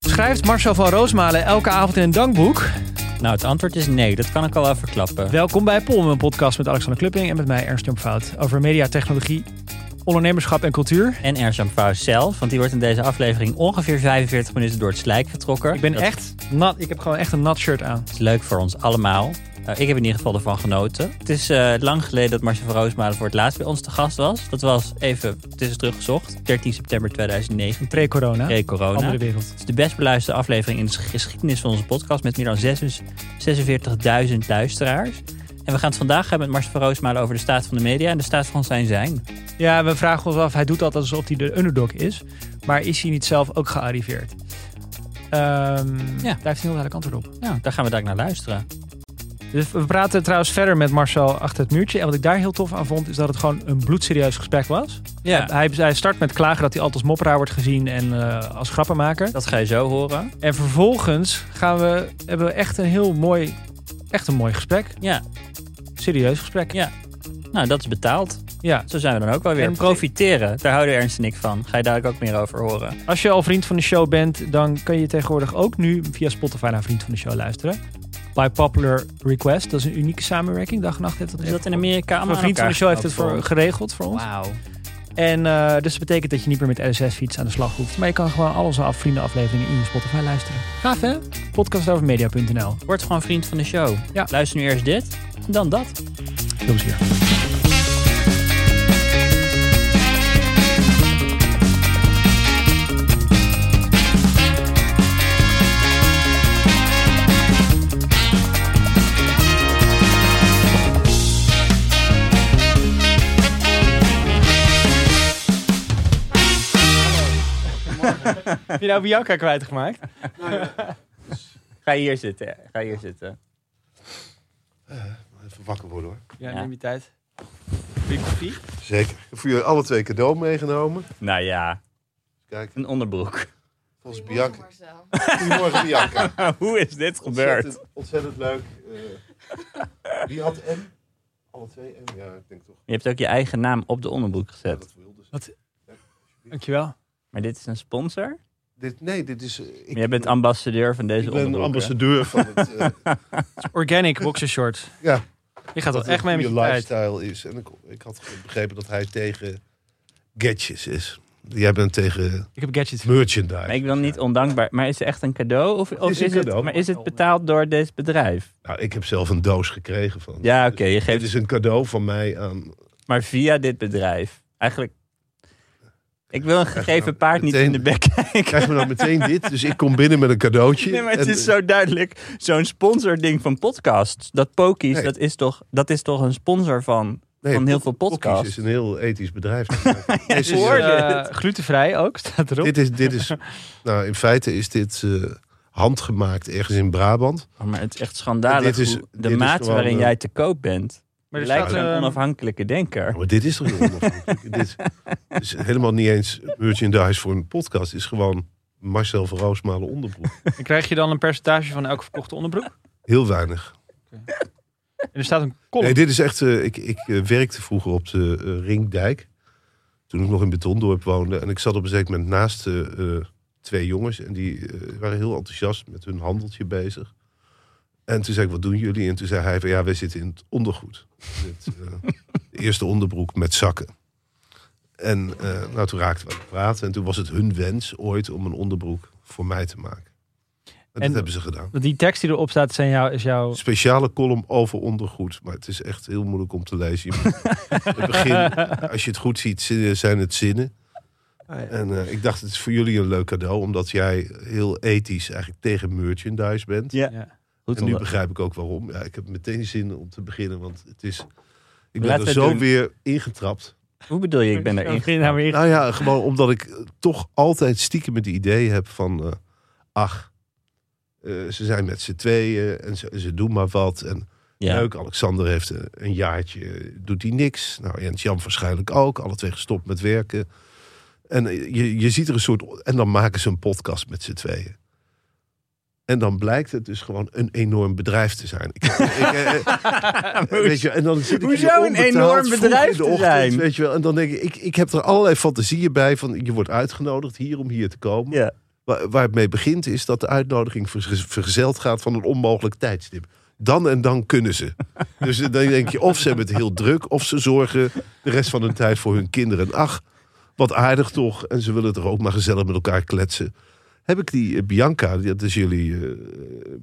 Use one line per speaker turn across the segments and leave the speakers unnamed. schrijft Marcel van Roosmalen elke avond in een dankboek?
Nou, het antwoord is nee. Dat kan ik al wel verklappen.
Welkom bij POM, een podcast met Alexander Klupping en met mij Ernst Jomfout over media, technologie, ondernemerschap en cultuur.
En Ersham Vrouw zelf, want die wordt in deze aflevering ongeveer 45 minuten door het slijk getrokken.
Ik ben
Dat
echt nat, ik heb gewoon echt een nat shirt aan.
is leuk voor ons allemaal. Eh, ik heb in ieder geval ervan genoten. Het is eh, lang geleden dat Marcel van Roosmalen voor het laatst bij ons te gast was. Dat was even, het is teruggezocht, 13 september 2009,
Pre-corona,
pre-corona.
andere wereld.
Het is de best beluisterde aflevering in de geschiedenis van onze podcast met meer dan 46 46.000 luisteraars. En we gaan het vandaag hebben met Marcel van Roosmalen over de staat van de media en de staat van zijn zijn.
Ja, we vragen ons af, hij doet altijd alsof hij de underdog is, maar is hij niet zelf ook gearriveerd? Ehm, Daar heeft hij een heel duidelijk antwoord op.
Ja, Nou, daar gaan we dadelijk naar luisteren.
Dus we praten trouwens verder met Marcel achter het muurtje. En wat ik daar heel tof aan vond, is dat het gewoon een bloedserieus gesprek was.
Ja,
Hij, hij start met klagen dat hij altijd als mopperaar wordt gezien en eh, als grappenmaker.
dat ga je zo horen.
En vervolgens gaan we, hebben we echt een heel mooi, echt een mooi gesprek.
Ja,
Serieus gesprek.
Ja. nou dat is betaald.
Ja.
Zo zijn we dan ook wel weer.
En-
Profiteren, daar houden Ernst en ik van. Ga je dadelijk ook meer over horen.
Als je al vriend van de show bent, dan kan je tegenwoordig ook nu via Spotify naar vriend van de show luisteren. By popular request. Dat is een unieke samenwerking. Dag en nacht heeft dat.
Is dat in
even-
Amerika allemaal
Een vriend van de show heeft het voor, geregeld voor ons.
Wauw.
En eh, dus dat betekent dat je niet meer met RSS-fiets aan de slag hoeft. Maar je kan gewoon al onze af- vriendenafleveringen in je Spotify luisteren. Gaaf hè? Podcastovermedia.nl.
Word gewoon vriend van de show.
Ja.
Luister nu eerst dit, dan dat.
Veel plezier. Heb je nou Bianca kwijtgemaakt?
Ga hier zitten, ga hier zitten.
Even wakker worden hoor.
Ja,
neem
je tijd. Wil je koffie?
Zeker. Ik heb voor jullie alle twee cadeau meegenomen.
Nou ja,
Kijk,
een onderbroek.
volgens Bianca. Goedemorgen Bianca.
Hoe is dit gebeurd?
Ontzettend, ontzettend leuk. eh. wie had M? Alle twee M? Ja, ik denk toch.
Je hebt ook je eigen naam op de onderbroek
Ja,
gezet.
dat wilde ze.
Dankjewel.
Maar dit is een sponsor.
Dit, nee, dit is... eh, ik,
Jij bent ambassadeur van deze
Ik ben
onderbroek.
ambassadeur van het... eh,
Organic boxershort.
ja,
Je gaat dat
het
echt mee met
goede
je tijd.
lifestyle is. En ik, ik had begrepen dat hij tegen gadgets is. Jij bent tegen
Ik heb gadgets.
merchandise.
Maar ik wil niet ondankbaar. Maar is het echt een cadeau? Of, of is,
is een
het,
cadeau.
Maar is het betaald door dit bedrijf?
Nou, ik heb zelf een doos gekregen van...
Ja, oké. je
Dit
geeft
is een cadeau van mij aan
maar via dit bedrijf. Eigenlijk. Ik wil een gegeven
nou
paard niet in
meteen-
de bek kijken.
krijg me dan meteen dit. Dus ik kom binnen met een cadeautje.
Nee, maar het
En,
is zo duidelijk. Zo'n sponsording van podcasts. Dat Pokies,
Nee.
dat, is toch, dat is toch een sponsor van,
nee,
van heel veel
Pockies
podcasts.
is een heel ethisch bedrijf. Nee,
het
Dus,
hoor
serieus.
je
eh,
het?
glutenvrij ook, staat erop.
dit is, dit is, nou, in feite is dit eh, handgemaakt ergens in Brabant.
Oh, maar het is echt schandalig.
Dit is-
hoe- de
dit is
maat
gewoon,
waarin
eh,
jij te koop bent.
maar
Maar
er
lijkt eh,
staat,
een
ehm,
onafhankelijke denker.
Ja, maar dit is toch heel onafhankelijk? dit is helemaal niet eens merchandise voor een podcast. Het is gewoon Marcel van Roosmalen onderbroek.
en krijg je dan een percentage van elke verkochte onderbroek.
Heel weinig.
En er staat een kolom.
Nee, dit is echt... eh, ik ik eh, werkte vroeger op de eh, Ringdijk. Toen ik nog in Betondorp woonde. En ik zat op een zeker moment naast eh, eh, twee jongens. En die eh, waren heel enthousiast met hun handeltje bezig. En toen zei ik, wat doen jullie? En toen zei hij van, ja, wij zitten in het ondergoed. Dit, eh, de eerste onderbroek met zakken. En eh, nou, toen raakten we aan het praten. En toen was het hun wens ooit om een onderbroek voor mij te maken. En,
En-
dat hebben ze gedaan.
Want Die tekst die erop staat zijn jou, is jouw...
Speciale column over ondergoed. Maar het is echt heel moeilijk om te lezen. Je moet- het begin, als je het goed ziet, zinnen- zijn het zinnen.
Oh,
En eh, ik dacht, het is voor jullie een leuk cadeau. Omdat jij heel ethisch eigenlijk tegen merchandise bent.
Ja.
Ja.
Goed
En nu
onder-
begrijp ik ook waarom. Ja, ik heb meteen zin om te beginnen. Want het is... Ik ben
Laten we
er zo
doen.
weer ingetrapt.
Hoe bedoel je, ik ben erin
Begin nou weer in.
Nou ja, gewoon omdat ik eh, toch altijd stiekem het idee heb van... eh, ach, eh, ze zijn met z'n tweeën en ze, ze doen maar wat. En
Ja.
Leuk, Alexander heeft eh, een jaartje, eh, doet hij niks. Nou, Jens Jan waarschijnlijk ook. Alle twee gestopt met werken. En eh, je, je ziet er een soort... En dan maken ze een podcast met z'n tweeën. En dan blijkt het dus gewoon een enorm bedrijf te zijn. Ik, ik, eh, eh, weet je, en dan zit ik hier
Hoezo een
onbetaald,
enorm
vroeg
bedrijf
in de
te
ochtend,
zijn?
Weet je wel, en dan denk ik, ik, ik heb er allerlei fantasieën bij. Van, je wordt uitgenodigd hier om hier te komen.
Ja.
Waar, waar het mee begint is dat de uitnodiging verge- vergezeld gaat van een onmogelijk tijdstip. Dan en dan kunnen ze. Dus dan denk je, of ze hebben het heel druk, of ze zorgen de rest van hun tijd voor hun kinderen. Ach, wat aardig toch. En ze willen toch ook maar gezellig met elkaar kletsen. Heb ik die eh, Bianca, die- dat is jullie eh,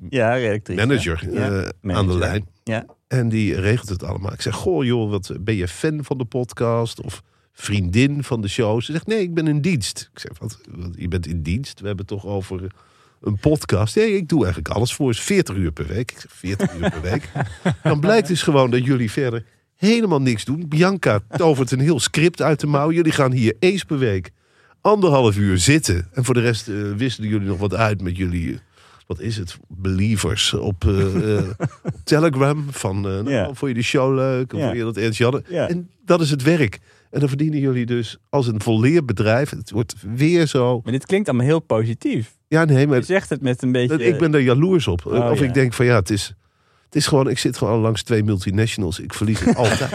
Ja, redactrice.
manager,
Ja,
eh, aan de
manager.
lijn.
Ja.
En die regelt het allemaal. Ik zeg, goh joh, wat, ben je fan van de podcast? Of vriendin van de show? Ze zegt, nee, ik ben in dienst. Ik zeg, wat, wat, je bent in dienst? We hebben het toch over een podcast? Nee, ik doe eigenlijk alles voor. is 40 uur per week. Ik zeg, 40 uur per week. Dan blijkt dus gewoon dat jullie verder helemaal niks doen. Bianca tovert een heel script uit de mouw. Jullie gaan hier eens per week anderhalf uur zitten. En voor de rest eh, wisselen jullie nog wat uit met jullie... eh, Wat is het? Believers op eh, eh, Telegram van eh nou,
Ja.
vond je de show leuk? Of
Ja.
vond je dat Ernst Janne?
Ja.
En dat is het werk. En dan verdienen jullie dus als een volleerd bedrijf. Het wordt weer zo.
Maar dit klinkt allemaal heel positief.
Ja, nee, maar
Je zegt het met een beetje...
dat- ik ben daar jaloers op.
Oh,
of
ja.
ik denk van ja, het is, het is gewoon, ik zit gewoon langs twee multinationals. Ik verlies het altijd.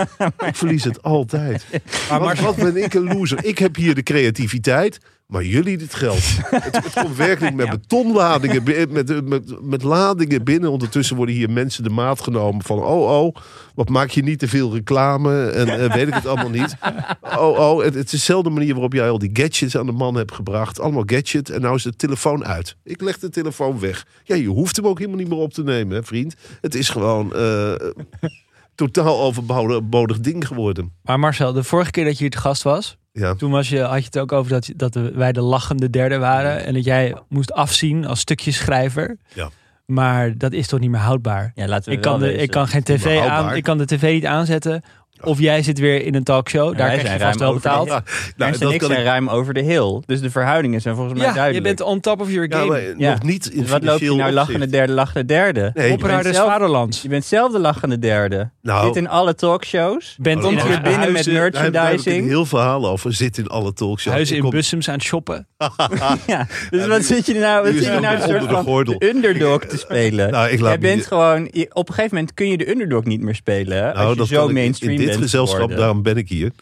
ik verlies het altijd. Maar, wat, wat ben ik een loser? Ik heb hier de creativiteit, maar jullie dit geld. het, het komt werkelijk met betonladingen, bi- met, met, met ladingen binnen. Ondertussen worden hier mensen de maat genomen van oh oh, wat maak je niet te veel reclame en eh, weet ik het allemaal niet. Oh oh, het, het is dezelfde manier waarop jij al die gadgets aan de man hebt gebracht. Allemaal gadget en nou is de telefoon uit. Ik leg de telefoon weg. Ja, je hoeft hem ook helemaal niet meer op te nemen, hè, vriend. Het is gewoon eh, totaal overbodig ding geworden.
Maar Marcel, de vorige keer dat je hier te gast was,
Ja.
toen was je, had je het ook over dat, je- dat we- wij de lachende derde waren. En dat jij moest afzien als stukjeschrijver.
Ja.
Maar dat is toch niet meer houdbaar?
Ja, laten we
Ik kan,
wel
de,
wezen.
ik kan geen tv aan,
houdbaar.
ik kan de tv niet aanzetten. Of jij zit weer in een talkshow.
wij
Daar krijg
zijn
je
ruim
vast wel
over de
betaald.
hel.
Nou,
Ernst en ik zijn ruim over de heel. Dus de verhoudingen zijn volgens mij
Ja, je
duidelijk.
bent on top of your
Ja,
game.
maar
Ja.
nog niet in
Dus wat loop je
financieel
nou lachende
opzicht.
derde, lachende derde?
Nee,
je bent
Opera des
zelf-
Vaderlands.
Je bent zelf de lachende derde.
Nou.
Zit in alle talkshows.
Bent
Komt
in
Komt hier
huizen,
binnen met
daar heb, daar heb ik een
merchandising.
heel verhaal over. Zit in alle talkshows.
huizen
Ik
in
kom-
Bussems aan het shoppen.
Ja, dus
Ja,
wat
nu-
zit je nou, wat
nu
zit
is
je
het
nou een
allemaal
soort
onder de
van
gordel.
de underdog te spelen?
Nou, ik laat
Jij
me
bent
niet-
gewoon, je- op een gegeven moment kun je de underdog niet meer spelen. hè,
Nou,
als je
dat
zo
kan ik in-
mainstream
In dit
bent
gezelschap,
geworden.
daarom ben ik hier.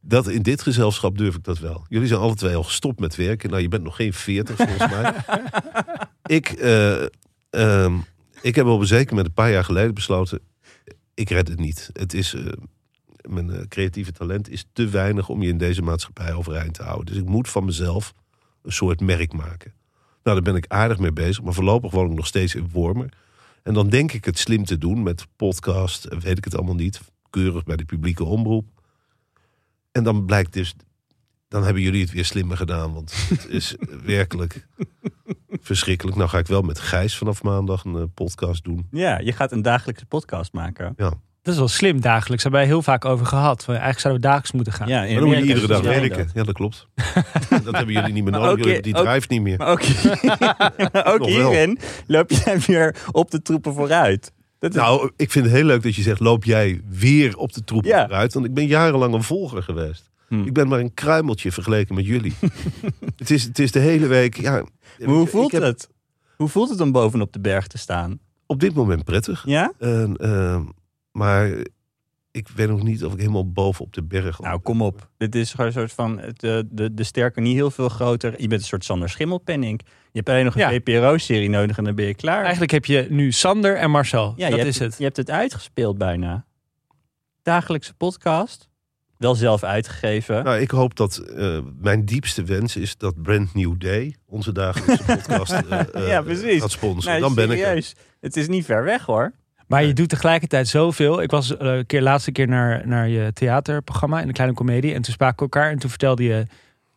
Dat, in dit gezelschap durf ik dat wel. Jullie zijn alle twee al gestopt met werken. Nou, je bent nog geen veertig volgens mij. Ik, eh, ehm, ik heb op een zeker moment een paar jaar geleden besloten... ik red het niet. Het is, eh, mijn eh, creatieve talent is te weinig om je in deze maatschappij overeind te houden. Dus ik moet van mezelf een soort merk maken. Nou, daar ben ik aardig mee bezig. Maar voorlopig woon ik nog steeds in Wormer. En dan denk ik het slim te doen met podcast, eh, weet ik het allemaal niet. Keurig bij de publieke omroep. En dan blijkt dus, dan hebben jullie het weer slimmer gedaan. Want het is werkelijk verschrikkelijk. Nou ga ik wel met Gijs vanaf maandag een eh, podcast doen.
Ja, je gaat een dagelijkse podcast maken.
Dat is wel slim dagelijks. Daar hebben wij heel vaak over gehad. Van, Eigenlijk zouden we dagelijks moeten gaan.
Ja, in
Maar dan moet je
Amerika
iedere
is het
dus
dag
wel
werken. Ja, dat klopt. dat hebben jullie niet meer nodig.
ook
jullie hebben
je-
die
ook-
drive niet meer.
Maar ook, maar ook
Nog wel.
hierin loop jij weer op de troepen vooruit. Dat is,
Nou, ik vind het heel leuk dat je zegt: loop jij weer op de troep
Ja.
vooruit? Want ik ben jarenlang een volger geweest.
Hmm.
Ik ben maar een kruimeltje vergeleken met jullie. het, is, het is de hele week. Ja,
maar hoe
ik-
voelt
ik heb
het? Hoe voelt het om bovenop de berg te staan?
Op dit moment prettig.
Ja?
En, ehm, maar ik weet nog niet of ik helemaal boven op de berg.
Nou, kom op. Dit is gewoon een soort van het, eh, de, de sterke niet heel veel groter. Je bent een soort Sander Schimmelpenning. Je hebt alleen nog een
Ja.
VPRO-serie nodig en dan ben je klaar.
Eigenlijk heb je nu Sander en Marcel.
ja,
dat
je
is
hebt,
het.
Je hebt het uitgespeeld bijna. Dagelijkse podcast. Wel zelf uitgegeven.
Nou, ik hoop dat eh, mijn diepste wens is dat Brand New Day onze dagelijkse podcast eh, eh,
Ja, precies.
gaat
Nee,
sponsoren. Nou, Dan ben ik er.
serieus. Het is niet ver weg hoor.
Maar je doet tegelijkertijd zoveel. Ik was eh, een keer laatste keer naar, naar je theaterprogramma in de kleine komedie. En toen spraken we elkaar en toen vertelde je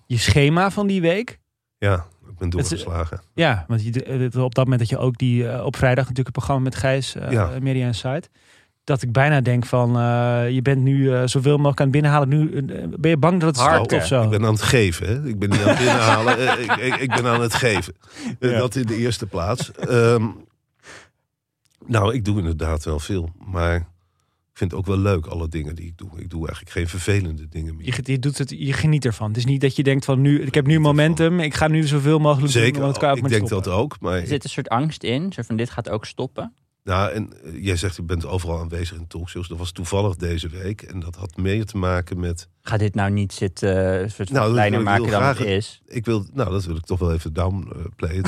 je schema van die week.
Ja, ik ben doorgeslagen.
Ja, want je, eh, op dat moment dat je ook die eh, op vrijdag natuurlijk het programma met Gijs, eh
Ja.
Media Insight. Dat ik bijna denk van eh, je bent nu eh, zoveel mogelijk aan het binnenhalen. Nu eh, ben je bang dat het
Hard,
stopt
hè?
of zo.
Ik ben aan het geven. Hè? Ik ben niet aan het binnenhalen. eh, ik, ik, ik ben aan het geven. Eh,
Ja.
Dat in de eerste plaats. Ehm, nou, ik doe inderdaad wel veel. Maar ik vind het ook wel leuk, alle dingen die ik doe. Ik doe eigenlijk geen vervelende dingen meer.
Je, ge- je doet het, je geniet ervan. Het is niet dat je denkt van nu, ik heb nu momentum, ik ga nu zoveel mogelijk doen.
Zeker,
want het kan ook
ik
maar
denk
stoppen.
dat ook. Maar
Er zit een soort angst in. Zo van dit gaat ook stoppen.
Nou, en eh, jij zegt, je bent overal aanwezig in talkshows. Dat was toevallig deze week. En dat had meer te maken met...
Ga dit nou niet zitten eh, soort van
Nou, dat wil
kleiner
ik
maken
heel
dan
graag.
het is.
Ik wil, nou, dat wil ik toch wel even downplayen.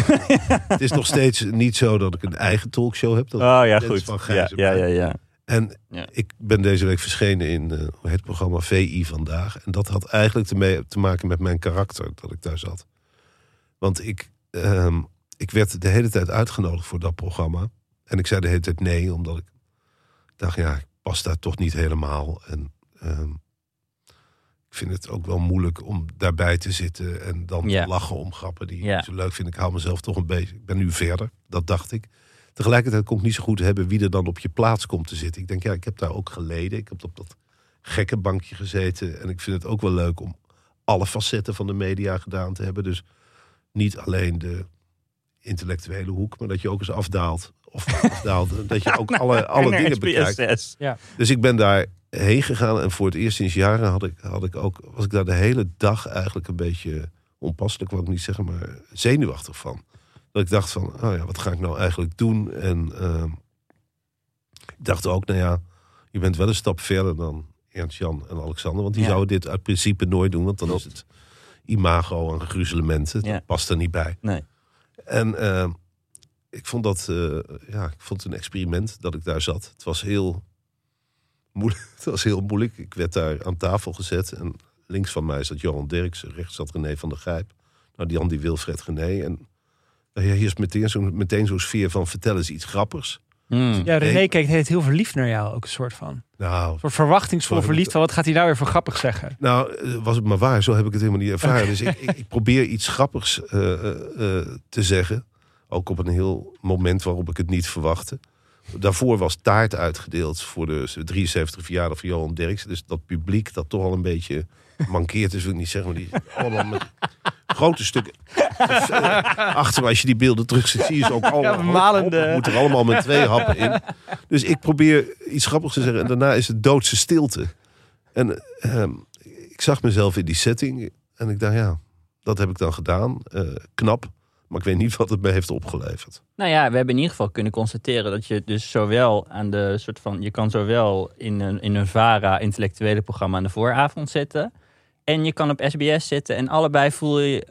het is nog steeds niet zo dat ik een eigen talkshow heb. Dat-
Oh ja,
Dit
goed.
is van
ja,
Gijzen.
ja, ja, ja.
En
Ja.
ik ben deze week verschenen in eh, hoe heet het programma VI Vandaag. En dat had eigenlijk te, mee- te maken met mijn karakter dat ik daar zat. Want ik, ehm, ik werd de hele tijd uitgenodigd voor dat programma. En ik zei de hele tijd nee, omdat ik dacht, ja, ik pas daar toch niet helemaal. En ehm, ik vind het ook wel moeilijk om daarbij te zitten en dan
Ja.
te lachen om grappen die
Ja.
ik zo leuk vind. Ik hou mezelf toch een beetje. Ik ben nu verder, dat dacht ik. Tegelijkertijd kon ik niet zo goed hebben wie er dan op je plaats komt te zitten. Ik denk, ja, ik heb daar ook geleden. Ik heb op dat gekke bankje gezeten. En ik vind het ook wel leuk om alle facetten van de media gedaan te hebben. Dus niet alleen de intellectuele hoek, maar dat je ook eens afdaalt. Of afdaalt, dat je ook alle, alle
En er
dingen
is
bekijkt.
PSS.
Dus ik ben daarheen gegaan en voor het eerst sinds jaren had ik, had ik ook, was ik daar de hele dag eigenlijk een beetje onpasselijk, wil ik niet zeggen, maar zenuwachtig van. Dat ik dacht van, oh ja, wat ga ik nou eigenlijk doen? En ehm, ik dacht ook, nou ja, je bent wel een stap verder dan Ernst-Jan en Alexander, want die
Ja.
zouden dit uit principe nooit doen, want dan is het imago en gruzelementen,
Ja.
dat past er niet bij.
Nee.
En ehm, ik vond dat, eh, ja, ik vond het een experiment dat ik daar zat. Het was heel moeilijk. Het was heel moeilijk. Ik werd daar aan tafel gezet. En links van mij zat Johan Derksen, rechts zat René van der Gijp. Nou, die Andy Wilfred René. En nou ja, hier is meteen zo'n meteen zo'n sfeer van vertel eens iets grappigs.
Hmm.
Ja, René
Nee.
kijkt heel, heel verliefd naar jou, ook een soort van. Een
Nou,
soort verwachtingsvol
Sorry,
verliefd. van, Wat gaat hij nou weer voor grappig zeggen?
nou, eh, was het maar waar. Zo heb ik het helemaal niet ervaren. Dus ik, ik, ik probeer iets grappigs eh, eh, eh, te zeggen. Ook op een heel moment waarop ik het niet verwachtte. Daarvoor was taart uitgedeeld voor de 73 verjaardag van Johan Derksen. Dus dat publiek dat toch al een beetje mankeert, is wil ik niet zeggen. Maar die allemaal met grote stukken. Eh, Achter me, als je die beelden terug ziet, zie je ze ook allemaal.
malende.
Het moet er allemaal met twee happen in. Dus ik probeer iets grappigs te zeggen. En daarna is het doodse stilte. En ehm, ik zag mezelf in die setting. En ik dacht, ja, dat heb ik dan gedaan. Eh, knap. Maar ik weet niet wat het me heeft opgeleverd.
Nou ja, we hebben in ieder geval kunnen constateren dat je dus zowel aan de soort van. Je kan zowel in een, in een VARA intellectuele programma aan de vooravond zitten. En je kan op SBS zitten. En allebei voel je.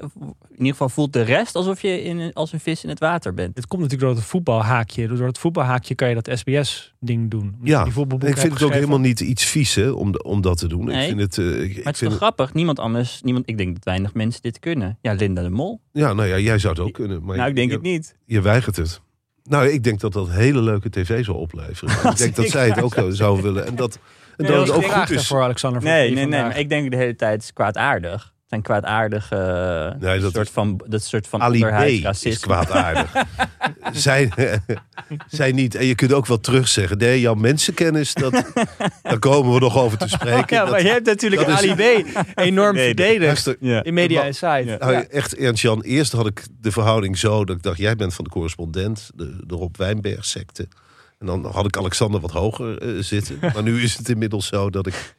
In ieder geval voelt de rest alsof je in, een- als een vis in het water bent.
Dit komt natuurlijk door het voetbalhaakje. Door het voetbalhaakje kan je dat SBS-ding doen. Omdat je
Ja,
die
en
voetbalboeken
ik vind
hebt
het ook
geschreven.
helemaal niet iets vies hè, om, om dat te doen.
Nee.
Ik vind het, eh, ik- ik
Maar het is
vind
toch grappig? Niemand anders. Niemand, ik denk dat weinig mensen dit kunnen. Ja, Linda de Mol.
ja, nou ja, jij zou het ook kunnen. Maar
nou, ik denk
je,
het niet.
Je weigert het. Nou, ik denk dat dat hele leuke tv zal opleveren. ik denk dat zij het ook zou willen. En dat, en
Nee,
dat
dat
het
is
ook
graag
goed is.
voor Alexander. van
Nee,
Vliet
nee, nee.
vandaag.
Maar ik denk de hele tijd het is kwaadaardig. Het zijn kwaadaardige. eh,
Nee, dat
soort
is-
van, dat soort van
Ali
onderhuids
B. is
racisme.
kwaadaardig. zij, zij niet. En je kunt ook wel terugzeggen. Nee, jouw mensenkennis, dat, daar komen we nog over te spreken.
Ja,
Dat-
maar je hebt natuurlijk
dat is-
Ali B. enorm
Nee, dat-
verdedigd
luister,
Ja.
in Media
maar-
Insight.
Ja.
Nou, echt Ernst-Jan, eerst had ik de verhouding zo dat ik dacht, jij bent van de correspondent, de, de Rob Wijnberg secte. En dan had ik Alexander wat hoger eh, zitten. Maar nu is het inmiddels zo dat ik,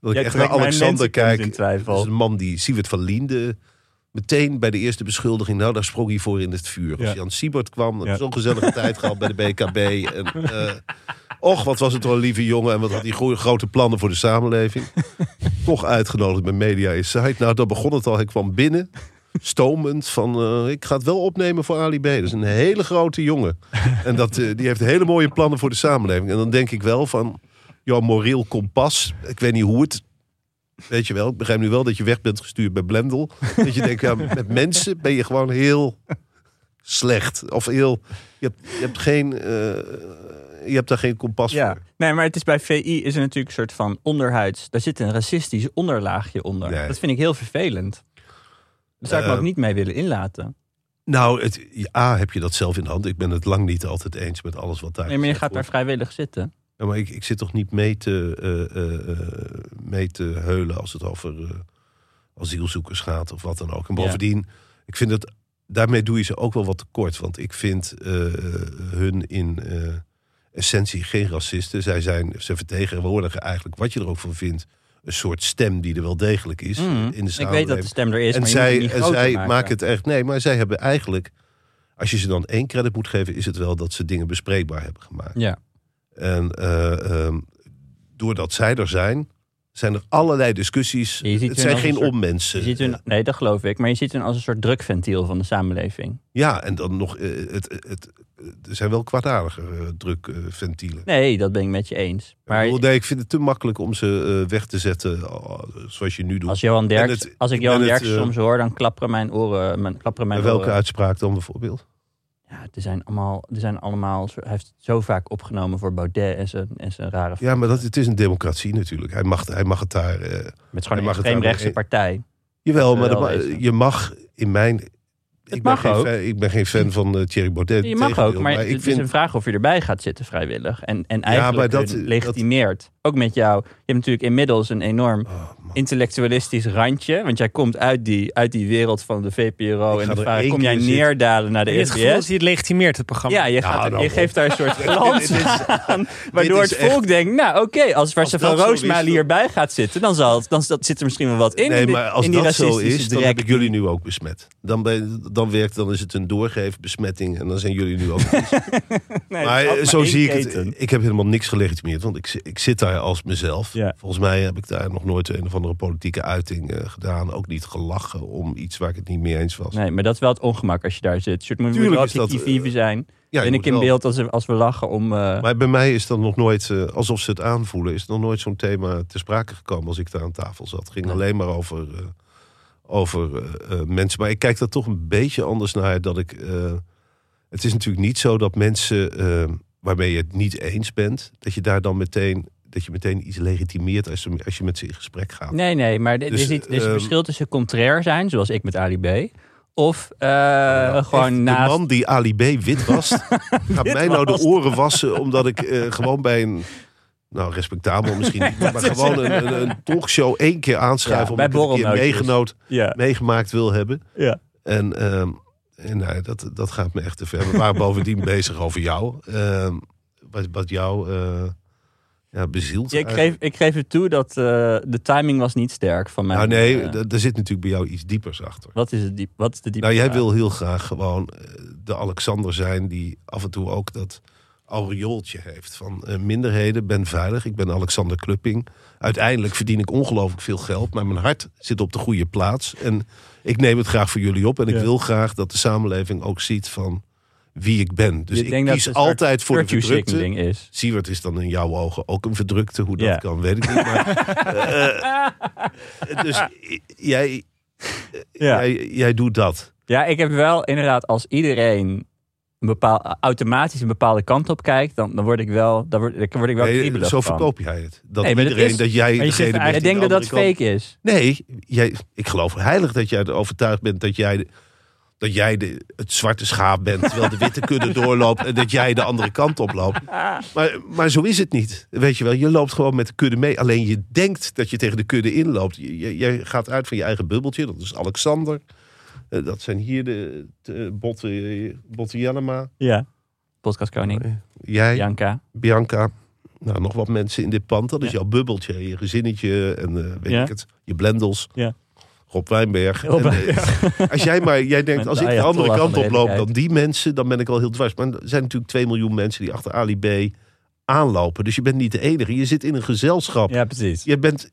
dat ik
Jij
echt naar
trekt mijn
Alexander
mensenkennis
kijk.
in twijfel.
Dat is Dus een man die Siewert van Liende meteen bij de eerste beschuldiging, nou daar sprong hij voor in het vuur.
Ja.
Als Jan Siebert kwam, dat
Ja.
is zo'n gezellige tijd gehad bij de BKB. En, eh, och, wat was het toch een lieve jongen en wat had hij goeie- grote plannen voor de samenleving toch uitgenodigd bij Media Insight. Nou, daar begon het al. Hij kwam binnen, stomend, van eh, ik ga het wel opnemen voor Ali B. Dat is een hele grote jongen. En dat, eh, die heeft hele mooie plannen voor de samenleving. En dan denk ik wel van, jouw moreel kompas, ik weet niet hoe het... Weet je wel, ik begrijp nu wel dat je weg bent gestuurd bij Blendel. Dat je denkt, ja, met mensen ben je gewoon heel slecht. Of heel, je hebt, je hebt, geen, eh, je hebt daar geen kompas
Ja,
voor.
nee, maar het is bij VI is er natuurlijk een soort van onderhuids. Daar zit een racistisch onderlaagje onder.
Nee.
Dat vind ik heel vervelend. Daar zou ik me
Eh,
ook niet mee willen inlaten.
Nou, het, A, heb je dat zelf in de hand. Ik ben het lang niet altijd eens met alles wat daar
Nee, maar je gaat
gezegd
daar
wordt.
vrijwillig zitten.
Ja, Nou, maar ik, ik zit toch niet mee te, eh, eh, eh, mee te heulen als het over eh, asielzoekers gaat of wat dan ook. En
Ja.
bovendien, ik vind dat daarmee doe je ze ook wel wat tekort. Want ik vind eh, eh, hun in eh, essentie geen racisten. Zij zijn, ze vertegenwoordigen eigenlijk, wat je er ook van vindt, een soort stem die er wel degelijk is
Mm.
in de
Ik
samenleving.
weet dat de stem er is,
En
maar je moet het
zij,
niet
en
groter
zij
maken.
maken het echt. Nee, maar zij hebben eigenlijk Als je ze dan één credit moet geven, is het wel dat ze dingen bespreekbaar hebben gemaakt.
Ja.
En eh, ehm, doordat zij er zijn, zijn er allerlei discussies.
Je ziet
Het
hun
zijn
als een
geen
soort-
onmensen.
Je ziet hun, nee, dat geloof ik. Maar je ziet hun als een soort drukventiel van de samenleving.
Ja, en dan nog, eh, het, het, het- er zijn wel kwaadaardiger eh, drukventielen.
Nee, dat ben ik met je eens.
Ik
Maar
bedoel, nee, ik vind het te makkelijk om ze eh, weg te zetten eh, zoals je nu doet.
als, Johan Derks,
het-
als ik
en
Johan
het,
Derks
eh,
soms hoor, dan klapperen mijn oren. Mijn, klapperen mijn
En welke
oren.
uitspraak dan bijvoorbeeld?
Ja, er zijn allemaal, er zijn allemaal, hij heeft het zo vaak opgenomen voor Baudet en zijn, en zijn rare...
Ja, maar dat, het is een democratie natuurlijk. Hij mag, hij mag het daar... eh,
met gewoon
Hij
een
mag het wel
extreemrechtse
doen.
partij.
jawel,
Eh,
maar dat
wel
ma-
wezen.
je mag in mijn... ik,
mag
ben
ook.
Geen fan, ik ben geen fan van eh, Thierry Baudet.
Je mag ook,
tegendeel,
maar,
ik
het is een vraag of je erbij gaat zitten vrijwillig. En, en
maar
eigenlijk
dat-
hun legitimeert. Ook met jou. Je hebt natuurlijk inmiddels een enorm
Oh, man.
intellectualistisch randje. Want jij komt uit die, uit die wereld van de VPRO.
Ik
en
ga
de
er
vraag,
één
kom jij
keer
neerdalen naar
Je
de
hebt het gevoel dat
SBS?
hij het legitimeert, het programma.
Ja, je,
Nou,
gaat,
nou,
je
op.
geeft daar een soort
Dit
glans
is-
aan. Waardoor
is
het volk
echt-
denkt, nou oké, als Marcel
dat
van
zo is,
Roosmalen
dan-
hierbij gaat zitten, dan, zal het, dan dat zit er misschien wel wat in. in
nee,
die-
maar als
in die
dat zo
racistische
is, dan
drek.
heb ik jullie nu ook besmet. Dan, ben, dan, werkt, dan is het een doorgeefbesmetting en dan zijn jullie nu ook
Nee,
Maar
het is ook
eh, zo
één
zie ik
keten.
het. Ik heb helemaal niks gelegitimeerd, want ik, zi- ik zit daar als mezelf.
Ja.
Volgens mij heb ik daar nog nooit een of andere politieke uiting eh, gedaan. Ook niet gelachen om iets waar ik het niet mee eens was.
Nee, maar dat is wel het ongemak als je daar zit. Je moet- moet
Tuurlijk
wel
is dat,
objectief
eh,
zijn.
Ja, je
ben ik
moet
in
wel.
beeld als, als we lachen om... eh,
Maar bij mij is dan nog nooit, eh, alsof ze het aanvoelen, is nog nooit zo'n thema te sprake gekomen als ik daar aan tafel zat. Het ging
Nee.
alleen maar over, eh, over eh, eh, mensen. Maar ik kijk daar toch een beetje anders naar. Dat ik, eh, het is natuurlijk niet zo dat mensen eh, waarmee je het niet eens bent, dat je daar dan meteen, dat je meteen iets legitimeert als, je- als je met ze in gesprek gaat.
Nee, nee, maar er er
Dus,
is, niet, er is een
ehm,
verschil tussen contrair zijn, zoals ik met Ali B. Of eh,
Nou, echt,
gewoon naast...
De man die Ali B. wit was, gaat mij nou de
Witwast.
oren wassen omdat ik eh, gewoon bij een... Nou, respectabel misschien niet, maar gewoon een, een, een talkshow één keer aanschuiven...
Ja,
omdat
bij
ik het een keer
borrelnootjes.
meegenoot,
Ja,
meegemaakt wil hebben.
ja.
En, ehm, en nou, ja, dat, dat gaat me echt te ver. We waren bovendien bezig over jou. ehm, wat, wat jou eh, ja, bezielt.
Ik,
eigenlijk.
geef, ik geef het toe dat eh, de timing was niet sterk van mij. Eh,
Nou nee, d- daar zit natuurlijk bij jou iets diepers achter.
wat, is het diep, wat is de diepte?
Nou, jij
vraag?
wil heel graag gewoon eh, de Alexander zijn die af en toe ook dat aureooltje heeft. Van eh, minderheden, ben veilig, ik ben Alexander Klupping. Uiteindelijk verdien ik ongelooflijk veel geld, maar mijn hart zit op de goede plaats. En ik neem het graag voor jullie op en ik
Ja.
wil graag dat de samenleving ook ziet van wie ik ben. Dus
Je
ik
denkt dat
kies
het een soort
altijd voor de
virtue
verdrukte.
signaling is.
Siewert is dan in jouw ogen ook een verdrukte. Hoe dat
Ja.
kan, weet ik niet. Maar, eh, dus i- jij,
Ja.
jij, jij doet dat.
ja, ik heb wel inderdaad als iedereen een bepaal, automatisch een bepaalde kant op kijkt, dan, dan word ik wel, dan word, dan word ik wel
Nee,
kriebelig
zo
van.
verkoop jij het. Dat
Nee, maar dat
iedereen
is-
dat jij
zegt
degene bent.
eigenlijk-
die
Ik denk
de
dat dat
andere
fake is.
kant- Nee, jij, ik geloof heilig dat jij er overtuigd bent dat jij, de- dat jij de, het zwarte schaap bent. Terwijl de witte kudde doorloopt en dat jij de andere kant op loopt. Maar, maar zo is het niet. Weet je wel, je loopt gewoon met de kudde mee. Alleen je denkt dat je tegen de kudde inloopt. Je- je- Jij gaat uit van je eigen bubbeltje. Dat is Alexander. Eh, Dat zijn hier de, de Botte, Botte Jellema.
Ja. Podcastkoning,
Jij.
Janka.
Bianca. Nou, nog wat mensen in dit pand. Dat is
Ja.
jouw bubbeltje, je gezinnetje en eh, weet
Ja.
ik het, je blendels.
Ja.
Rob Wijnberg.
Rob Nou
En, eh, Als jij maar, jij denkt,
Met
als
de
ik de
Ayatollah
andere
van
kant
de
op loop dan
redelijkheid.
die mensen, dan ben ik al heel dwars. Maar er zijn natuurlijk 2 miljoen mensen die achter Ali B aanlopen. Dus je bent niet de enige. Je zit in een gezelschap.
Ja, precies.
Je bent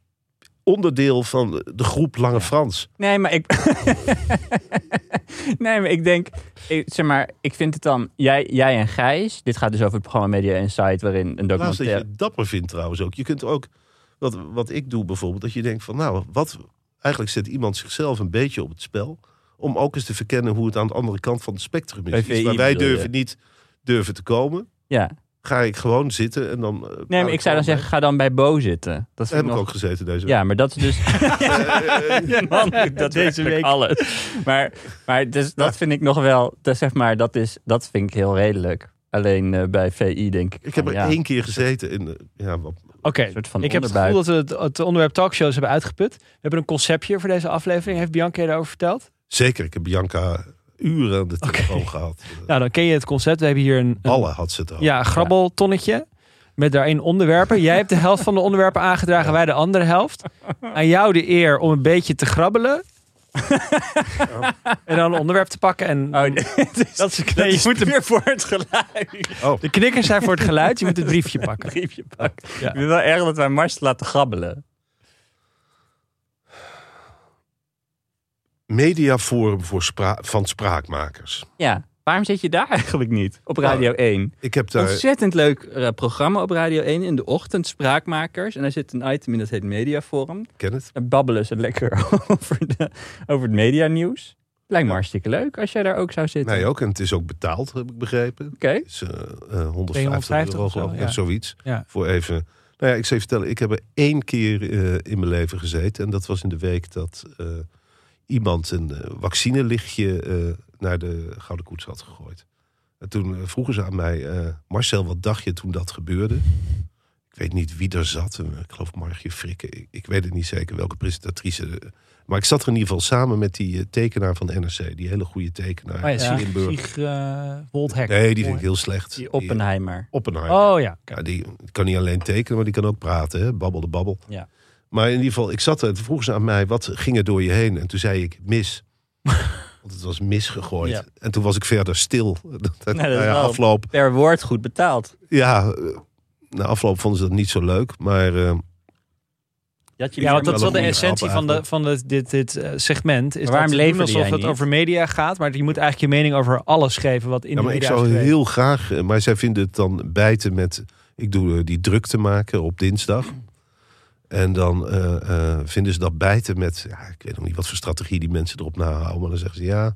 onderdeel van de groep Lange Frans.
Nee, maar ik. nee, maar ik denk. Ik, zeg maar, ik vind het dan. Jij, jij en Gijs. Dit gaat dus over het programma Media Insight. Waarin een
Laatst dat je
documentaire.
het dapper vindt trouwens ook. Je kunt ook, wat, wat ik doe bijvoorbeeld, dat je denkt van nou, wat, eigenlijk zet iemand zichzelf een beetje op het spel. Om ook eens te verkennen hoe het aan de andere kant van het spectrum is.
VI
Iets waar wij
bedoel je?
durven niet durven te komen.
Ja.
Ga ik gewoon zitten en dan... eh,
Nee,
praat
maar ik zou dan
gewoon
zeggen. Ga dan bij Bo zitten. Dat vind
mee. Heb
ik
ik
nog.
ook gezeten deze week.
Ja, maar dat is dus. Man, dat
Deze
deze
week.
week alles. Maar, maar dus, dat vind ik nog wel. Dat, zeg maar, dat, is, dat vind ik heel redelijk. Alleen eh, bij VI denk ik.
Ik heb
van,
er
Oh, ja,
één keer gezeten en eh, ja, wat,
Oké,
Een soort van
ik heb het
onderbuik.
gevoel dat we het, het onderwerp talkshows hebben uitgeput. We hebben een conceptje voor deze aflevering. Heeft Bianca je daarover verteld?
zeker. Ik heb Bianca uren aan de telefoon gehad. Eh,
Nou, dan ken je het concept. We hebben hier een, een-
Ballen had ze het over.
ja, een grabbeltonnetje met daarin onderwerpen. Jij hebt de helft van de onderwerpen aangedragen, wij de andere helft. Aan jou de eer om een beetje te grabbelen. En dan een onderwerp te pakken. En
Oh, dit is-
dat is, nee,
dat
je
is
moet de,
puur voor het geluid.
Oh.
de knikkers zijn voor het geluid. Je moet het briefje pakken.
Briefje pakken.
Ja.
Ik vind het wel erg dat wij Mars laten grabbelen.
Mediaforum voor spra- van spraakmakers.
Ja. Waarom zit je daar eigenlijk niet? Op Radio 1.
Ik heb daar...
Ontzettend leuk eh, programma op Radio 1 in de ochtend, Spraakmakers. En daar zit een item in dat heet Mediaforum.
ken het?
Daar babbelen ze lekker over, de, over het medianieuws. Lijkt me
Ja.
hartstikke leuk als jij daar ook zou zitten.
Mij ook. En het is ook betaald, heb ik begrepen.
Oké.
Het is eh, eh, 150
250
euro
of zo,
geloof ik.
ja.
Ja, Zoiets.
Ja.
Voor even... Nou ja, ik zal je vertellen. Ik heb er één keer eh, in mijn leven gezeten. En dat was in de week dat eh, iemand een eh, vaccinelichtje eh, naar de Gouden Koets had gegooid. En toen eh, vroegen ze aan mij... eh, Marcel, wat dacht je toen dat gebeurde? Ik weet niet wie er zat. Eh, Ik geloof Margje Frikke. Ik, ik weet het niet zeker welke presentatrice. eh, Maar ik zat er in ieder geval samen met die eh, tekenaar van de NRC. Die hele goede tekenaar.
Oh ja,
Sienburg.
Sieg, Sieg, eh, Woldhek.
Nee, die vind ik heel slecht.
Die Oppenheimer.
Oppenheimer.
Oh ja. oké.
Ja, die kan niet alleen tekenen, maar die kan ook praten. Hè? Babbel de babbel.
Ja.
Maar in ieder geval, ik zat er en toen vroegen ze aan mij... wat ging er door je heen? En toen zei ik, mis. Want het was misgegooid.
Ja.
En toen was ik verder stil. Dat, dat,
is
na
wel-
afloop,
Per woord goed betaald.
ja, eh, na afloop vonden ze dat niet zo leuk. Maar eh,
Dat jullie
Ja, want dat is wel de
Wel een
essentie
goede
van, de,
grap
van de, dit, dit eh, segment. Is
Maar waarom
dat te doen
leverde
alsof
jij
het
niet?
over media gaat, maar je moet eigenlijk je mening over alles geven wat in
ja,
de
maar ik
media
zou
is geweest.
heel graag... eh, Maar zij vinden het dan bijten met... Ik doe eh, die druk te maken op dinsdag. En dan eh, eh, vinden ze dat bijten met... Ja, ik weet nog niet wat voor strategie die mensen erop nahouden. Maar dan zeggen ze ja...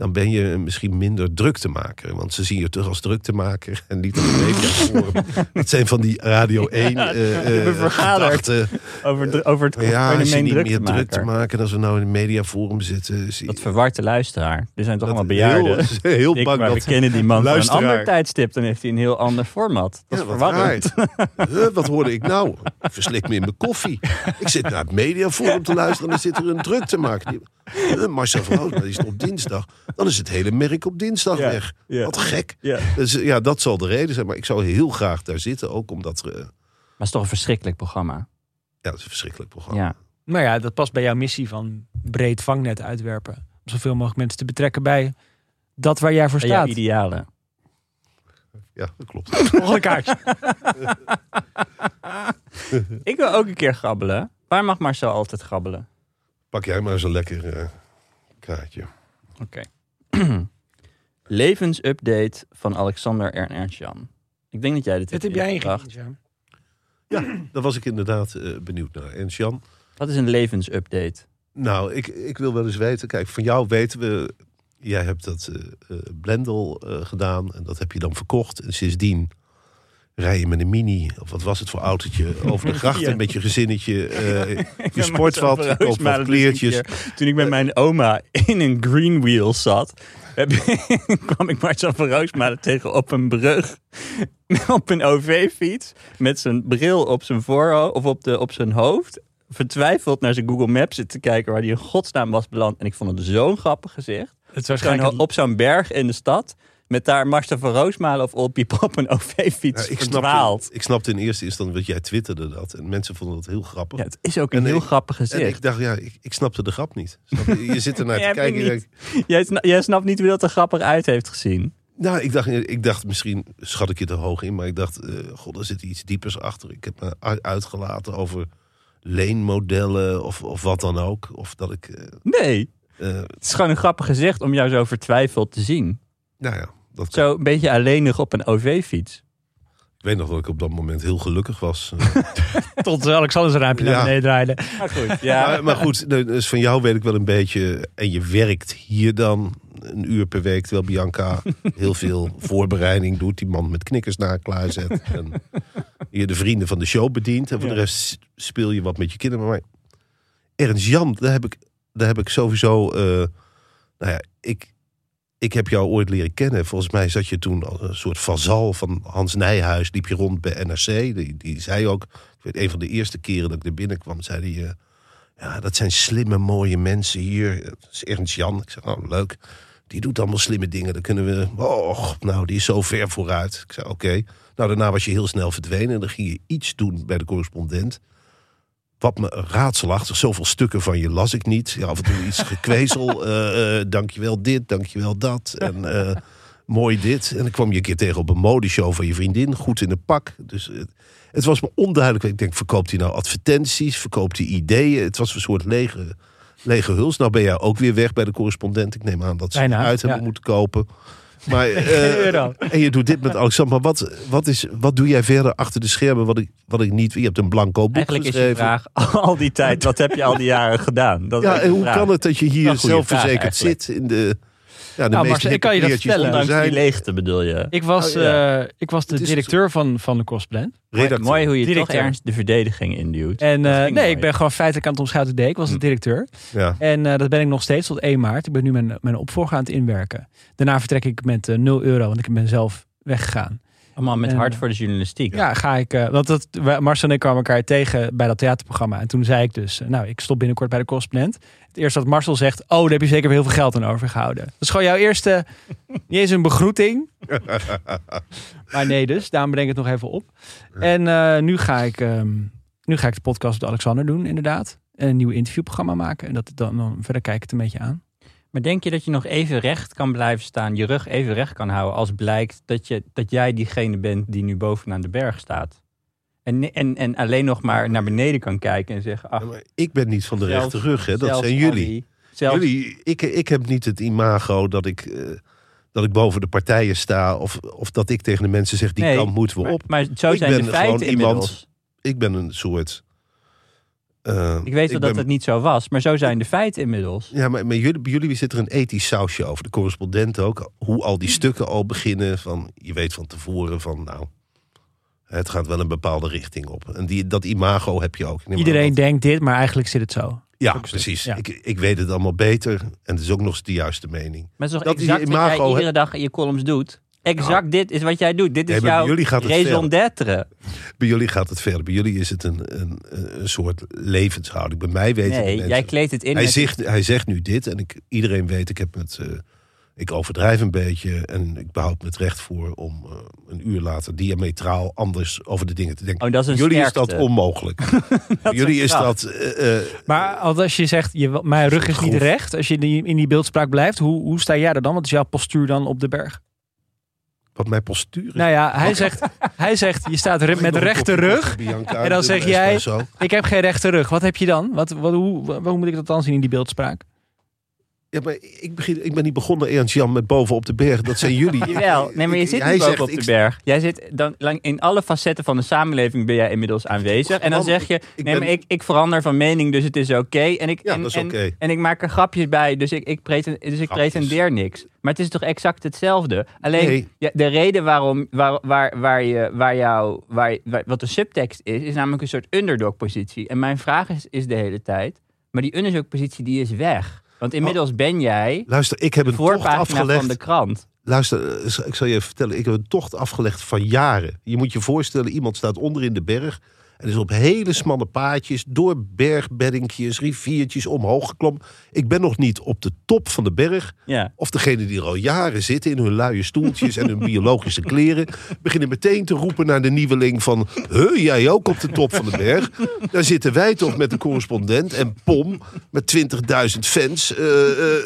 Dan ben je misschien minder druk te maken. Want ze zien je terug als druk te maken. En niet als mediaforum. Dat zijn van die Radio 1 eh eh,
hebben vergaderd.
gedachten.
Over, dru- over het
Ja, als je
fenomeen
niet
druk te
meer druk te
maken.
maken. Als we nou in een mediaforum zitten. zie-
Dat verwart de luisteraar. Er zijn toch allemaal bejaarden.
heel, heel
Ik,
bang
maar we
dat
kennen die man van een
Luisteraar.
ander tijdstip. Dan heeft hij een heel ander format. Dat is
wat
verwarrend.
raar. Huh, wat hoorde ik nou? Ik verslik me in mijn koffie. Ik zit naar het mediaforum te luisteren en dan zit er een druk te maken. Die- Huh, Marcel van Hout, maar die is op dinsdag. Dan is het hele merk op dinsdag
Ja,
weg.
ja.
Wat gek.
Ja.
Dus, eh, ja, dat zal de reden zijn. Maar ik zou heel graag daar zitten. Ook omdat... eh,
Maar het is toch een verschrikkelijk programma.
ja, het is een verschrikkelijk programma.
Ja.
Maar Nou ja, dat past bij jouw missie van breed vangnet uitwerpen. Om zoveel mogelijk mensen te betrekken bij dat waar jij voor
Bij jouw
staat.
idealen.
Ja, dat klopt.
Volgende kaartje.
Ik wil ook een keer grabbelen. Waar mag Marcel altijd grabbelen?
Pak jij maar eens een lekker eh, kaartje.
Levensupdate van Alexander en Ernst-Jan. Ik denk dat jij dit
Dit heb
hebt
jij
ingebracht.
ingebracht. Ja.
Daar was ik inderdaad eh, benieuwd naar. En Sjan?
Wat is een levensupdate?
Nou, ik, ik wil wel eens weten. Kijk, van jou weten we. Jij hebt dat eh eh, Blendel eh, gedaan. En dat heb je dan verkocht. En sindsdien rij je met een mini. Of wat was het voor autootje? Over de grachten
Ja.
met je gezinnetje. eh, je
Ja, maar zo
sportvat. Je
verheugd
koopt
maar
wat
dat is dus een
kleertjes.
keer. Toen ik met mijn oma in een green wheel zat, heb, kwam ik Marcel van Roosmalen tegen op een brug. Op een OV-fiets. Met zijn bril op zijn voorhoofd of op, de, op zijn hoofd. Vertwijfeld naar zijn Google Maps zitten te kijken waar hij in godsnaam was beland. En ik vond het zo'n grappig gezicht.
Het is
Gewoon
waarschijnlijk
op zo'n berg in de stad. Met daar Marcel van Roosmalen of All People op een
Nou,
OV-fiets
ik, snapte,
verdwaald.
ik snapte in eerste instantie dat jij twitterde dat. En mensen vonden dat heel grappig.
Ja, het is ook een
En
heel
ik-
grappig
en
gezicht.
ik dacht, ja, ik, ik snapte de grap niet. Snap je? Je zit ernaar
Jij
te
hebt hem
kijken. en je
niet.
denkt,
Jij, sna- jij snapt niet hoe dat er grappig uit heeft gezien.
Nou, ik dacht, ik dacht misschien schat ik je te hoog in, maar ik dacht, eh, god, er zit iets diepers achter. Ik heb me u- uitgelaten over leenmodellen of, of wat dan ook. Of dat ik, eh,
Nee.
eh,
Het is gewoon een grappig gezicht om jou zo vertwijfeld te zien.
nou ja, dat
Zo een beetje alleenig op een OV-fiets.
ik weet nog dat ik op dat moment heel gelukkig was.
tot eh, Alexander zijn raampje
Ja.
naar beneden draaide.
goed,
maar, maar goed, nee, dus van jou weet ik wel een beetje. En je werkt hier dan een uur per week, terwijl Bianca heel veel voorbereiding doet. Die man met knikkers naar klaarzet. En je de vrienden van de show bedient. En voor de rest speel je wat met je kinderen. Maar Ernst Jan, daar heb ik, daar heb ik sowieso. eh, nou ja, ik, ik heb jou ooit leren kennen. Volgens mij zat je toen als een soort vazal van Hans Nijhuis. Liep je rond bij NRC. Die, die zei ook, ik weet, een van de eerste keren dat ik er binnenkwam, zei hij... eh, ja, dat zijn slimme, mooie mensen hier. Dat is Ernst Jan. Ik zei, oh, leuk. Die doet allemaal slimme dingen. Dan kunnen we... Oh, nou, die is zo ver vooruit. Ik zei, oké. Nou, daarna was je heel snel verdwenen. En dan ging je iets doen bij de correspondent. Wat me raadselachtig, zoveel stukken van je las ik niet. Ja, af en toe iets gekwezel. eh eh dankjewel dit, dankjewel dat. En eh, mooi dit. En dan kwam je een keer tegen op een modeshow van je vriendin. Goed in een pak. Dus eh, het was me onduidelijk. Ik denk, verkoopt hij nou advertenties? Verkoopt hij ideeën? Het was een soort lege, lege huls. Nou ben jij ook weer weg bij de correspondent. Ik neem aan dat ze
Bijna,
het uit hebben
ja.
moeten kopen. Maar, eh,
euro.
en je doet dit met Alexander. Maar wat, wat, is, wat doe jij verder achter de schermen wat ik, wat ik niet... Je hebt een blanco boek
Eigenlijk is je
geschreven.
vraag al die tijd, wat heb je al die jaren gedaan? Dat is
ja, en
eigenlijk
hoe
de vraag.
kan het dat je
Wel
hier
een goede vraag
zelfverzekerd
eigenlijk.
zit? In de, ja,
Nou,
de meeste
Marcel, ik kan je dat
hippiepiertjes
vertellen.
onder
Ondanks
zijn.
die leegte bedoel je.
Ik was,
Oh, ja.
eh, ik was de
Het is
directeur van, van de Cosplan.
Redacteur.
Mooi hoe je
Directeur.
toch ernst de verdediging induwt.
En eh,
Dat
nee,
ging Hm. mooi.
ik ben gewoon feitelijk aan het omschuiten deed. Ik was de directeur.
Ja.
En eh, dat ben ik nog steeds tot 1 maart. Ik ben nu mijn, mijn opvolger aan het inwerken. Daarna vertrek ik met eh, 0 euro, want ik ben zelf weggegaan.
Allemaal met
en-
hart voor de journalistiek.
Ja, ga ik. eh, want dat, wij- Marcel en ik kwamen elkaar tegen bij dat theaterprogramma. En toen zei ik dus, eh, nou, ik stop binnenkort bij de correspondent. Het eerste wat Marcel zegt, oh, daar heb je zeker weer heel veel geld aan overgehouden. Dat is gewoon jouw eerste, niet eens een begroeting. maar nee dus, daarom breng ik het nog even op. En eh, nu, ga ik, ehm, nu ga ik de podcast met Alexander doen, inderdaad. En een nieuw interviewprogramma maken. En dat, dan, dan verder kijk ik het een beetje aan.
Maar denk je dat je nog even recht kan blijven staan, je rug even recht kan houden, als blijkt dat, je, dat jij diegene bent die nu bovenaan de berg staat? En, en, en alleen nog maar naar beneden kan kijken en zeggen, ach,
Ja, maar ik ben niet van de
zelfs-
rechte rug, hè. dat
zelfs
zijn
al
jullie.
die- zelfs-
Jullie, ik, ik heb niet het imago dat ik, eh, dat ik boven de partijen sta. Of, of dat ik tegen de mensen zeg, die
Nee,
kant moeten we
maar,
op.
maar zo zijn
Ik ben
de
gewoon
feiten
iemand-
inmiddels.
Ik ben een soort... eh,
Ik weet wel
ik
dat
ben-
het niet zo was, maar zo zijn de feiten inmiddels.
Ja, maar, maar jullie, bij jullie zit er een ethisch sausje over. De correspondent ook. Hoe al die
Hm.
stukken al beginnen. Van, je weet van tevoren van, nou, het gaat wel een bepaalde richting op. En die, dat imago heb je ook. Ik neem aan
Iedereen
dat-
denkt dit, maar eigenlijk zit het zo.
Ja,
ook zo.
precies.
Ja.
Ik, ik weet het allemaal beter. En het is ook nog eens de juiste mening.
Maar het is toch
Dat is
exact
je
wat
imago,
jij
hè?
iedere dag in je columns doet? Exact dit is wat jij doet. Dit is
Nee, maar bij
jouw
jullie gaat het
raison d'être.
Bij jullie gaat het verder. Bij jullie is het een, een, een soort levenshouding. Bij mij weten de
Nee,
mensen...
jij kleedt het in
hij,
met
zegt, hij zegt nu dit en ik, iedereen weet, ik heb het... eh, ik overdrijf een beetje en ik behoud me het recht voor om eh, een uur later diametraal anders over de dingen te denken.
Oh, dat is een
Bij jullie is
sterkte.
dat onmogelijk. Bij jullie is dat... eh, eh,
Maar als je zegt, je, mijn rug is niet
Groef.
recht. Als je in die, in die beeldspraak blijft, hoe, hoe sta jij er dan? Wat is jouw postuur dan op de berg?
wat mijn postuur is.
Nou ja, hij zegt, hij zegt je staat re-
Mag ik nog
met
een
rechte
kopje
rug.
koffie, Bianca,
En dan
een
zeg jij-
espresso?
Ik heb geen rechte rug. Wat heb je dan? Wat, wat, hoe, wa- hoe moet ik dat dan zien in die beeldspraak?
Ja, maar ik, begin, ik ben niet begonnen, Ernst Jan, met boven op de berg. Dat zijn jullie.
Jawel, nee, maar je
Ik-
zit
hij
niet ook
zegt,
op de
ik-
berg. Jij zit dan, lang- in alle facetten van de samenleving ben jij inmiddels aanwezig. En dan
Gewoon,
zeg je, nee,
ben-
maar ik, ik verander van mening, dus het is oké. En, ik-
Ja,
en,
dat is
en-
oké.
en ik maak er grapjes bij, dus ik, ik, preten, dus ik
Grapjes.
pretendeer niks. Maar het is toch exact hetzelfde? Alleen
Nee.
ja, de reden waarom, waar, waar, waar je, waar jou, waar, waar- wat de subtekst is, is namelijk een soort underdog-positie. En mijn vraag is, is de hele tijd, maar die underdog-positie die is weg. Want
Oh.
inmiddels ben jij
Luister, ik heb een tocht
voorpagina
afgelegd.
van de krant.
Luister, eh, ik zal je even vertellen. Ik heb een tocht afgelegd van jaren. Je moet je voorstellen, iemand staat onder in de berg. En is op hele smalle paadjes, door bergbeddingjes, riviertjes, omhoog geklommen. Ik ben nog niet op de top van de berg.
Ja.
Of degene die er al jaren zitten in hun luie stoeltjes en hun biologische kleren. beginnen meteen te roepen naar de nieuweling van. Huh, jij ook op de top van de berg? Daar zitten wij toch met de correspondent en Pom met 20.000 fans. eh, eh,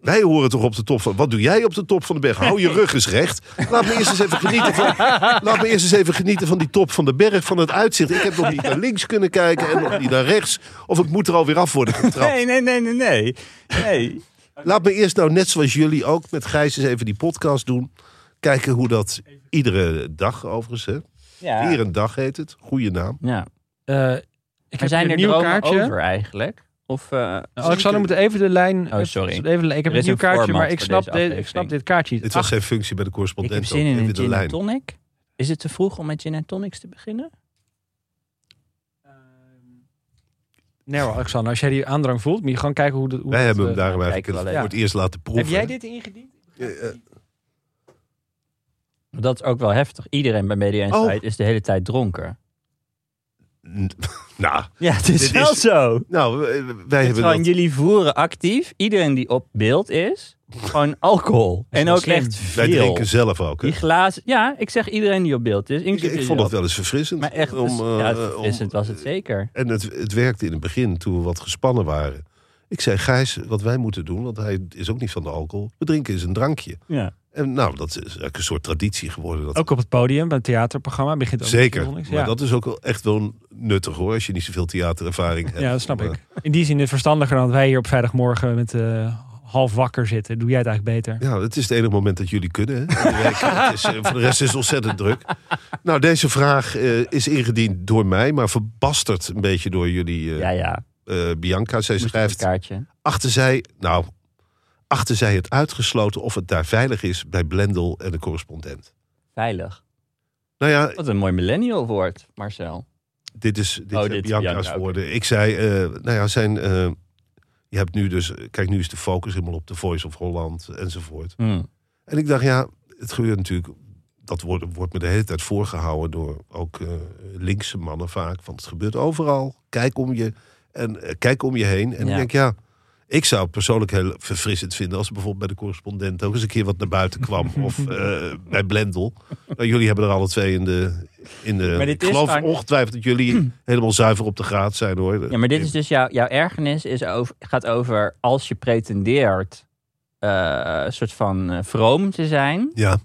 wij horen toch op de top van. Wat doe jij op de top van de berg? Hou je rug eens recht. Laat me eerst eens even genieten van, laat me eerst eens even genieten van die top van de berg, van het uitzicht. Ik heb nog niet naar links kunnen kijken en nog niet naar rechts. Of ik moet er alweer af worden getrapt.
Nee, nee, nee, nee, nee. nee.
Laat me eerst nou, net zoals jullie ook, met Gijs eens even die podcast doen. Kijken hoe dat iedere dag overigens, hè.
Ja.
Hier een dag heet het. Goede naam.
ja.
Eh, ik
Maar
heb
zijn
een
er
nieuw
dromen
kaartje. Nou,
over eigenlijk? Of, eh,
Alexander moet even de lijn.
Oh, sorry.
Even, ik heb
Er
een
is
nieuw
een
kaartje,
format
maar ik
voor
snap,
deze
de- ik
aflevering.
snap dit kaartje niet.
Dit was
Ach,
zijn functie bij de
ik
correspondent.
heb
ook.
zin in
Even
een
de
gin en
lijn.
tonic. Is het te vroeg om met gin en tonics te beginnen?
nee hoor, Alexander, als jij die aandrang voelt, moet je gewoon kijken hoe dat. Hoe dat,
Wij hebben hem
eh,
daarom
kijken
eigenlijk
wel
het-
even.
voor het eerst laten proeven.
Heb jij dit ingediend?
Eh, eh,
Dat is ook wel heftig. Iedereen bij Media Insight is de hele tijd dronken.
n- nou,
Ja, het is
Dit
wel
is-
zo.
nou, eh, wij
Het is
hebben
gewoon
dat...
jullie voeren actief. Iedereen die op beeld is, Gewoon alcohol.
is
En
wel
ook
slim.
echt
Wij
veel.
drinken zelf ook. hè?
Die glazen. Ja, ik zeg iedereen die op beeld is.
Ik,
inclusief
ik vond dat
jou.
wel eens verfrissend.
Maar echt, dus-
om, eh,
ja,
om-
verfrissend was het zeker.
En het, het werkte in het begin, toen we wat gespannen waren. Ik zei, Gijs, wat wij moeten doen, want hij is ook niet van de alcohol. We drinken eens een drankje.
Ja.
En nou, dat is eigenlijk een soort traditie geworden. Dat
Ook op het podium, bij het theaterprogramma, begint ook met
Zeker,
Philharmonics,
maar
ja.
dat is ook wel echt wel nuttig hoor, als je niet zoveel theaterervaring hebt.
ja, dat snap
Maar
ik. In die zin is het verstandiger dan dat wij hier op vrijdagmorgen met eh, half wakker zitten. Doe jij het eigenlijk beter.
Ja, het is het enige moment dat jullie kunnen. Hè? De week, het is, eh, voor de rest is het ontzettend druk. Nou, deze vraag eh, is ingediend door mij, maar verbasterd een beetje door jullie eh,
Ja, ja.
eh, Bianca. Zij
Moest op een
schrijft,
kaartje.
achter zij, nou, achter zij het uitgesloten of het daar veilig is bij Blendel en de correspondent.
Veilig.
Nou ja,
Wat een mooi millennial woord, Marcel.
dit is dit
Oh,
zijn
dit,
Bianca's
Bianca, oké.
woorden. Ik zei, eh, nou ja, zijn, eh, je hebt nu dus, kijk, nu is de focus helemaal op de Voice of Holland enzovoort.
Hmm.
En ik dacht, ja, het gebeurt natuurlijk. Dat wordt, wordt me de hele tijd voorgehouden door ook eh, linkse mannen vaak. Want het gebeurt overal. Kijk om je, en, eh, kijk om je heen. En
Ja.
ik denk, ja, ik zou het persoonlijk heel verfrissend vinden als er bijvoorbeeld bij de correspondent ook eens een keer wat naar buiten kwam. of eh, bij Blendel. Nou, jullie hebben er alle twee in de. In de
Maar dit
ik
is
geloof
vaak-
ongetwijfeld dat jullie helemaal zuiver op de graad zijn hoor.
Ja, maar dit is dus jouw jouw ergernis is over, gaat over als je pretendeert eh, een soort van eh, vroom te zijn,
Ja,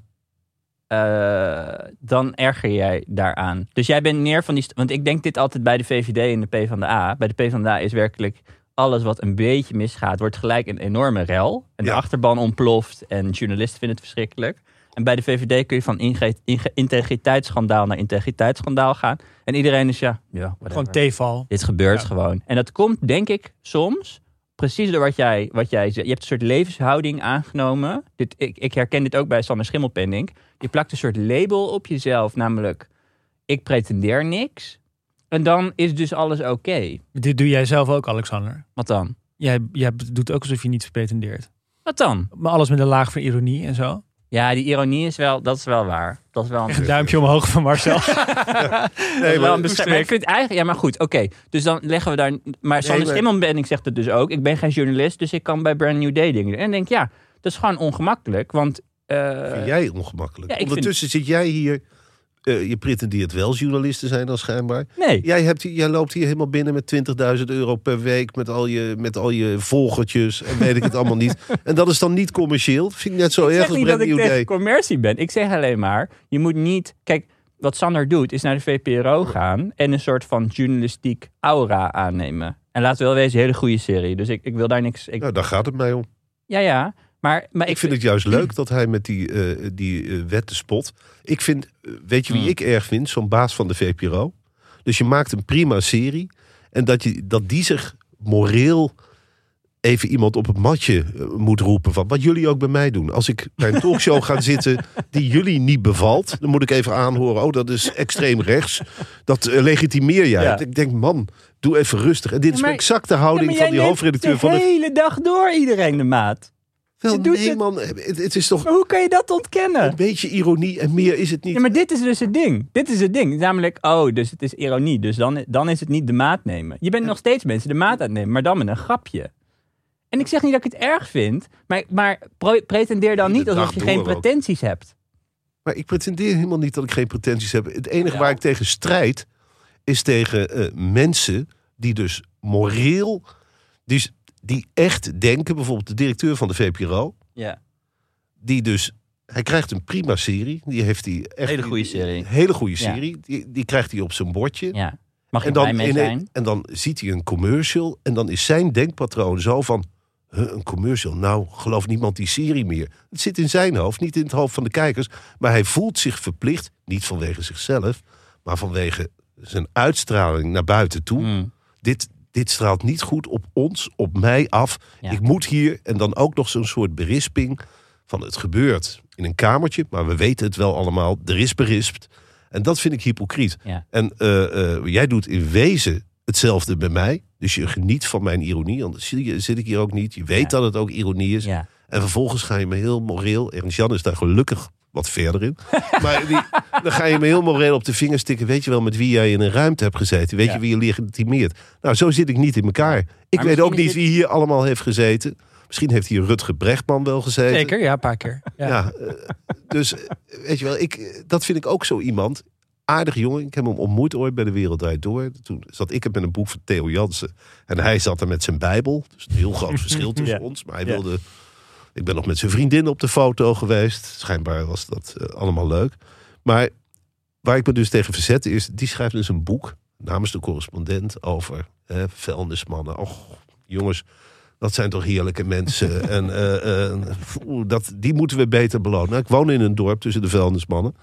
eh, dan erger jij daaraan. Dus jij bent meer van die. st- Want ik denk dit altijd bij de VVD en de PvdA. Bij de PvdA is werkelijk alles wat een beetje misgaat, wordt gelijk een enorme rel. En de
Ja.
achterban ontploft en journalisten vinden het verschrikkelijk. En bij de VVD kun je van inge- inge- integriteitsschandaal naar integriteitsschandaal gaan. En iedereen is ja, ja whatever.
Gewoon theeval.
Dit gebeurt
Ja.
gewoon. En dat komt, denk ik, soms precies door wat jij, wat jij zegt. Je hebt een soort levenshouding aangenomen. Dit, ik, ik herken dit ook bij Sander Schimmelpennink. Je plakt een soort label op jezelf, namelijk ik pretendeer niks. En dan is dus alles oké.
Dit doe jij zelf ook, Alexander.
Wat dan?
Jij, jij doet ook alsof je niets pretendeert.
Wat dan?
Maar alles met een laag van ironie en zo.
Ja, die ironie is wel, dat is wel waar. Dat is wel een
Echt een duimpje omhoog van Marcel.
Dat is
maar-
wel een bescherming. Maar ik vind eigenlijk, ja, maar goed, oké. Dus dan leggen we daar. Maar Sander
maar-
Schimmelpenninck ben ik zegt het dus ook. Ik ben geen journalist, dus ik kan bij Brand New Day dingen doen. En ik denk, ja, dat is gewoon ongemakkelijk. Want. eh,
vind jij ongemakkelijk.
ja, ik vind-
Ondertussen zit jij hier. eh, je pretendeert wel journalist te zijn dan schijnbaar.
nee.
Jij, hebt, hier- jij loopt hier helemaal binnen met 20.000 euro per week. Met al, je, met al je volgertjes. En weet ik het allemaal niet. En dat is dan niet commercieel. Dat vind ik net zo
ik
erg
zeg
als
niet
Brand
dat ik
New Day.
tegen commercie ben. Ik zeg alleen maar, je moet niet... Kijk, wat Sander doet, is naar de VPRO gaan... en een soort van journalistiek aura aannemen. En laten we wel wezen, een hele goede serie. Dus ik, ik wil daar niks... Ik,
Nou, daar gaat het mij om.
ja, ja. Maar, maar
Ik vind het juist leuk dat hij met die, eh die eh, wetten spot. Ik vind, eh, weet je wie
Hmm.
ik erg vind? Zo'n baas van de VPRO. Dus je maakt een prima serie. En dat, je, dat die zich moreel even iemand op het matje eh, moet roepen. Van wat jullie ook bij mij doen. Als ik bij een talkshow ga zitten die jullie niet bevalt. Dan moet ik even aanhoren. Oh, dat is extreem rechts. Dat eh, legitimeer jij.
Ja.
Ik denk, man, doe even rustig. En dit is
Ja, maar-
exact de houding van die hoofdredacteur
de
van de...
hele dag door iedereen de maat.
Wel,
doet
nee
het-
man, het, het is toch
Maar hoe kan je dat ontkennen?
een beetje ironie en meer is het niet.
Ja, maar dit is dus het ding. Dit is het ding. Namelijk, oh, dus het is ironie. Dus dan, dan is het niet de maat nemen. Je bent nog steeds mensen de maat aan het nemen, maar dan met een grapje. En ik zeg niet dat ik het erg vind, maar, maar pro- pretendeer dan
De
niet alsof
dag
je
door
geen
ook.
pretenties hebt.
Maar ik pretendeer helemaal niet dat ik geen pretenties heb. Het enige waar ik tegen strijd is tegen eh, mensen die dus moreel, die, s- die echt denken, bijvoorbeeld de directeur van de VPRO,
Ja.
die dus, hij krijgt een prima serie, die heeft hij echt
Hele goede serie.
een hele goede
Ja.
serie, die, die krijgt hij op zijn bordje.
ja. Mag je
En
blij
dan,
mee
in-
zijn?
en dan ziet hij een commercial. En dan is zijn denkpatroon zo van. "Huh, een commercial? Nou, gelooft niemand die serie meer. Het zit in zijn hoofd, niet in het hoofd van de kijkers. Maar hij voelt zich verplicht, niet vanwege zichzelf, maar vanwege zijn uitstraling naar buiten toe.
Hmm.
Dit, dit straalt niet goed op ons, op mij af.
Ja.
Ik moet hier. En dan ook nog zo'n soort berisping van het gebeurt in een kamertje, maar we weten het wel allemaal. Er is berispt. En dat vind ik hypocriet.
Ja.
En eh, eh, jij doet in wezen hetzelfde bij mij. Dus je geniet van mijn ironie. Anders zie je- zit ik hier ook niet. Je weet
Ja.
dat het ook ironie is.
Ja.
En vervolgens ga je me heel moreel. Ernst Jan is daar gelukkig wat verder in. maar die, dan ga je me heel moreel op de vingers tikken. Weet je wel met wie jij in een ruimte hebt gezeten? Weet
Ja.
je wie je legitimeert? Nou, zo zit ik niet in elkaar. Ik weet
misschien
ook
is
niet
dit-
wie hier allemaal heeft gezeten. Misschien heeft hier Rutger Brechtman wel gezeten.
Zeker, ja, een paar keer. Ja.
Ja, eh, dus eh, weet je wel, ik, eh, dat vind ik ook zo iemand. Aardig jongen, ik heb hem ontmoet ooit bij De Wereld Draait Door. Toen zat ik het met een boek van Theo Jansen. En hij zat er met zijn bijbel. Dus een heel groot verschil tussen
Ja.
ons. Maar hij
Ja.
wilde... Ik ben nog met zijn vriendin op de foto geweest. Schijnbaar was dat eh, allemaal leuk. Maar waar ik me dus tegen verzet is... Die schrijft dus een boek namens de correspondent over hè, vuilnismannen. Och, jongens, dat zijn toch heerlijke mensen. en eh, eh, oeh, dat, die moeten we beter belonen. Nou, ik woon in een dorp tussen de vuilnismannen.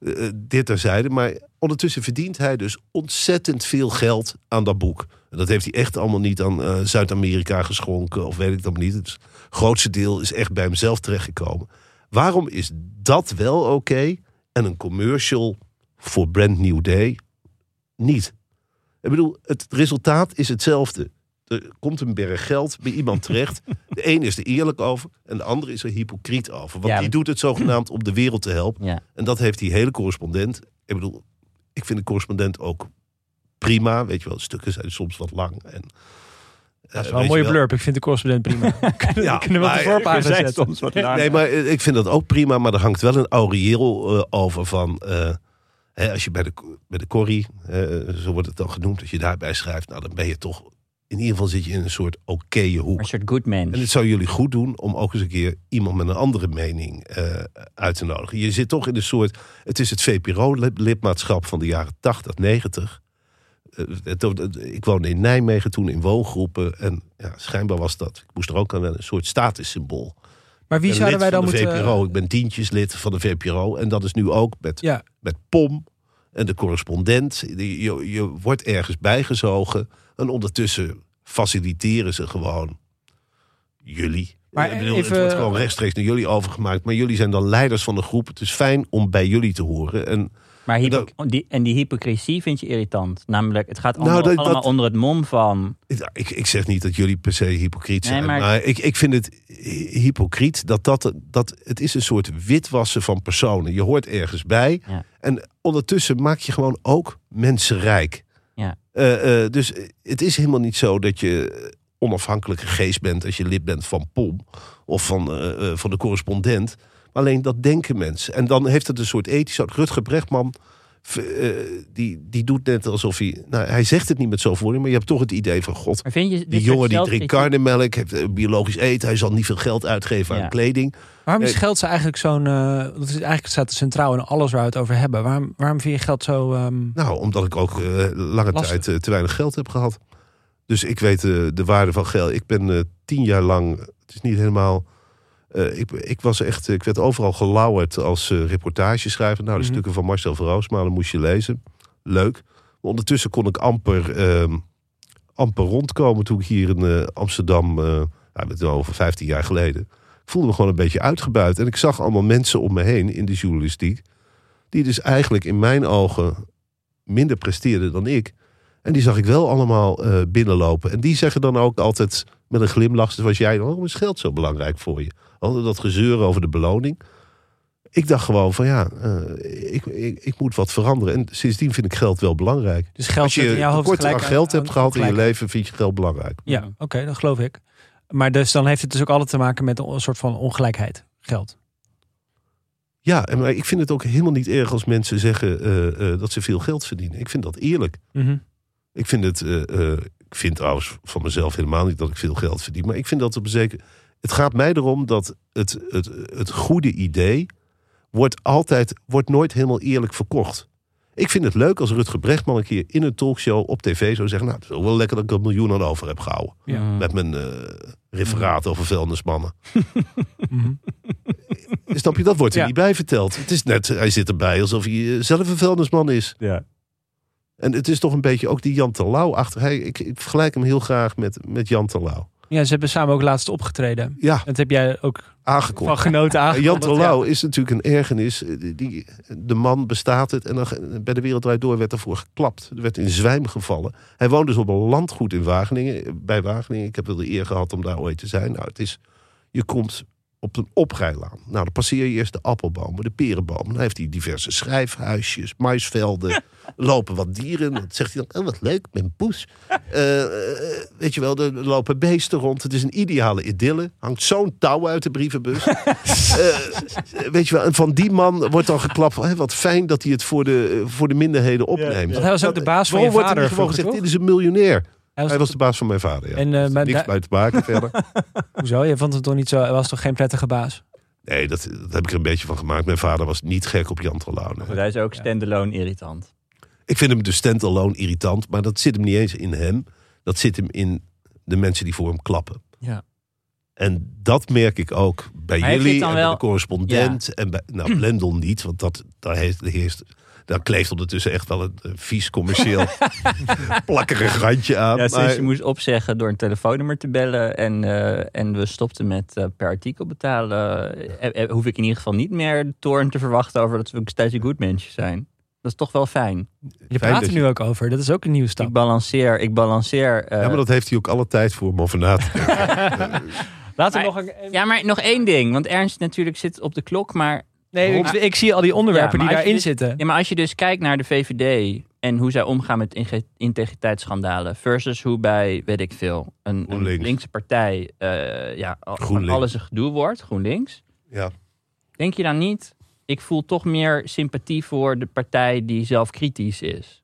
Eh, eh, dit terzijde. Maar ondertussen verdient hij dus ontzettend veel geld aan dat boek. En dat heeft hij echt allemaal niet aan eh, Zuid-Amerika geschonken. Of weet ik dat niet. Het grootste deel is echt bij hemzelf terechtgekomen. Waarom is dat wel oké en een commercial voor Brand New Day niet? Ik bedoel, het resultaat is hetzelfde. Er komt een berg geld bij iemand terecht. De een is er eerlijk over en de andere is er hypocriet over. Want
Ja.
die doet het zogenaamd om de wereld te helpen.
Ja.
En dat heeft die hele correspondent. Ik bedoel, ik vind de correspondent ook prima. Weet je wel, stukken zijn soms wat lang. En, eh,
Dat is wel een mooie blurb. Ik vind de correspondent prima. kunnen,
Ja,
kunnen we op de
maar-
voorpagina zetten.
wat
Nee, maar eh, ik vind dat ook prima. Maar er hangt wel een aureool eh, over van... eh, hè, als je bij de, bij de corrie, eh, zo wordt het dan genoemd... dat je daarbij schrijft, nou dan ben je toch... In ieder geval zit je in een soort okeje hoek.
Een soort good man.
En het zou jullie goed doen om ook eens een keer iemand met een andere mening eh, uit te nodigen. Je zit toch in een soort. Het is het VPRO-lidmaatschap van de jaren 80, 90. Eh, het- het- ik woonde in Nijmegen toen in woongroepen. En ja, schijnbaar was dat. Ik moest er ook aan wennen, een soort statussymbool.
Maar wie
Ik ben
zouden wij
lid
dan
van de
moeten...
VPRO. Ik ben tientjeslid van de VPRO. En dat is nu ook met,
Ja.
met POM en de correspondent. Je, je, je wordt ergens bijgezogen. En ondertussen faciliteren ze gewoon jullie.
Maar
Ik bedoel,
even-
Het wordt gewoon rechtstreeks naar jullie overgemaakt. Maar jullie zijn dan leiders van de groep. Het is fijn om bij jullie te horen. En
Maar hypo-
Dat-
die, en die hypocrisie vind je irritant. Namelijk, het gaat
Nou,
allemaal,
dat- dat-
allemaal onder het mom van...
Ja, Ik, ik zeg niet dat jullie per se hypocriet
Nee,
zijn.
maar-
maar ik, ik vind het hy- hypocriet dat, dat, dat het is een soort witwassen van personen. Je hoort ergens bij.
Ja.
En ondertussen maak je gewoon ook mensen rijk.
Ja.
Eh, eh, dus het is helemaal niet zo dat je onafhankelijke geest bent als je lid bent van POM of van, eh, eh, van de correspondent. Maar alleen dat denken mensen. En dan heeft het een soort ethisch. Rutger Brechtman v- eh, die, die doet net alsof hij. Nou, hij zegt het niet met zoveel woorden, maar je hebt toch het idee van: God,
Maar vind je, dit
die
soort
jongen die drinkt
zelfkritiek-
karnemelk, heeft eh, biologisch eten, hij zal niet veel geld uitgeven
Ja.
aan kleding.
Waarom is
Nee.
geld zo eigenlijk zo'n... eh, dat is, eigenlijk staat het centraal in alles waar we het over hebben. Waarom, waarom vind je geld zo... ehm,
Nou, omdat ik ook eh, lange
Lastig.
tijd eh, te weinig geld heb gehad. Dus ik weet eh, de waarde van geld. Ik ben eh, tien jaar lang, het is niet helemaal. eh, ik, ik was echt, eh, ik werd overal gelauwerd als eh, reportageschrijver. Nou, de
Mhm.
stukken van Marcel Verroosmalen moest je lezen. Leuk. Maar ondertussen kon ik amper, ehm, amper rondkomen toen ik hier in eh, Amsterdam, eh nou, met wel over 15 jaar geleden. Ik voelde me gewoon een beetje uitgebuit. En ik zag allemaal mensen om me heen in de journalistiek. Die dus eigenlijk in mijn ogen minder presteerden dan ik. En die zag ik wel allemaal eh, binnenlopen. En die zeggen dan ook altijd met een glimlach, zoals jij, waarom is geld zo belangrijk voor je? Altijd dat gezeur over de beloning. Ik dacht gewoon van ja, eh, ik, ik, ik moet wat veranderen. En sindsdien vind ik geld wel belangrijk.
dus geld
Als
zit in jouw
je
hoofd
kort aan
gelijk
geld hebt
aan-
gehad in je
gelijk-
leven, vind je geld belangrijk.
Ja, oké, dat geloof ik. Maar dus dan heeft het dus ook altijd te maken met een soort van ongelijkheid. Geld.
Ja, en maar ik vind het ook helemaal niet erg als mensen zeggen eh, eh, dat ze veel geld verdienen. Ik vind dat eerlijk.
Mhm.
Ik vind het, eh, eh, ik vind trouwens van mezelf helemaal niet dat ik veel geld verdien. Maar ik vind dat op een zeker. Het gaat mij erom dat het, het, het goede idee wordt altijd, wordt nooit helemaal eerlijk verkocht. Ik vind het leuk als Rutger Brechtman een keer in een talkshow op tv zou zeggen... nou, het is ook wel lekker dat ik er miljoen aan over heb gehouden.
Ja.
Mm.
Met mijn eh, referaat over vuilnismannen.
Mhm.
Snap je, dat wordt er
Ja.
niet bij verteld. Het is net, hij zit erbij alsof hij eh, zelf een vuilnisman is.
Ja.
En het is toch een beetje ook die Jan Terlouw achter. Hij, ik, ik vergelijk hem heel graag met, met Jan Terlouw.
Ja, ze hebben samen ook laatst opgetreden.
Ja,
Dat heb jij ook
aangekomen.
van genoten
En Eh, Jan
aangekondigd.
Terlouw is natuurlijk een ergernis. Eh, Die, de man bestaat het. En dan, ge- bij de Wereld Draait Door werd ervoor geklapt. Er werd in zwijm gevallen. Hij woont dus op een landgoed in Wageningen. eh, Bij Wageningen. Ik heb wel de eer gehad om daar ooit te zijn. Nou, het is, je komt op een oprijlaan. Nou, dan passeer je eerst de appelbomen, de perenbomen. Dan heeft hij diverse schrijfhuisjes, maisvelden. lopen wat dieren. Dan zegt hij dan, oh, wat leuk, ik ben poes. Eh, eh, weet je wel, er lopen beesten rond. Het is een ideale idylle. Hangt zo'n touw uit de brievenbus. Eh, weet je wel, en van die man wordt dan geklapt. van, "Hé, wat fijn dat hij het voor de, voor de minderheden opneemt.
Want hij was ook de baas van
Waarom
je
wordt
vader.
er niet gewoon
vroeger,
gezegd, dit
toch?
is een miljonair?
Hij was,
Hij was de baas van mijn vader, ja.
En, eh,
Dus
maar
niks
daar-
bij te maken verder.
Hoezo? Je vond het toch niet zo... Hij was toch geen prettige baas?
Nee, dat, dat heb ik er een beetje van gemaakt. Mijn vader was niet gek op Jan Terlouw.
Want hij is ook standalone irritant.
Ik vind hem dus stand-alone irritant, maar dat zit hem niet eens in hem. Dat zit hem in de mensen die voor hem klappen.
Ja.
En dat merk ik ook bij
Maar heeft
jullie
dit
en
dan
bij
wel-
de correspondent. En bij, nou, Blendel niet, want dat, daar, heerst, heerst- daar kleeft ondertussen echt wel een eh, vies commercieel plakkerig randje aan.
Ja,
maar-
sinds je moest opzeggen door een telefoonnummer te bellen en, eh, en we stopten met eh, per artikel betalen, eh, eh, hoef ik in ieder geval niet meer de toorn te verwachten over dat we steeds een goed mensje zijn. Dat is toch wel fijn.
Je praat
dat
er
je-
nu ook over. Dat is ook een nieuwe
Ik
stap.
balanceer, ik balanceer. eh,
ja, maar dat heeft hij ook alle tijd voor om over na te denken.
Laten we
Maar-
nog een...
Ja, maar nog één ding. Want Ernst natuurlijk zit op de klok. Maar,
Nee, ik,
Maar-
ik zie al die onderwerpen
Ja, maar
die
als je
daarin
dit-
zitten.
ja, maar als je dus kijkt naar de VVD en hoe zij omgaan met inge- integriteitsschandalen. Versus hoe bij, weet ik veel, een, een
GroenLinks.
linkse partij eh, ja, al-
GroenLinks.
alles een gedoe wordt. GroenLinks.
Ja.
Denk je dan niet, ik voel toch meer sympathie voor de partij die zelf kritisch is?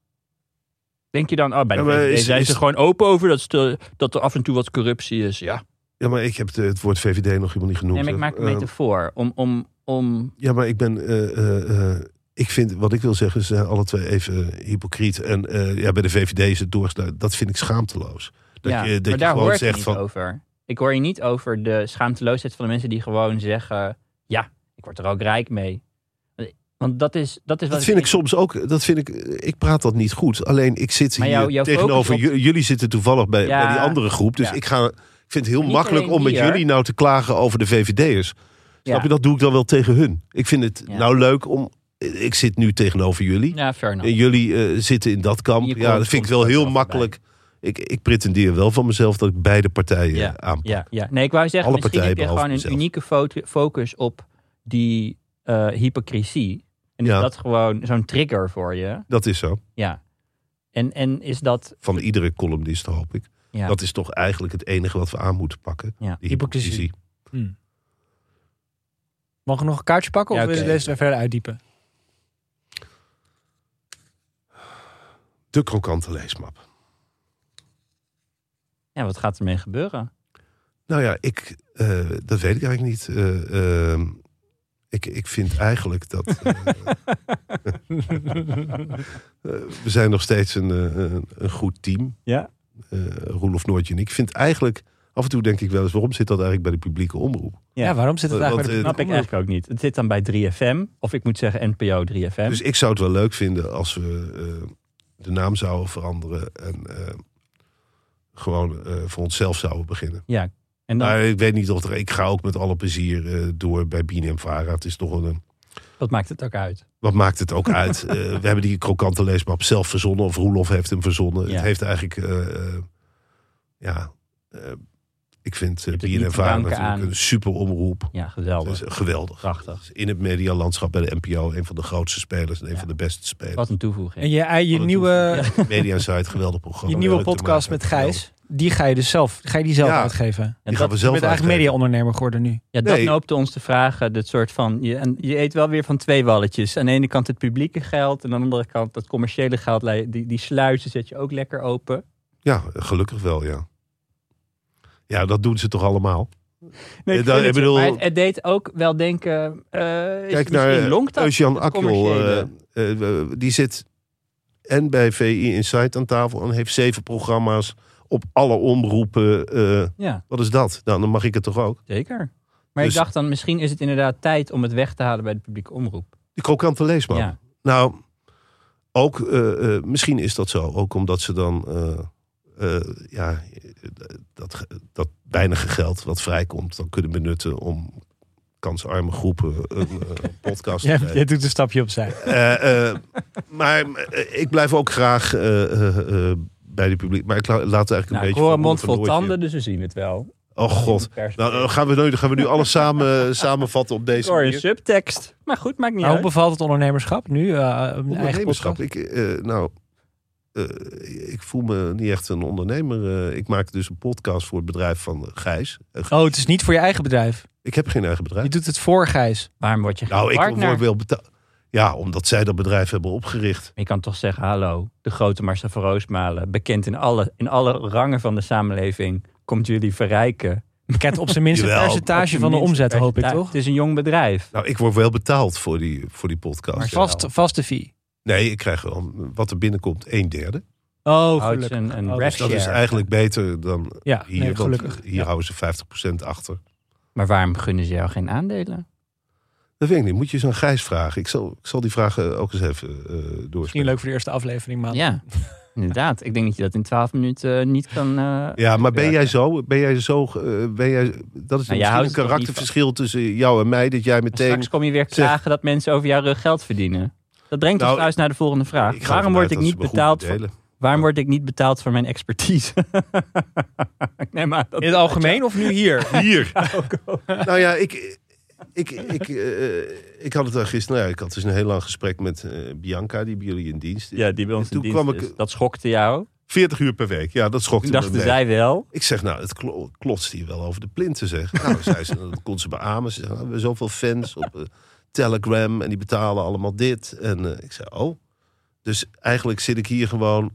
Denk je dan, oh, bij de
Ja, maar
VVD
is-
zijn
is-
ze gewoon open over dat, ze- dat er af en toe wat corruptie is? Ja,
Ja, maar ik heb de- het woord VVD nog helemaal niet genoemd.
nee, maar ik
hè.
maak een
Eh,
metafoor. Om, om, om
Ja, maar ik ben. eh, eh, eh, ik vind wat ik wil zeggen, ze zijn alle twee even eh, hypocriet. En eh, ja, bij de VVD is het doorstaan. Dat vind ik schaamteloos. Dat
ja,
je, dat
maar
je
daar hoor
gewoon
ik je
zegt
niet
van.
over. Ik hoor je niet over de schaamteloosheid van de mensen die gewoon zeggen... ja, ik word er ook rijk mee. Want dat is, dat is wat
Dat vind ik soms ook. Dat vind ik. Ik praat dat niet goed. Alleen ik zit
Maar
hier
jou- jouw
tegenover.
focus op-
ju- Jullie zitten toevallig bij,
Ja.
bij die andere groep. Dus
Ja.
ik ga. Ik vind het heel
Niet
makkelijk
alleen
om met
hier.
jullie nou te klagen over de VVD'ers. Snap
Ja.
je? Dat doe ik dan wel tegen hun. Ik vind het
Ja.
nou leuk om. Ik zit nu tegenover jullie.
Ja, fair enough.
En jullie eh, zitten in dat kamp.
Hier
ja,
komt-
dat vind ik
komt
wel
het
heel
wel
makkelijk. Ik, ik pretendeer wel van mezelf dat ik beide partijen eh,
Ja,
aanpak.
Ja, ja, nee, ik wou zeggen,
Alle
misschien heb
partijen
je gewoon een
behalve mezelf.
unieke fo- focus op die eh, hypocrisie. En
Ja.
is dat gewoon zo'n trigger voor je?
Dat is zo.
Ja. En, en is dat...
Van iedere columnist hoop ik.
Ja.
Dat is toch eigenlijk het enige wat we aan moeten pakken.
Ja.
Die
Hypocrisie.
hypocrisie.
Mogen we nog een kaartje pakken? Of
Ja,
willen we
oké.
deze verder uitdiepen?
De krokante leesmap.
ja, wat gaat ermee gebeuren?
Nou ja, ik, eh, dat weet ik eigenlijk niet. Eh, ehm, ik, ik vind eigenlijk dat... eh, eh, we zijn nog steeds een, eh, een, een goed team.
Ja.
eh Roelof Noortje en ik vind eigenlijk, af en toe denk ik wel eens, waarom zit dat eigenlijk bij de publieke omroep?
Ja,
Ja.
waarom zit het
Want,
eigenlijk... bij
eh,
de
Snap ik
publieke omroep?
eigenlijk ook niet. Het zit dan bij 3FM. Of ik moet zeggen NPO 3FM.
Dus ik zou het wel leuk vinden als we eh, de naam zouden veranderen en eh, gewoon eh, voor onszelf zouden beginnen.
en dan,
Maar ik weet niet of er, ik ga ook met alle plezier eh, door bij Bien en Vara. Het is toch een,
wat maakt het ook uit?
wat maakt het ook uit? Eh, we hebben die krokante leesmap zelf verzonnen of Roelof heeft hem verzonnen.
Ja.
Het heeft eigenlijk, eh, eh, ja, eh, ik vind uh,
het
Bien
niet
en
te
Vara
danken
natuurlijk
aan-
een super omroep.
Ja,
Dat
geweldig.
is geweldig.
Prachtig.
in het medialandschap bij de NPO een van de grootste spelers en een
Ja.
van de beste spelers.
Wat een toevoeging.
En je, je,
Wat een
nieuwe,
toevoeging. Media Site, geweldig programma.
je nieuwe
Leuk te
podcast
maken,
met Gijs, die ga je dus zelf, ga je die zelf
Ja.
uitgeven.
geweldig. Die gaan we
Je
zelf
bent eigenlijk
uitgeven.
mediaondernemer geworden nu.
Ja, dat
Nee.
noopte ons te vragen. Dit soort van, je, en je eet wel weer van twee walletjes. Aan de ene kant het publieke geld. En aan de andere kant dat commerciële geld. li- Die, die sluizen zet je ook lekker open.
Ja, gelukkig wel, ja. Ja, dat doen ze toch allemaal.
Nee,
Ja, dat-
vind
ik
het,
bedoel-
maar het, het deed ook wel denken... eh,
Kijk naar Eusjan Akjol.
commerciële?
eh, eh, eh, die zit en bij VI Insight aan tafel en heeft zeven programma's op alle omroepen. eh,
Ja,
wat is dat? Nou, dan mag ik het toch ook.
zeker. Maar
Dus-
ik dacht dan, misschien is het inderdaad tijd om het weg te halen bij de publieke omroep.
Die krokante leesman.
Ja.
Nou, ook, eh, eh, misschien is dat zo. Ook omdat ze dan, eh, eh, ja, eh, dat, ge- dat weinige geld wat vrijkomt, dan kunnen benutten om kansarme groepen een eh, podcast te
Jij,
geven.
jij doet een stapje opzij.
Eh, eh, maar eh, ik blijf ook graag eh, eh, eh, bij de publiek. Maar ik la- laat het eigenlijk een
Nou, ik
beetje...
hoor
van
een mond
Roelof
vol
en Noortje.
tanden, dus we zien het wel.
Oh god. Nou, eh, gaan, we nu, gaan we nu alles samen, eh, samenvatten op deze
Door een
manier?
subtekst. Maar goed, maakt niet
Nou,
Maar hoe
uit.
bevalt het ondernemerschap nu? eh, een eigen
Ondernemerschap.
podcast?
Ik, eh, nou, eh, ik voel me niet echt een ondernemer. eh. ik maak dus een podcast voor het bedrijf van Gijs. Eh,
Oh, het is niet voor je eigen bedrijf.
Ik heb geen eigen bedrijf.
Je doet het voor Gijs.
Waarom word je geen
Nou, ik
partner?
word wel betaald. Ja, omdat zij dat bedrijf hebben opgericht.
Je kan toch zeggen, hallo, de grote Marcel van Roosmalen, bekend in alle, in alle rangen van de samenleving, komt jullie verrijken.
Bekend op zijn minst een
Jawel,
percentage
Op
van de
minst
omzet, hoop ik
percentage.
toch?
Het is een jong bedrijf.
Nou, ik word wel betaald voor die, voor die podcast.
Maar
Vast, vaste fee.
Nee, ik krijg wel wat er binnenkomt, een derde.
Oh,
Oh, het is
gelukkig.
een, een
Oh,
rev
dus
Dus dat is
share.
eigenlijk beter dan
Ja,
hier.
nee,
want
gelukkig.
hier houden ze 50% achter.
Maar waarom gunnen ze jou geen aandelen?
Dat weet ik niet. Moet je eens aan Gijs vragen. Ik zal, ik zal die vragen ook eens even eh
Misschien
doorspelen.
leuk voor de eerste aflevering, man.
Ja, inderdaad. Ik denk dat je dat in twaalf minuten eh, niet kan... eh,
Ja, maar ben
Ja,
jij
ja.
zo? Ben jij zo eh, ben jij, dat is
jij
misschien
houdt
een
het toch
karakterverschil tussen jou en mij. Dat jij meteen...
Straks kom je weer
Zeg-
klagen dat mensen over jouw rug geld verdienen. Dat brengt
Nou,
ons thuis naar de volgende vraag.
Ik ga
waarom
ervan
word
uit
ik
dat ze
niet
me goed
betaald voor,
bedelen.
waarom word ik niet betaald voor mijn expertise? ik neem aan dat
In het algemeen of nu hier?
Hier. nou ja, ik, ik, ik, eh, ik had het al gisteren. Nou ja, ik had dus een heel lang gesprek met eh, Bianca, die bij jullie in dienst is.
Ja, die bij ons
Toen
in dienst
kwam
is.
ik-
Dat schokte jou.
40 uur per week. Ja, dat schokte
Toen
me
dachten
mee.
zij wel.
Ik zeg, nou, het klo- klotst hier wel over de plinten, zeg. Nou, zei ze, dat kon ze beamen. Ze zeggen, nou, we hebben zoveel fans op eh, Telegram en die betalen allemaal dit. En eh, ik zei, oh. Dus eigenlijk zit ik hier gewoon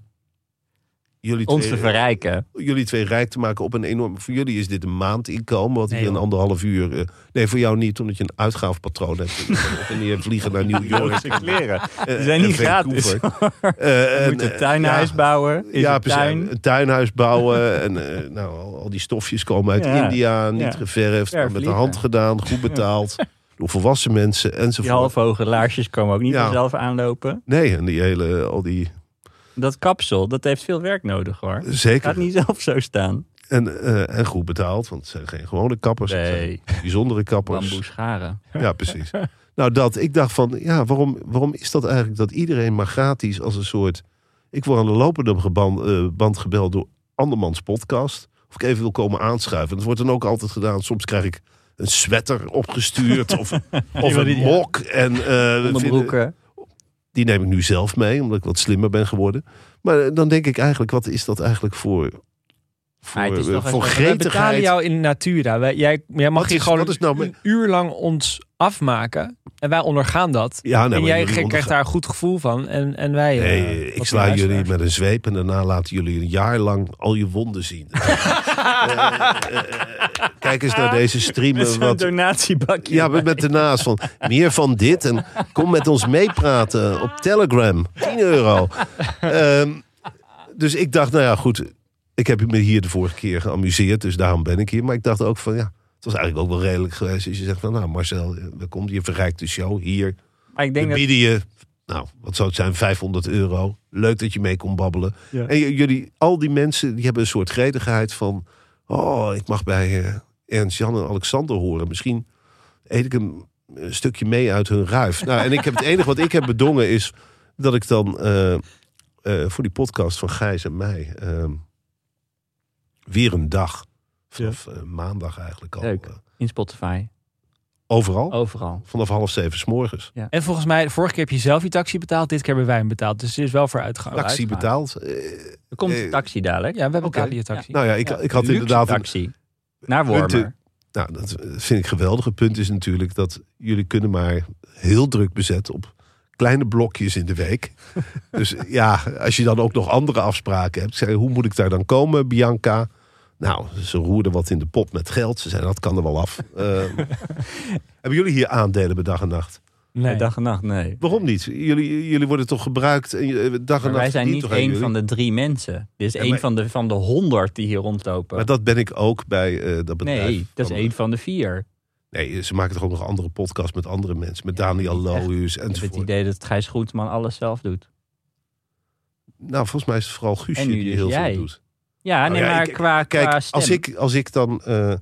jullie
Ons te
twee, eh,
verrijken.
jullie twee rijk te maken op een enorm... Voor jullie is dit een maandinkomen, wat
Nee,
hier een
joh.
anderhalf uur... eh, nee, voor jou niet, omdat je een uitgaafpatroon hebt. Je kan op en neer vliegen naar New York.
Ze kleren.
eh,
Ze zijn
en
niet gratis.
Vancouver. Eh,
Je
en,
moet een
eh,
tuinhuis
ja.
bouwen. In
ja,
ja,
precies.
tuin.
Een tuinhuis bouwen. en eh, nou, al, al die stofjes komen uit
Ja.
India. Niet
Ja.
geverfd, maar met de
Vervliegen.
hand gedaan. Goed betaald. Door volwassen mensen
Die
enzovoort.
halfhoge laarsjes komen ook niet
Ja.
vanzelf aanlopen.
Nee, en die hele, al die...
Dat kapsel, dat heeft veel werk nodig hoor.
Zeker.
Gaat niet zelf zo staan.
En, eh, en goed betaald, want het zijn geen gewone kappers. Het zijn
Nee,
bijzondere kappers.
bamboe scharen.
Ja, precies. nou, dat. Ik dacht van, ja, waarom, waarom is dat eigenlijk dat iedereen maar gratis als een soort... Ik word aan de lopende geban- eh, band gebeld door andermans podcast. Of ik even wil komen aanschuiven. Dat wordt dan ook altijd gedaan. Soms krijg ik een sweater opgestuurd of, of
wil die,
een
ja.
mok. En, eh, we vinden-
Onderbroeken.
die neem ik nu zelf mee, omdat ik wat slimmer ben geworden. Maar eh, dan denk ik eigenlijk, wat is dat eigenlijk voor... Voor,
Maar het is
eh,
toch een
voor
soort-
Wij betalen
gretigheid.
jou in natura. Wij, jij, jij mag
Wat
hier
is-
gewoon
wat is nou
een uur lang ons afmaken. En wij ondergaan dat.
Ja, nee,
en
maar
jij
jullie
krijgt
ondergaan-
daar een goed gevoel van. En, en wij... eh,
Nee,
wat
ik
meer
sla
luisteraars.
jullie met een zweep en daarna laten jullie een jaar lang al je wonden zien. Eh, eh, eh, kijk eens naar deze
Met
streamen.
zo'n
Wat,
donatiebakje.
ja, met, met daarnaast van meer van dit en kom met ons meepraten op Telegram. 10 euro. Ehm, dus ik dacht, nou ja, goed. Ik heb me hier de vorige keer geamuseerd, dus daarom ben ik hier. Maar ik dacht ook van, ja, het was eigenlijk ook wel redelijk geweest. Dus je zegt van, nou Marcel, eh, we komen hier, verrijkt de show hier.
Maar ik
We
denk dat
bieden je, nou, wat zou het zijn, 500 euro. Leuk dat je mee kon babbelen.
Ja.
En j- jullie, al die mensen, die hebben een soort gretigheid van... Oh, ik mag bij eh, Ernst, Jan en Alexander horen. Misschien eet ik een, een stukje mee uit hun ruif. Nou, en ik heb, het enige wat ik heb bedongen is dat ik dan eh, eh, voor die podcast van Gijs en mij... eh, weer een dag, vanaf eh, maandag eigenlijk al,
Leuk. Oh.
eh,
in Spotify,
overal...
overal.
Vanaf half zeven s morgens.
En volgens mij, de vorige keer heb je zelf je taxi betaald. Dit keer hebben wij hem betaald. Dus er is wel vooruitgang.
Taxi.
Actie betaald. Eh,
Er komt
Eh,
een taxi dadelijk.
Ja, we
Oké.
betalen je taxi.
Nou ja, ik,
Ja,
ik had
Luxe
inderdaad. Een,
taxi. Naar
Punten.
Wormer.
nou, dat vind ik geweldig. Het punt is natuurlijk dat jullie kunnen maar heel druk bezet op kleine blokjes in de week. dus ja, als je dan ook nog andere afspraken hebt. Ik zei, hoe moet ik daar dan komen, Bianca? Nou, ze roerde wat in de pot met geld. Ze zei, dat kan er wel af. Ehm, hebben jullie hier aandelen bij dag en nacht?
nee.
Nee, Dag en nacht, nee.
Waarom niet? Jullie, jullie worden toch gebruikt en je- eh, dag en
Maar
nacht
wij zijn
verdient
niet
toch aan
één
jullie?
van de drie mensen. Dit is
Ja,
één
maar-
van de, van de honderd die hier rondlopen.
Maar dat ben ik ook bij eh, dat bedrijf.
nee, dat is
van-
één van de vier.
Nee, ze maken toch ook nog andere podcasts met andere mensen. Met
Ja,
Daniel
niet echt.
Lohuus
Ik heb het
enzovoort.
idee dat Gijs Groenteman alles zelf doet.
Nou, volgens mij is het vooral Guusje
En nu
die
dus
heel
jij.
veel doet.
Ja,
Nou
nee,
ja,
maar
ik-
qua,
Kijk,
qua stem.
als ik, als ik dan... eh,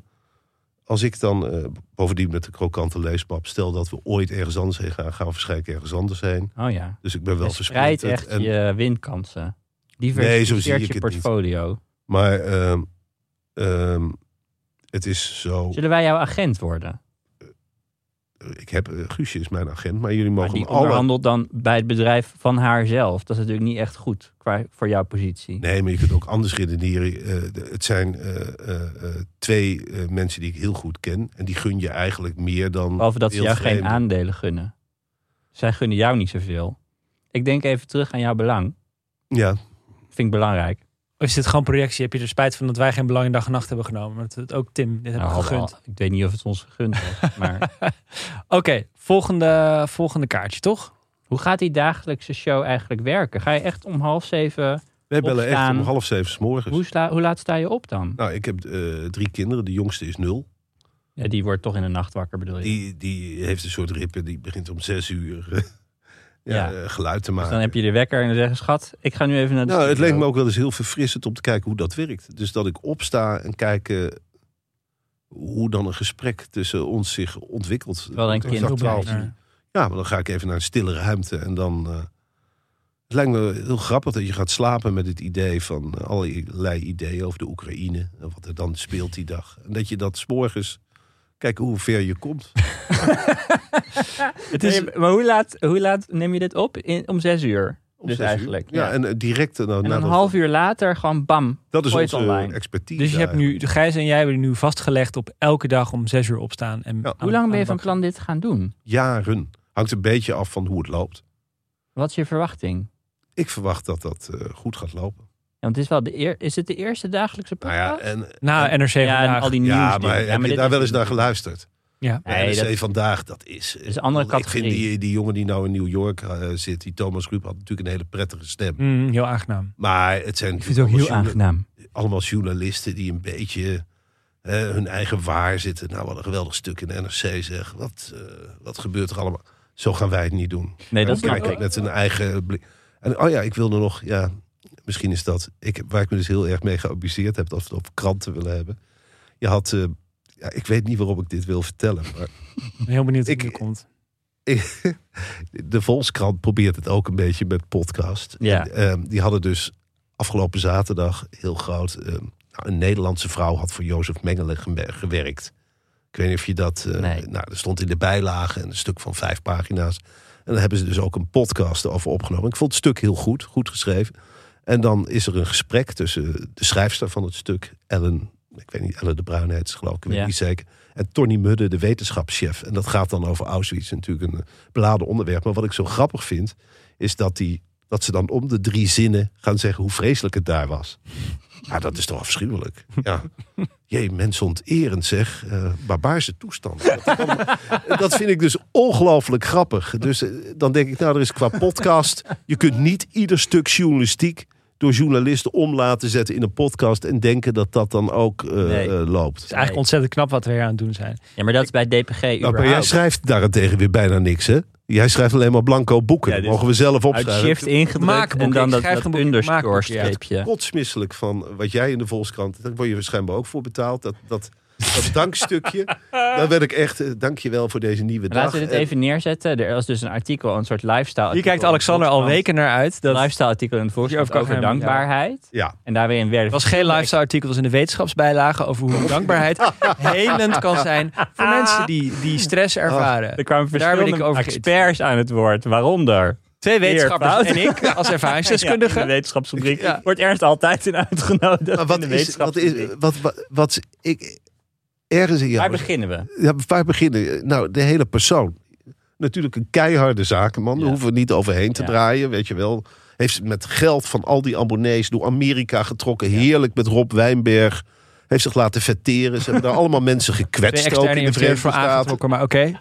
als ik dan eh, bovendien met de krokante leesmap... stel dat we ooit ergens anders heen gaan... gaan we waarschijnlijk ergens anders heen.
Oh ja.
Dus ik ben wel
Je spreidt
verspreid.
echt je winkansen. Diversificeert
Nee, zo zie ik
je
het niet.
portfolio.
Maar ehm, ehm, Het is zo...
Zullen wij jouw agent worden?
Ik heb, eh, Guusje is mijn agent, maar jullie
Maar
mogen
die
me alle
onderhandelt dan bij het bedrijf van haarzelf. Dat is natuurlijk niet echt goed qua, voor jouw positie.
Nee, maar je kunt ook anders redeneren. Eh, de- het zijn eh, eh, eh, twee eh, mensen die ik heel goed ken. En die gun je eigenlijk meer dan.
Behalve dat ze
heel
jou geen
vreemden.
aandelen gunnen. Zij gunnen jou niet zoveel. Ik denk even terug aan jouw belang.
Ja,
Vind ik belangrijk.
Of is dit gewoon projectie? Heb je er spijt van dat wij geen belang in dag en nacht hebben genomen? Maar dat het ook Tim dit hebben
Nou,
gegund.
al- ik weet niet of het ons gegund is. Maar
Oké, volgende, volgende kaartje, toch?
hoe gaat die dagelijkse show eigenlijk werken? Ga je echt om half zeven...
wij bellen echt
Opstaan.
om half zeven 's morgens.
Hoe, sla- hoe laat sta je op dan?
Dus- Nou, ik heb eh, drie kinderen. De jongste is
Oh,
nul.
Ja, die wordt toch in de nacht wakker, bedoel je?
Die, die heeft een soort rippen. Die begint om zes uur eh, ja,
Ja.
eh, geluid te
dus
maken.
dan heb je de wekker en dan zeggen schat, ik ga nu even naar de
Nou, het
studio."
leek me ook wel eens heel verfrissend om te kijken hoe dat werkt. Dus dat ik opsta en kijk eh, hoe dan een gesprek tussen ons zich ontwikkelt.
Terwijl er een
Exact
kind op
12
is.
uur. Ja, maar dan ga ik even naar een stille ruimte en dan... eh, het lijkt me heel grappig dat je gaat slapen met het idee van eh, allerlei ideeën over de Oekraïne. En wat er dan speelt die dag. En dat je dat 's morgens Kijk hoe ver je komt.
Het is,
Nee, maar hoe laat, hoe laat neem je dit op? In, om zes uur.
Om
Dus
zes uur.
eigenlijk,
Ja,
ja.
en eh, direct. eh, Nou,
En een
nadat-
half uur later gewoon bam.
dat is
gooi het
onze
online.
expertise.
dus je hebt
eigenlijk.
nu, Gijs en jij hebben nu vastgelegd op elke dag om zes uur opstaan. En
Ja.
aan-
Hoe lang
aan
ben je
de
van
bak.
plan dit te gaan doen?
Jaren. Hangt een beetje af van hoe het loopt.
Wat is je verwachting?
Ik verwacht dat dat eh, goed gaat lopen.
Ja, want het is, wel de eer, is het de eerste dagelijkse
Nou
podcast?
ja, en,
Nou, NRC
Ja, en
vandaag.
al die nieuws.
ja maar heb je daar wel eens naar geluisterd?
Ja.
Nee, NRC vandaag, dat is... eh,
is een andere
Ik
categorie.
vind die, die jongen die nou in New York eh, zit, die Thomas Ruip, had natuurlijk een hele prettige stem.
Mm, heel aangenaam.
Maar het zijn
Hm. ik vind het ook heel
allemaal, journa-
aangenaam.
allemaal journalisten die een beetje eh, hun eigen waar zitten. Nou, wat een geweldig stuk in de NRC zeg. Wat, eh, wat gebeurt er allemaal? Zo gaan wij het niet doen.
Nee, dat
Dan
snap
kijk ik
ik.
met een eigen blik. En oh ja, ik wilde nog, ja, misschien is dat. Ik, heb- waar ik me dus heel erg mee geabuseerd heb, dat we het op kranten willen hebben. Je had, eh, ja, ik weet niet waarom ik dit wil vertellen, maar
Ik ben heel benieuwd hoe
Ik-
het nu komt.
de Volkskrant probeert het ook een beetje met podcast.
Ja.
En, ehm, die hadden dus afgelopen zaterdag heel groot. ehm, nou, een Nederlandse vrouw had voor Jozef Mengele geme- gewerkt. Ik weet niet of je dat. eh,
Nee.
Nou, er stond in de bijlage een stuk van vijf pagina's. En daar hebben ze dus ook een podcast over opgenomen. Ik vond het stuk heel goed, goed geschreven. En dan is er een gesprek tussen de schrijfster van het stuk, Ellen. Ik weet niet, Ellen de Bruin heet ze geloof ik, ik weet
Ja.
niet zeker. En Tony Mudde, de wetenschapschef. En dat gaat dan over Auschwitz, natuurlijk een beladen onderwerp. Maar wat ik zo grappig vind, is dat, die, dat ze dan om de drie zinnen gaan zeggen hoe vreselijk het daar was. Ja, Ah, dat is toch afschuwelijk. Ja. Jee, mensen onterend zeg. Eh, barbaarse toestand. Dat, dat vind ik dus ongelooflijk grappig. Dus eh, dan denk ik, nou, er is qua podcast... Je kunt niet ieder stuk journalistiek door journalisten om laten zetten in een podcast... en denken dat dat dan ook eh,
Nee.
eh, loopt.
Het is eigenlijk ontzettend knap wat we hier aan het doen zijn.
Ja, maar dat is bij DPG
Nou, maar jij
überhaupt.
schrijft daarentegen weer bijna niks, hè? Jij schrijft alleen maar blanco boeken.
Ja,
dat
dit-
mogen we zelf
Uit
opschrijven.
shift ingedrukt
Maakboek,
en dan
ik
dat,
schrijf
dat
een boek, ik maak boek,
underscore
ja.
streepje.
kotsmisselijk van wat jij in de Volkskrant. Daar word je waarschijnlijk ook voor betaald. Dat, dat, dat dankstukje. Daar werd ik echt. eh, Dankjewel voor deze nieuwe dag. eh,
Laten we dit
En
even neerzetten. Er was dus een artikel, een soort lifestyle
Hier kijkt
artikel in
Alexander al
Volkskrant.
weken naar uit. Dat het
lifestyle artikel in het Volkskrant
Hierover
over
kan gaan we, ja.
dankbaarheid.
Ja.
En daarin werden
was geen lifestyle artikels in de wetenschapsbijlage over hoe dankbaarheid helend kan zijn voor mensen die, die stress
er
ervaren.
kwamen
Daar ben Ah. ik
verschillende
over
experts aan het woord. Waaronder
Twee wetenschappers
Eer,
en ik als
Ja,
ervaringsdeskundige.
in de wetenschapsrubriek
Ja.
wordt Ernst altijd in uitgenodigd.
Maar wat
in de
is. Wat is.
wetenschapsrubriek.
Wat, wat, wat is- ik, ergens in
Waar
jou.
beginnen we?
Ja, waar beginnen? Nou, de hele persoon. Natuurlijk een keiharde zakenman. Daar
Ja.
hoeven we niet overheen te
Ja.
draaien. Weet je wel. Heeft met geld van al die abonnees door Amerika getrokken. Heerlijk met Rob Wijnberg. Heeft zich laten vetteren. Ze hebben daar allemaal mensen
Twee
gekwetst. Ook
externe
in de
investeerders
Verenigde
voor
Staten.
aangetrokken, maar oké.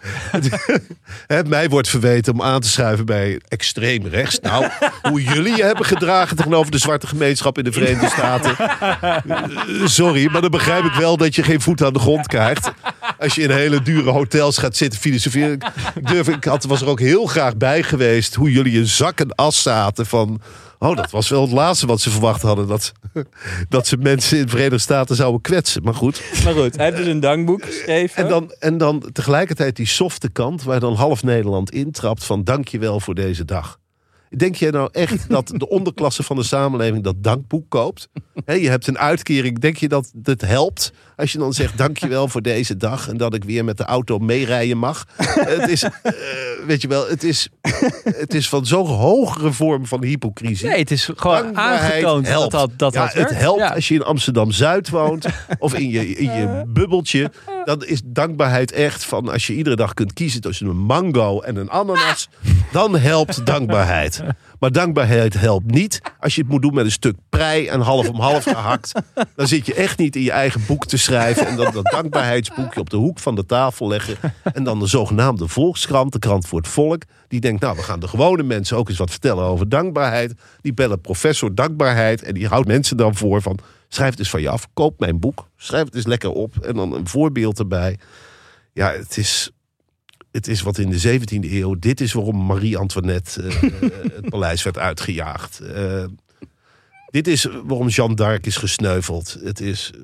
Hè, mij wordt verweten om aan te schuiven bij extreem rechts. Nou, hoe jullie je hebben gedragen tegenover de zwarte gemeenschap in de Verenigde Staten. Eh, Sorry, maar dan begrijp ik wel dat je geen voet aan de grond krijgt. Als je in hele dure hotels gaat zitten filosoferen. Ik, durf, ik had, was er ook heel graag bij geweest hoe jullie een zak en as zaten van... Oh, dat was wel het laatste wat ze verwacht hadden. Dat, dat ze mensen in de Verenigde Staten zouden kwetsen. Maar goed.
Maar goed, hij heeft dus een dankboek geschreven.
En dan, en dan tegelijkertijd die softe kant, waar dan half Nederland intrapt van dankjewel voor deze dag. Denk jij nou echt dat de onderklasse van de samenleving dat dankboek koopt? Hè, je hebt een uitkering, denk je dat dit helpt Als je dan zegt dankjewel voor deze dag en dat ik weer met de auto meerijden mag. het is, eh, weet je wel, het is, het is van zo'n hogere vorm van hypocrisie.
Nee, het is gewoon
Dankbaarheid
aangetoond
helpt.
dat dat, dat,
ja,
dat werkt.
het helpt
Ja.
als je in Amsterdam-Zuid woont of in je, in je bubbeltje. Dan is dankbaarheid echt van als je iedere dag kunt kiezen tussen een mango en een ananas.
Ah!
Dan helpt dankbaarheid. Maar dankbaarheid helpt niet als je het moet doen met een stuk prei en half om half gehakt. Dan zit je echt niet in je eigen boek te schrijven. En dan dat dankbaarheidsboekje op de hoek van de tafel leggen. En dan de zogenaamde Volkskrant, de krant voor het volk. Die denkt, nou, we gaan de gewone mensen ook eens wat vertellen over dankbaarheid. Die bellen professor dankbaarheid. En die houdt mensen dan voor van, schrijf het eens van je af. Koop mijn boek. Schrijf het eens lekker op. En dan een voorbeeld erbij. Ja, het is... Het is wat in de 17e eeuw. Dit is waarom Marie Antoinette eh, eh, het paleis werd uitgejaagd. Eh, dit is waarom Jeanne d'Arc is gesneuveld. Het is. eh,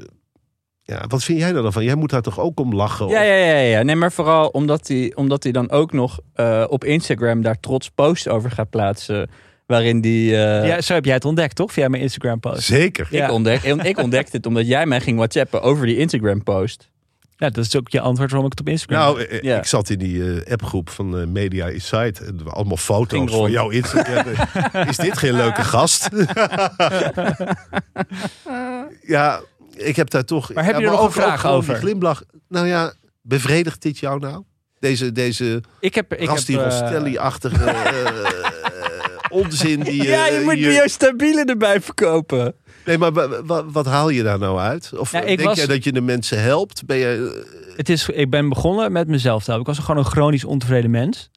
Ja, wat vind jij daar dan van? Jij moet daar toch ook om lachen?
Ja, ja, ja, ja. Nee, maar vooral omdat hij, omdat hij dan ook nog eh, op Instagram daar trots posts over gaat plaatsen. Waarin die. eh,
Ja, zo heb jij het ontdekt, toch? Via mijn Instagram post.
Zeker.
Ja.
ik, ontdek, ik ontdekte het omdat jij mij ging whatsappen over die Instagram post.
Ja, dat is ook je antwoord waarom ik het op Instagram
Nou, eh, eh,
Ja.
ik zat in die eh, appgroep van eh, Media Insight. En er waren allemaal
Ging
foto's van
rond.
jouw Instagram. is dit geen leuke gast? ja, ik heb daar toch...
Maar heb
ja,
je er nog
ook
een vraag
gewoon die
over?
glimlach. Nou ja, bevredigt dit jou nou? Deze, deze
Ik heb... Ik
Rasti
heb, eh,
Rostelli-achtige eh, onzin die...
ja,
eh,
je moet
hier-
weer stabiele erbij verkopen.
Nee, maar wa- wa- wat haal je daar nou uit? Of
Ja, ik
denk
was-
jij dat je de mensen helpt? Ben eh, je,
het is, ik ben begonnen met mezelf te helpen. Ik was gewoon een chronisch ontevreden mens.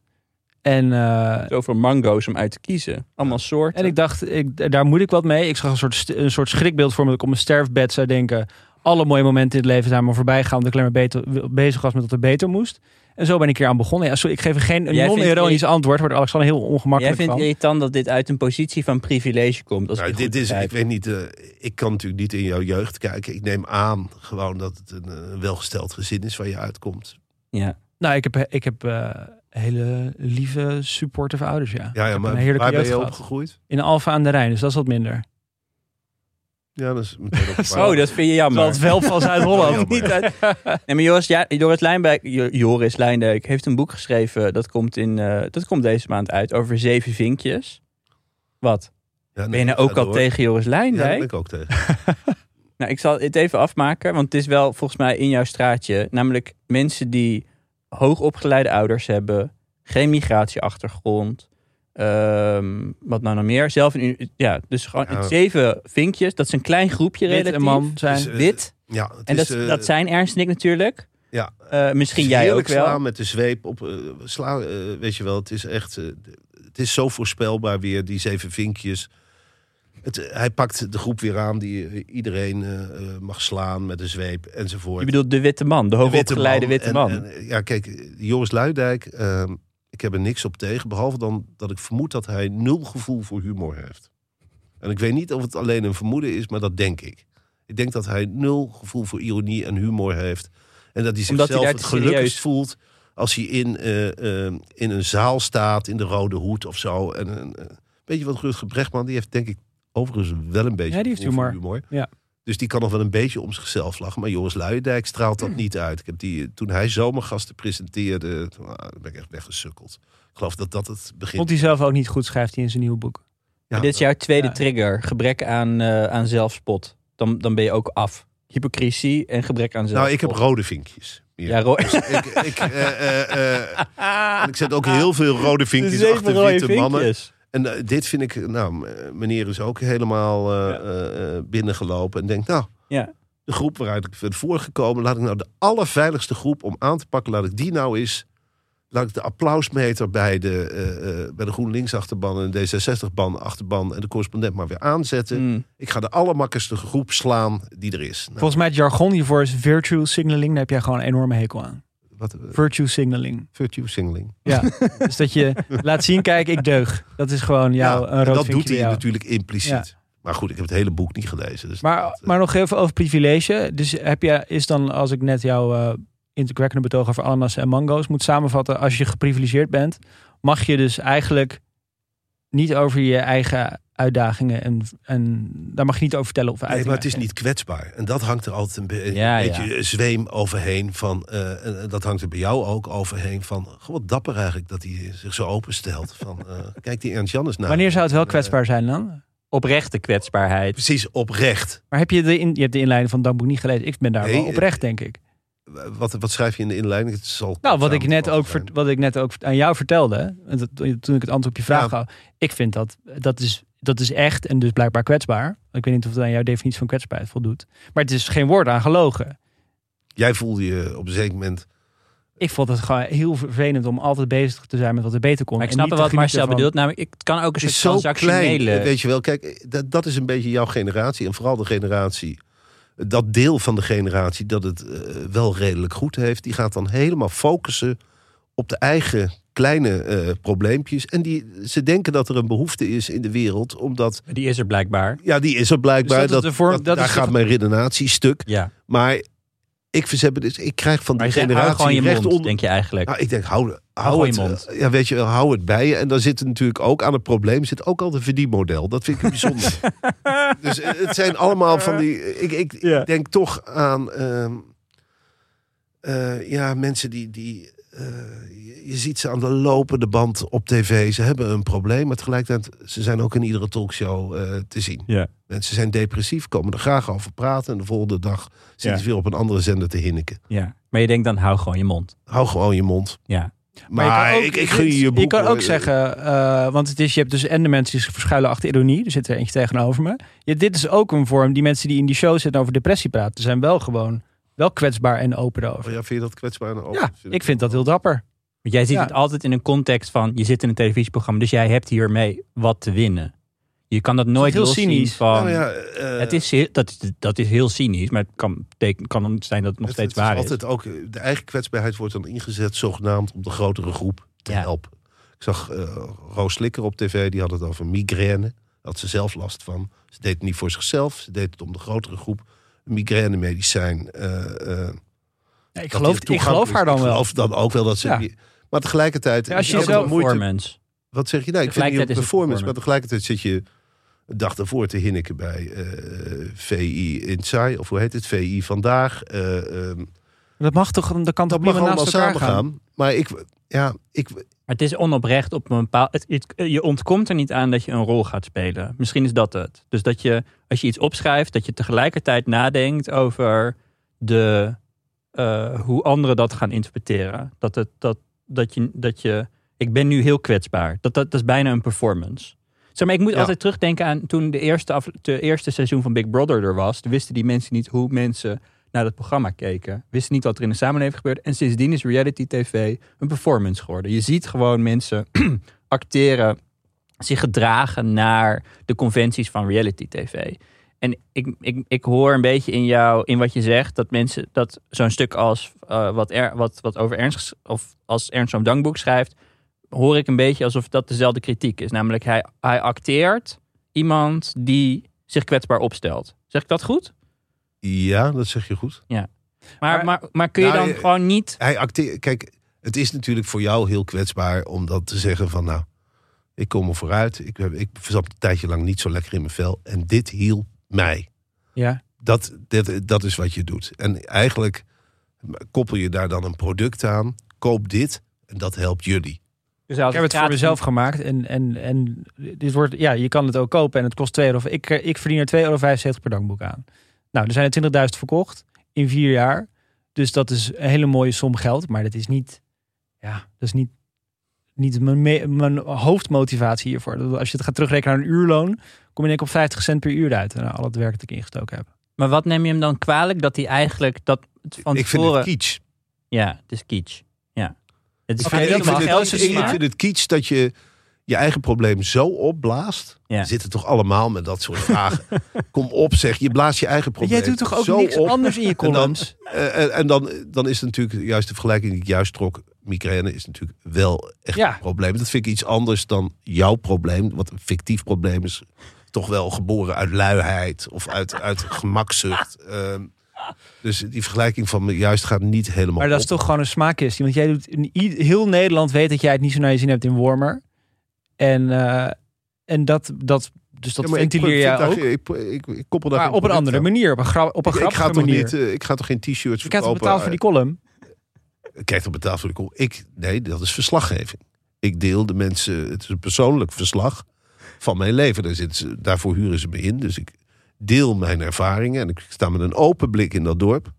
En, eh,
Zoveel mango's om uit te kiezen. Allemaal soorten.
en ik dacht, ik, daar moet ik wat mee. Ik zag een soort, st- een soort schrikbeeld voor me dat ik op mijn sterfbed zou denken... alle mooie momenten in het leven zijn maar voorbij gaan... omdat ik alleen maar beter, bezig was met wat er beter moest. En zo ben ik hier aan begonnen. Ja, sorry, ik geef een geen
Jij
een
vindt-
non-ironisch antwoord... wordt Alexander heel
Jij
ongemakkelijk
vindt het
van.
irritant dat dit uit een positie van privilege komt. Als ik
Nou,
het
dit
goed
is, ik
begrijp.
weet niet, eh, ik kan natuurlijk niet in jouw jeugd kijken. Ik neem aan gewoon dat het een eh, welgesteld gezin is waar je uitkomt.
Ja.
Nou, ik heb, ik heb eh, hele lieve, supportive ouders, ja.
Ja, ja
heb
maar
een heerlijke
waar ben
jeugd
je
gehad.
opgegroeid?
In Alfa aan de Rijn, dus dat is wat minder.
Ja, dat is meteen ook waar.
Oh, dat vind je jammer.
Terwijl het wel van
Ja,
Zuid-Holland.
jammer.
niet uit. Nee, maar Joris, ja, Joris, Lijnbeek, Jo- Joris Lijndijk heeft een boek geschreven. Dat komt, in, eh, dat komt deze maand uit. Over zeven vinkjes. Wat?
Ja, nee,
Ben je nou
ga
ook al
door.
tegen Joris
Ja, daar
Lijndijk?
ben ik ook tegen.
Nou, ik zal het even afmaken. Want het is wel volgens mij in jouw straatje. Namelijk mensen die hoogopgeleide ouders hebben. Geen migratieachtergrond. ehm, wat nou nog meer? Zelf een, uni- ja, dus gewoon
Ja.
zeven vinkjes. Dat is een klein groepje
Wit
relatief.
en man zijn.
Dus, eh,
Wit.
Ja, het
En
is,
dat,
eh,
dat zijn Ernst en ik natuurlijk.
ja,
Eh, misschien jij ook
heerlijk
wel.
slaan met de zweep op. eh, slaan, eh, weet je wel, het is echt. eh, het is zo voorspelbaar weer, die zeven vinkjes. Het, eh, hij pakt de groep weer aan die eh, iedereen eh, eh, mag slaan met een zweep enzovoort.
Je bedoelt de witte man, de hoogopgeleide witte man.
En- en, ja, kijk, Joris Luidijk, ehm, ik heb er niks op tegen. Behalve dan dat ik vermoed dat hij nul gevoel voor humor heeft. En ik weet niet of het alleen een vermoeden is, maar dat denk ik. Ik denk dat hij nul gevoel voor ironie en humor heeft. En dat hij
Omdat hij
zichzelf
daar
het
te
gelukkigst
serieus-
voelt als hij in, eh, eh, in een zaal staat, in de Rode Hoed of zo. En, eh, weet je wat, Rutger Brechtman, die heeft denk ik overigens wel een beetje
Ja, die heeft
gevoel voor
humor. Ja.
Dus die kan nog wel een beetje om zichzelf lachen. Maar Joris Luijendijk straalt dat niet uit. Ik heb die, eh, toen hij zomergasten presenteerde, toen ah, ben ik echt weggesukkeld. Ik geloof dat dat het begin
Vond hij zelf ook niet goed, schrijft hij in zijn nieuwe boek.
Ja,
Dit is jouw tweede
Ja.
trigger, gebrek aan, eh, aan zelfspot. Dan, dan ben je ook af. Hypocrisie en gebrek aan zelfspot.
Nou, ik heb rode vinkjes. Hier.
Ja, Roy.
ik, ik, eh, eh, eh, en ik zet ook heel veel rode vinkjes
Zeven
achter
rode
witte mannen.
vinkjes.
En eh, dit vind ik, nou, m- meneer is ook helemaal eh,
Ja.
eh, eh, binnengelopen. En denkt, nou,
Ja.
de groep waaruit ik ben voorgekomen, laat ik nou de allerveiligste groep om aan te pakken, laat ik die nou eens. Laat ik de applausmeter bij de, eh, eh, bij de GroenLinks-achterban en de D66-achterban en de correspondent maar weer aanzetten.
Mm.
Ik ga de allermakkelijkste groep slaan die er is. Nou,
Volgens mij het jargon hiervoor is virtue signaling. Daar heb jij gewoon een enorme hekel aan.
wat, eh,
Virtue signaling.
virtue singling.
Ja. dus dat je laat zien, kijk, ik deug. Dat is gewoon jouw
Ja,
een
en
rood
dat
vinkje
doet
bij
hij
jou.
natuurlijk impliciet. Maar goed, ik heb het hele boek niet gelezen. Dus
Maar,
dat, eh,
maar nog even over privilege. Dus heb je, is dan, als ik net jouw eh indrukwekkende betoog over ananas en mango's moet samenvatten. Als je geprivilegeerd bent, mag je dus eigenlijk niet over je eigen uitdagingen. En, en daar mag je niet over vertellen of
Nee,
uitdagingen.
maar het is niet kwetsbaar. En dat hangt er altijd een, be-
Ja,
een
ja.
beetje zweem overheen van... eh, en dat hangt er bij jou ook overheen van... goh, wat dapper eigenlijk dat hij zich zo openstelt. Van, eh, kijk die Ernst Jannes nou naar.
Wanneer zou het wel kwetsbaar zijn dan?
Oprechte kwetsbaarheid.
Precies, oprecht.
Maar heb je de, in, je hebt de inleiding van Damboek niet gelezen? Ik ben daar
Nee,
wel
eh,
oprecht, denk ik.
Wat, wat schrijf je in de inleiding? Het zal
Nou, wat
samen
ik, net
gevat
ook
zijn.
vert- wat ik net ook aan jou vertelde, hè, en dat- toen ik het antwoord op je vraag
Ja.
gaf. Ik vind dat, dat, is, dat is echt en dus blijkbaar kwetsbaar. Ik weet niet of het aan jouw definitie van kwetsbaarheid voldoet. Maar het is geen woord aan gelogen.
Jij voelde je op een zeker moment...
Ik vond het gewoon heel vervelend om altijd bezig te zijn met wat er beter kon.
Maar ik
en
snap
niet
wel
te
wat
genieten
Marcel
van-
bedoelt. Namelijk, het kan ook een
Het
soort
is zo klein, eh,
transactionele...
weet je wel. Kijk, dat, dat is een beetje jouw generatie. En vooral de generatie... eh, Dat deel van de generatie dat het eh, wel redelijk goed heeft... die gaat dan helemaal focussen op de eigen kleine eh, probleempjes. En die, ze denken dat er een behoefte is in de wereld... omdat,
Die is er blijkbaar.
ja, die is er blijkbaar.
Dus dat is
dat
de vorm-
dat-
dat is
daar
de-
gaat mijn redenatie stuk.
Ja.
Maar ik verzet me dus... Ik krijg van
Maar
die
je zegt, hou gewoon
generatie
je
recht
mond,
onder...
denk je eigenlijk.
Nou, ik denk, hou, hou,
gewoon
het,
je mond.
eh, ja, weet je, wel, hou het bij je. En dan zit er natuurlijk ook aan het probleem zit ook al een verdienmodel. Dat vind ik bijzonder. dus eh, het zijn allemaal van die. Ik, ik, ik
Ja.
denk toch aan ehm, eh, ja, mensen die. die eh, je- je ziet ze aan de lopende band op tv. Ze hebben een probleem, maar tegelijkertijd ze zijn ook in iedere talkshow eh, te zien.
Ja.
Mensen zijn depressief, komen er graag over praten. En de volgende dag zitten
Ja.
ze weer op een andere zender te hinniken.
ja. Maar je denkt dan, hou gewoon je mond.
Hou gewoon je mond.
Ja.
Maar,
je kan ook-
ik, ik gun je je boek.
Je kan ook
hoor.
zeggen, eh, want het is, je hebt dus en de mensen die zich verschuilen achter ironie. Er zit er eentje tegenover me. Ja, dit is ook een vorm, die mensen die in die show zitten over depressie praten, zijn wel gewoon wel kwetsbaar en open
Oh
erover.
ja, vind je dat kwetsbaar en open?
Ja, ik vind dat heel dapper.
Want jij ziet
Ja.
het altijd in een context van, je zit in een televisieprogramma, dus jij hebt hiermee wat te winnen. Je kan dat nooit
heel
loszien
cynisch.
van...
Nou ja, eh,
het is, heel- dat, is- dat is heel cynisch, maar het kan, betek- kan ook zijn dat het nog
het-
steeds
het is
waar is.
altijd ook, eh, de eigen kwetsbaarheid wordt dan ingezet, zogenaamd om de grotere groep te
Ja.
helpen. Ik zag eh, Roos Slikker op tv, die had het over migraine. Daar had ze zelf last van. Ze deed het niet voor zichzelf, ze deed het om de grotere groep. Een migrainemedicijn. eh, eh,
Ja, ik,
dat
geloof,
die
ik geloof
toegankelijk
haar
is.
dan
Ik
wel.
geloof dan ook wel dat ze...
Ja.
Maar tegelijkertijd...
Ja, als je
is ook
zelf
wel moeite,
performance.
Wat zeg je nou? Ik vind niet op
Tegelijkertijd
performance,
is het
maar tegelijkertijd zit je een dag daarvoor te hinniken bij eh, VI Inside, of hoe heet het? VI Vandaag. eh, ehm,
Dat mag toch, dat kan toch
dat mag
prima
allemaal
naast elkaar
samen
gaan.
gaan. Maar ik, ja, ik,
Maar het is onoprecht op een bepaald... Het, het- je ontkomt er niet aan dat je een rol gaat spelen. Misschien is dat het. Dus dat je, als je iets opschrijft, dat je tegelijkertijd nadenkt over de, eh, hoe anderen dat gaan interpreteren. Dat, het, dat, dat, je, dat je... Ik ben nu heel kwetsbaar. Dat, dat, dat is bijna een performance. Zeg maar, ik moet
Ja.
altijd terugdenken aan toen de eerste, af, de eerste seizoen van Big Brother er was. Toen wisten die mensen niet hoe mensen naar dat programma keken. Wisten niet wat er in de samenleving gebeurde. En sindsdien is reality tv een performance geworden. Je ziet gewoon mensen acteren, zich gedragen naar de conventies van reality tv. En ik, ik, ik hoor een beetje in jou, in wat je zegt, dat mensen dat zo'n stuk als eh, wat, er, wat, wat over Ernst ges- of als Ernst zo'n dankboek schrijft, hoor ik een beetje alsof dat dezelfde kritiek is. Namelijk, hij, hij acteert iemand die zich kwetsbaar opstelt. Zeg ik dat goed?
ja, dat zeg je goed.
Maar,
Maar-
maar, maar, kun je
Nou,
dan
je-
gewoon niet.
Hij acteert, kijk, het is natuurlijk voor jou heel kwetsbaar om dat te zeggen van, nou, ik kom er vooruit. Ik, heb- ik zat een tijdje lang niet zo lekker in mijn vel en dit hielp mij.
Ja.
Dat, dit, dat is wat je doet. En eigenlijk koppel je daar dan een product aan. Koop dit en dat helpt jullie.
Dus
Ik heb het voor mezelf gemaakt en, en, en dit wordt, ja, je kan het ook kopen en het kost 2 euro. Ik, eh, ik verdien er 2,75 euro per dankboek aan. Nou, er zijn er 20.000 verkocht in vier jaar. Dus dat is een hele mooie som geld, maar dat is niet, ja, dat is niet, niet mijn, me- mijn hoofdmotivatie hiervoor. Dat- Als je het gaat terugrekenen aan een uurloon, kom je denk ik op 50 cent per uur uit. En al het werk dat ik ingestoken heb.
Maar wat neem je hem dan kwalijk dat hij eigenlijk dat het van
ik vind
tevoren.
het kitsch.
ja, het is kitsch. Ja. Het is
Oké,
niet
ik
om
vind
het
het-
geld
ik
te
vind
doen,
het-
maar-
Ik vind het kitsch dat je je eigen probleem zo opblaast.
Ja.
We zitten toch allemaal met dat soort vragen. Kom op zeg, je blaast je eigen probleem
Jij doet toch ook
zo
niks
op.
anders in je
dan-
columns?
Eh, en- en dan, dan is het natuurlijk juist de vergelijking die ik juist trok. Migraine is natuurlijk wel echt
Ja.
een probleem. Dat vind ik iets anders dan jouw probleem. Wat een fictief probleem is. Toch wel geboren uit luiheid of uit, uit gemakzucht. Ehm, dus die vergelijking van me juist gaat niet helemaal
Maar dat is
op.
toch gewoon een smaakkwestie. Want jij doet in i- heel Nederland weet dat jij het niet zo naar je zin hebt in Warmer. En, eh, en dat, dat dus dat
Ja, maar ik-
ventileer
ik,
jij ook.
vind daar- Ik, ik, ik koppel daar
Maar
geen
op een
product
andere
aan.
manier, op een, grap, op een
Ik, ik
grappige
ga toch
manier.
niet, eh, ik ga toch geen t-shirts
je krijgt
verkopen?
het betaald voor die column.
Ik krijg toch betaald voor die kop? Ik, nee, dat is verslaggeving. Ik deel de mensen, het is een persoonlijk verslag van mijn leven. Daar zitten ze, daarvoor huren ze me in. Dus ik deel mijn ervaringen en ik sta met een open blik in dat dorp.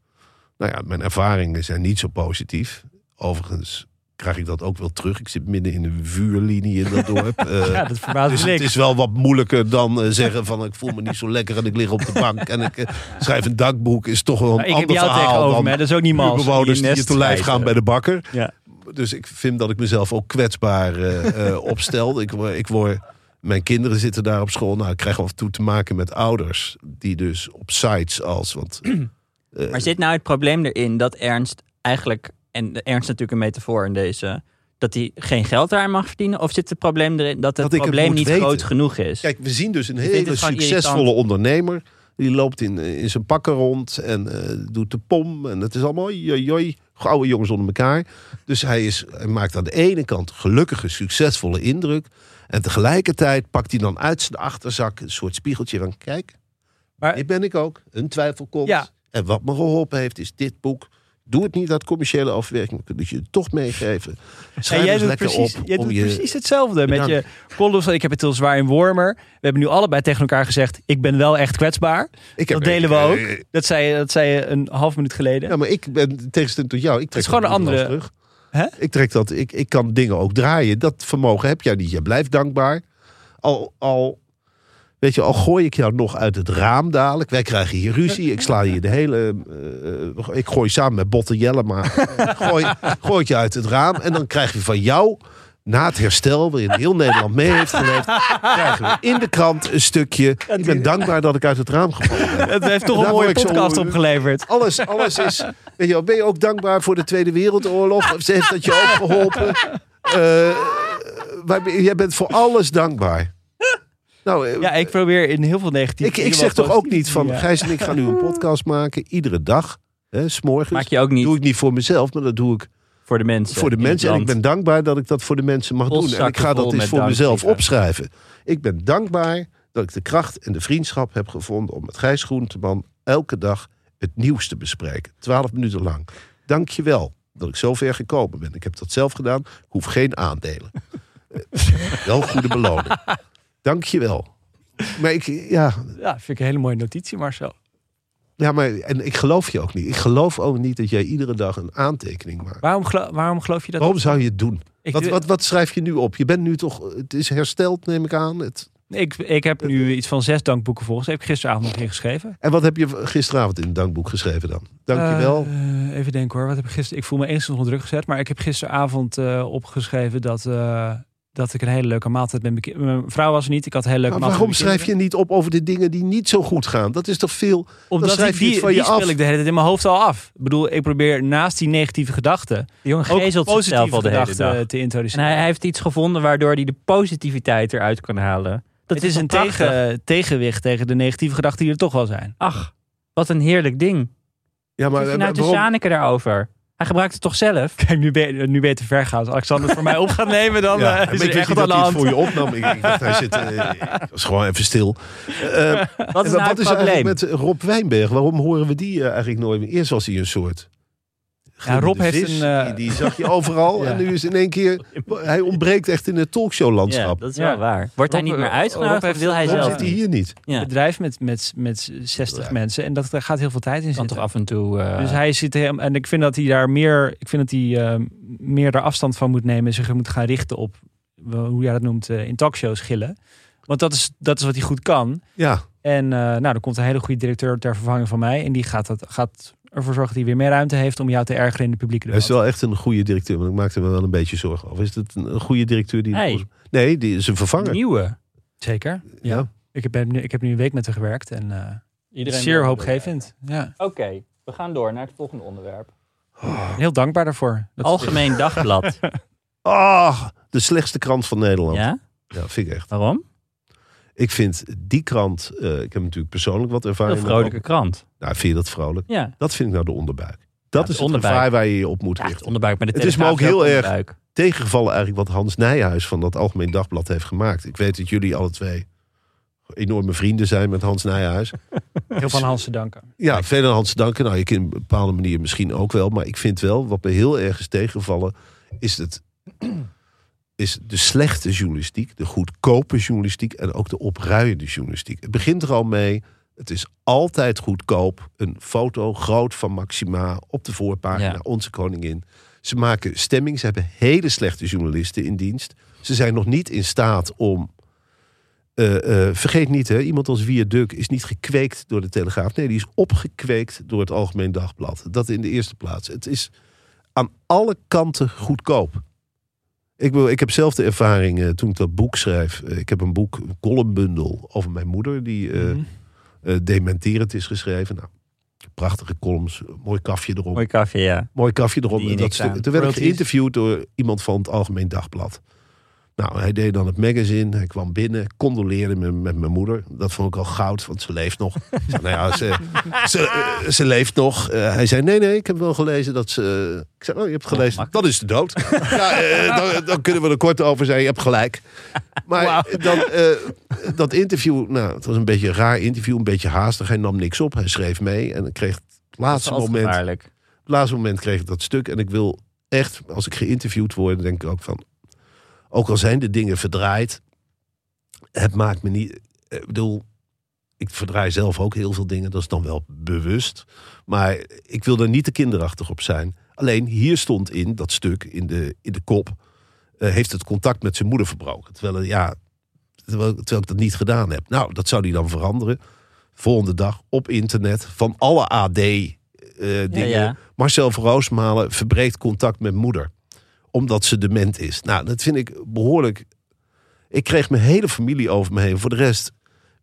Nou ja, mijn ervaringen zijn niet zo positief. Overigens krijg ik dat ook wel terug. Ik zit midden in een vuurlinie in dat dorp. Eh,
Ja, Ah, dat verbaast
dus
me
het
niks.
is wel wat moeilijker dan eh, zeggen van ik voel me niet zo lekker en ik lig op de bank en ik eh, schrijf een dagboek. Is toch wel een
Maar Nou, ik heb
ander
jou
verhaal
tegenover me, hè,
dan
dat is ook niet mals.
bewoners
je
die je
nest
te lijf
schrijven.
gaan bij de bakker.
Ja.
Dus ik vind dat ik mezelf ook kwetsbaar eh, eh, opstel. Ik, word- ik word, mijn kinderen zitten daar op school. Nou, ik krijg af en toe te maken met ouders die dus op sites als want. eh,
Maar zit nou het probleem erin dat Ernst eigenlijk, en de Ernst is natuurlijk een metafoor in deze, dat hij geen geld daar mag verdienen? Of zit het probleem erin dat het
Dat ik het
probleem
moet
niet
weten.
groot genoeg is?
Kijk, we zien dus een
vindt
hele
het gewoon
succesvolle
irritant.
ondernemer. Die loopt in, eh, in zijn pakken rond en eh, doet de pom. En het is allemaal joi, gouden jongens onder elkaar. Dus hij, is, hij maakt aan de ene kant gelukkige, succesvolle indruk. En tegelijkertijd pakt hij dan uit zijn achterzak een soort spiegeltje van... Kijk,
Maar-
dit ben ik ook. Een twijfelkont.
Eh. Ja.
En wat me geholpen heeft is dit boek. Doe het niet uit commerciële overweging. Dat kun je het toch meegeven. Schrijf
En jij
eens
doet,
dus lekker
precies,
op.
jij
om
doet
je-
precies hetzelfde met je
Bedankt.
columns. Ik heb het heel zwaar in Wormer. We hebben nu allebei tegen elkaar gezegd, ik ben wel echt kwetsbaar.
Ik
Dat delen we
eh,
ook. Dat zei, je- dat zei je een half minuut geleden.
Ja, maar ik ben tegenstelling tot jou. Ik trek
is gewoon
dat
een
niet
andere-
Terug.
Hè?
Ik trek dat. Ik, ik kan dingen ook draaien. Dat vermogen heb jij niet. Je blijft dankbaar. Al, al, weet je, al gooi ik jou nog uit het raam dadelijk. Wij krijgen hier ruzie. Ik sla je de hele. eh, eh, ik gooi samen met Botte Jellema. eh, gooi, gooi ik je uit het raam. En dan krijg je van jou. Na het herstel, waarin heel Nederland mee heeft geleefd, krijgen we in de krant een stukje. Ik ben dankbaar dat ik uit het raam gevallen ben.
Het heeft toch
Daar
een mooie
word ik zo-
podcast opgeleverd.
Alles, alles is. Weet je wel, ben je ook dankbaar voor de Tweede Wereldoorlog? Of ze heeft dat je ook geholpen? Eh, waar- jij bent voor alles dankbaar. Nou, eh,
Ja, ik probeer in heel veel negatieve...
ik, ik
dingen
zeg
wel
toch ook niet
positief
van.
te
eh,
zien, ja.
Gijs en ik gaan nu een podcast maken. Iedere dag. Hè, smorgens.
Maak je ook niet
doe ik niet voor mezelf, maar dat doe ik
voor de mensen.
voor de
in het
mensen. En ik
land.
ben dankbaar dat ik dat voor de mensen mag doen. En ik
Polszakken
ga
vol
dat eens
met
voor mezelf
dankbrieven.
opschrijven. Ik ben dankbaar dat ik de kracht en de vriendschap heb gevonden om met Gijs Groenteman elke dag het nieuws te bespreken. Twaalf minuten lang. Dank je wel dat ik zo ver gekomen ben. Ik heb dat zelf gedaan. Ik hoef geen aandelen. Eh, wel goede beloning. Dank je wel. Maar ik, ja,
Ja, vind ik een hele mooie notitie, Marcel.
ja, maar en ik geloof je ook niet. Ik geloof ook niet dat jij iedere dag een aantekening maakt.
Waarom, gelo- waarom geloof je dat?
Waarom zou je het doen?
ik,
Oh, Wat, wat, wat schrijf je nu op? Je bent nu toch, het is hersteld, neem ik aan. Het,
Ik, ik heb nu iets van zes dankboeken volgens. Heb ik gisteravond nog ingeschreven.
en wat heb je gisteravond in het dankboek geschreven dan? Dankjewel.
Eh, even denken hoor. Wat heb ik gisteren? Ik voel me eens onder druk gezet. Maar ik heb gisteravond eh, opgeschreven dat, eh, dat ik een hele leuke maaltijd ben. beke- Mijn vrouw was er niet. Ik had een hele leuke
maar waarom
maaltijd.
schrijf je niet op over de dingen die niet zo goed gaan? Dat is toch veel.
Omdat
dan schrijf
ik
je
die,
iets van
die
je af?
speel ik de hele tijd in mijn hoofd al af. Ik bedoel, ik probeer naast die negatieve gedachten
De jongen
ook
gezelt zichzelf
positieve
al de hele
gedachten
dag.
te
En
introduceren.
hij, hij heeft iets gevonden waardoor hij de positiviteit eruit kan halen. Dat
het is,
toch
een
prachtig?
tegen, tegenwicht tegen de negatieve gedachten die er toch wel zijn.
Ach, wat een heerlijk ding.
Ja,
Maar,
maar, eh,
nou te
waarom-
zaniken daarover? Hij gebruikt het toch zelf?
Kijk, nu ben, je- nu ben je te ver gaan. Als Alexander het voor mij op gaat nemen, dan
Ja,
eh,
maar
is
ik
er
wist
echt
niet
wat aan
dat
de
hij het
hand.
voor je opnam. Ik, ik dacht, hij zit. eh, ik was gewoon even stil. Eh,
Wat is
en
nou
wat
het
is
probleem?
eigenlijk met Rob Wijnberg? Waarom horen we die eh, eigenlijk nooit meer? Eerst was hij een soort.
Ja, Rob
de
heeft
vis,
een, eh,
Dus die, die zag je overal.
Ja.
En nu is in één keer. Hij ontbreekt echt in het
Ja,
talkshow-landschap.
dat is
Ja.
wel waar. Wordt hij
Rob-
niet meer
Rob
uitgenodigd of
heeft-
wil hij
Rob
Waarom
zelf
zit hij
niet?
hier niet?
Ja.
bedrijf met, met, met 60
Ja.
mensen. En dat, daar gaat heel veel tijd in
kan
zitten.
toch af en toe... eh,
Dus hij zit heel, en ik vind dat hij daar meer, ik vind dat hij eh, meer daar afstand van moet nemen. En zich er moet gaan richten op, eh, hoe jij dat noemt, eh, in talkshows gillen. Want dat is, dat is wat hij goed kan.
Ja.
En eh, nou, er komt een hele goede directeur ter vervanging van mij. En die gaat, dat, gaat ervoor zorgen dat hij weer meer ruimte heeft om jou te ergeren in de publieke
Hij
debat.
is wel echt een goede directeur, maar ik maakte me wel een beetje zorgen over. Is het een, een goede directeur die.
Hij.
Nee, die is een vervanger.
Nieuwe.
Zeker.
Ja.
Ik heb, ben nu, ik heb nu een week met hem gewerkt en eh,
Iedereen
zeer
wil-
hoopgevend. Ja.
Oké, we gaan door naar het volgende onderwerp.
En Heel dankbaar daarvoor. Dat-
Algemeen Dagblad.
Ah, de slechtste krant van Nederland. Ja?
ja?
vind ik echt.
Waarom?
Ik vind die krant. eh, ik heb natuurlijk persoonlijk wat ervaring.
Een vrolijke krant.
met- Nou, vind je dat vrolijk?
Ja.
Dat vind ik nou de onderbuik.
Ja,
Dat
de
is het
onderbuik.
gevaar waar je je op moet
Ja, het
richten.
onderbuik. Maar de
Het is me
Telegraaf
ook heel
een
erg.
onderbuik.
Tegengevallen eigenlijk wat Hans Nijhuis van dat Algemeen Dagblad heeft gemaakt. Ik weet dat jullie alle twee enorme vrienden zijn met Hans Nijhuis.
Heel van Hans te danken.
Ja, verder Hans danken. Nou, je kunt op een bepaalde manier misschien ook wel. Maar ik vind wel, wat me heel erg is tegengevallen, is, het, is de slechte journalistiek, de goedkope journalistiek en ook de opruiende journalistiek. Het begint er al mee. Het is altijd goedkoop. Een foto groot van Maxima op de voorpagina,
Ja.
onze koningin. Ze maken stemming. Ze hebben hele slechte journalisten in dienst. Ze zijn nog niet in staat om eh, eh, vergeet niet, hè, iemand als Wierduk is niet gekweekt door de Telegraaf. Nee, die is opgekweekt door het Algemeen Dagblad. Dat in de eerste plaats. Het is aan alle kanten goedkoop. Ik, wil, ik heb zelf de ervaring eh, toen ik dat boek schrijf. eh, ik heb een boek, een columnbundel over mijn moeder, die eh
Mhm.
eh, dementerend is geschreven. Nou, prachtige columns, mooi kafje erop
Mooi koffie, ja.
mooi kafje erop.
Die
En dat
niks
stuk.
aan.
Toen werd ik
Royalties.
geïnterviewd door iemand van het Algemeen Dagblad. Nou, hij deed dan het magazine. Hij kwam binnen, condoleerde me met mijn moeder. Dat vond ik al goud, want ze leeft nog. Ik zei, nou ja, ze, ze, eh, ze leeft nog. Eh, hij zei, nee, nee, ik heb wel gelezen dat ze... Ik zei, oh, je hebt gelezen.
makkelijk.
dat is de dood. ja, eh, dan, dan kunnen we er kort over zijn. Je hebt gelijk. Maar dan, eh, dat interview, nou, het was een beetje een raar interview. Een beetje haastig. Hij nam niks op. Hij schreef mee. En ik kreeg het
Dat is
laatste
altijd
moment
gevaarlijk.
op het laatste moment kreeg ik dat stuk. En ik wil echt, als ik geïnterviewd word, dan denk ik ook van... Ook al zijn de dingen verdraaid, het maakt me niet... eh, Ik bedoel, ik verdraai zelf ook heel veel dingen. Dat is dan wel bewust. Maar ik wil er niet te kinderachtig op zijn. Alleen hier stond in, dat stuk, in de, in de kop... eh, heeft het contact met zijn moeder verbroken. Terwijl, eh, ja, terwijl, terwijl ik dat niet gedaan heb. Nou, dat zou die dan veranderen. Volgende dag op internet van alle eh, AD-dingen...
Ja, ja.
Marcel van Roosmalen verbreekt contact met moeder. Omdat ze dement is. Nou, dat vind ik behoorlijk. Ik kreeg mijn hele familie over me heen. Voor de rest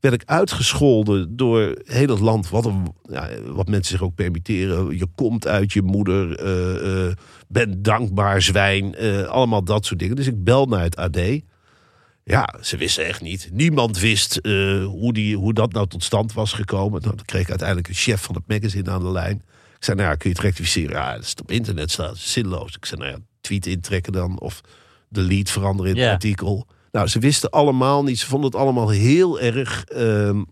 werd ik uitgescholden door heel het land. Wat, een, ja, wat mensen zich ook permitteren. Je komt uit je moeder. eh, eh, ben dankbaar, zwijn. eh, allemaal dat soort dingen. Dus ik bel naar het AD. Ja, ze wisten echt niet. Niemand wist eh, hoe, die, hoe dat nou tot stand was gekomen. Nou, dan kreeg ik uiteindelijk een chef van het magazine aan de lijn. Ik zei, nou ja, kun je het rectificeren? Ja, dat is op internet staat, dat is zinloos. Ik zei, nou ja, tweet intrekken dan. Of de lead veranderen in het
Ja.
artikel. Nou, ze wisten allemaal niet. Ze vonden het allemaal heel erg... ehm,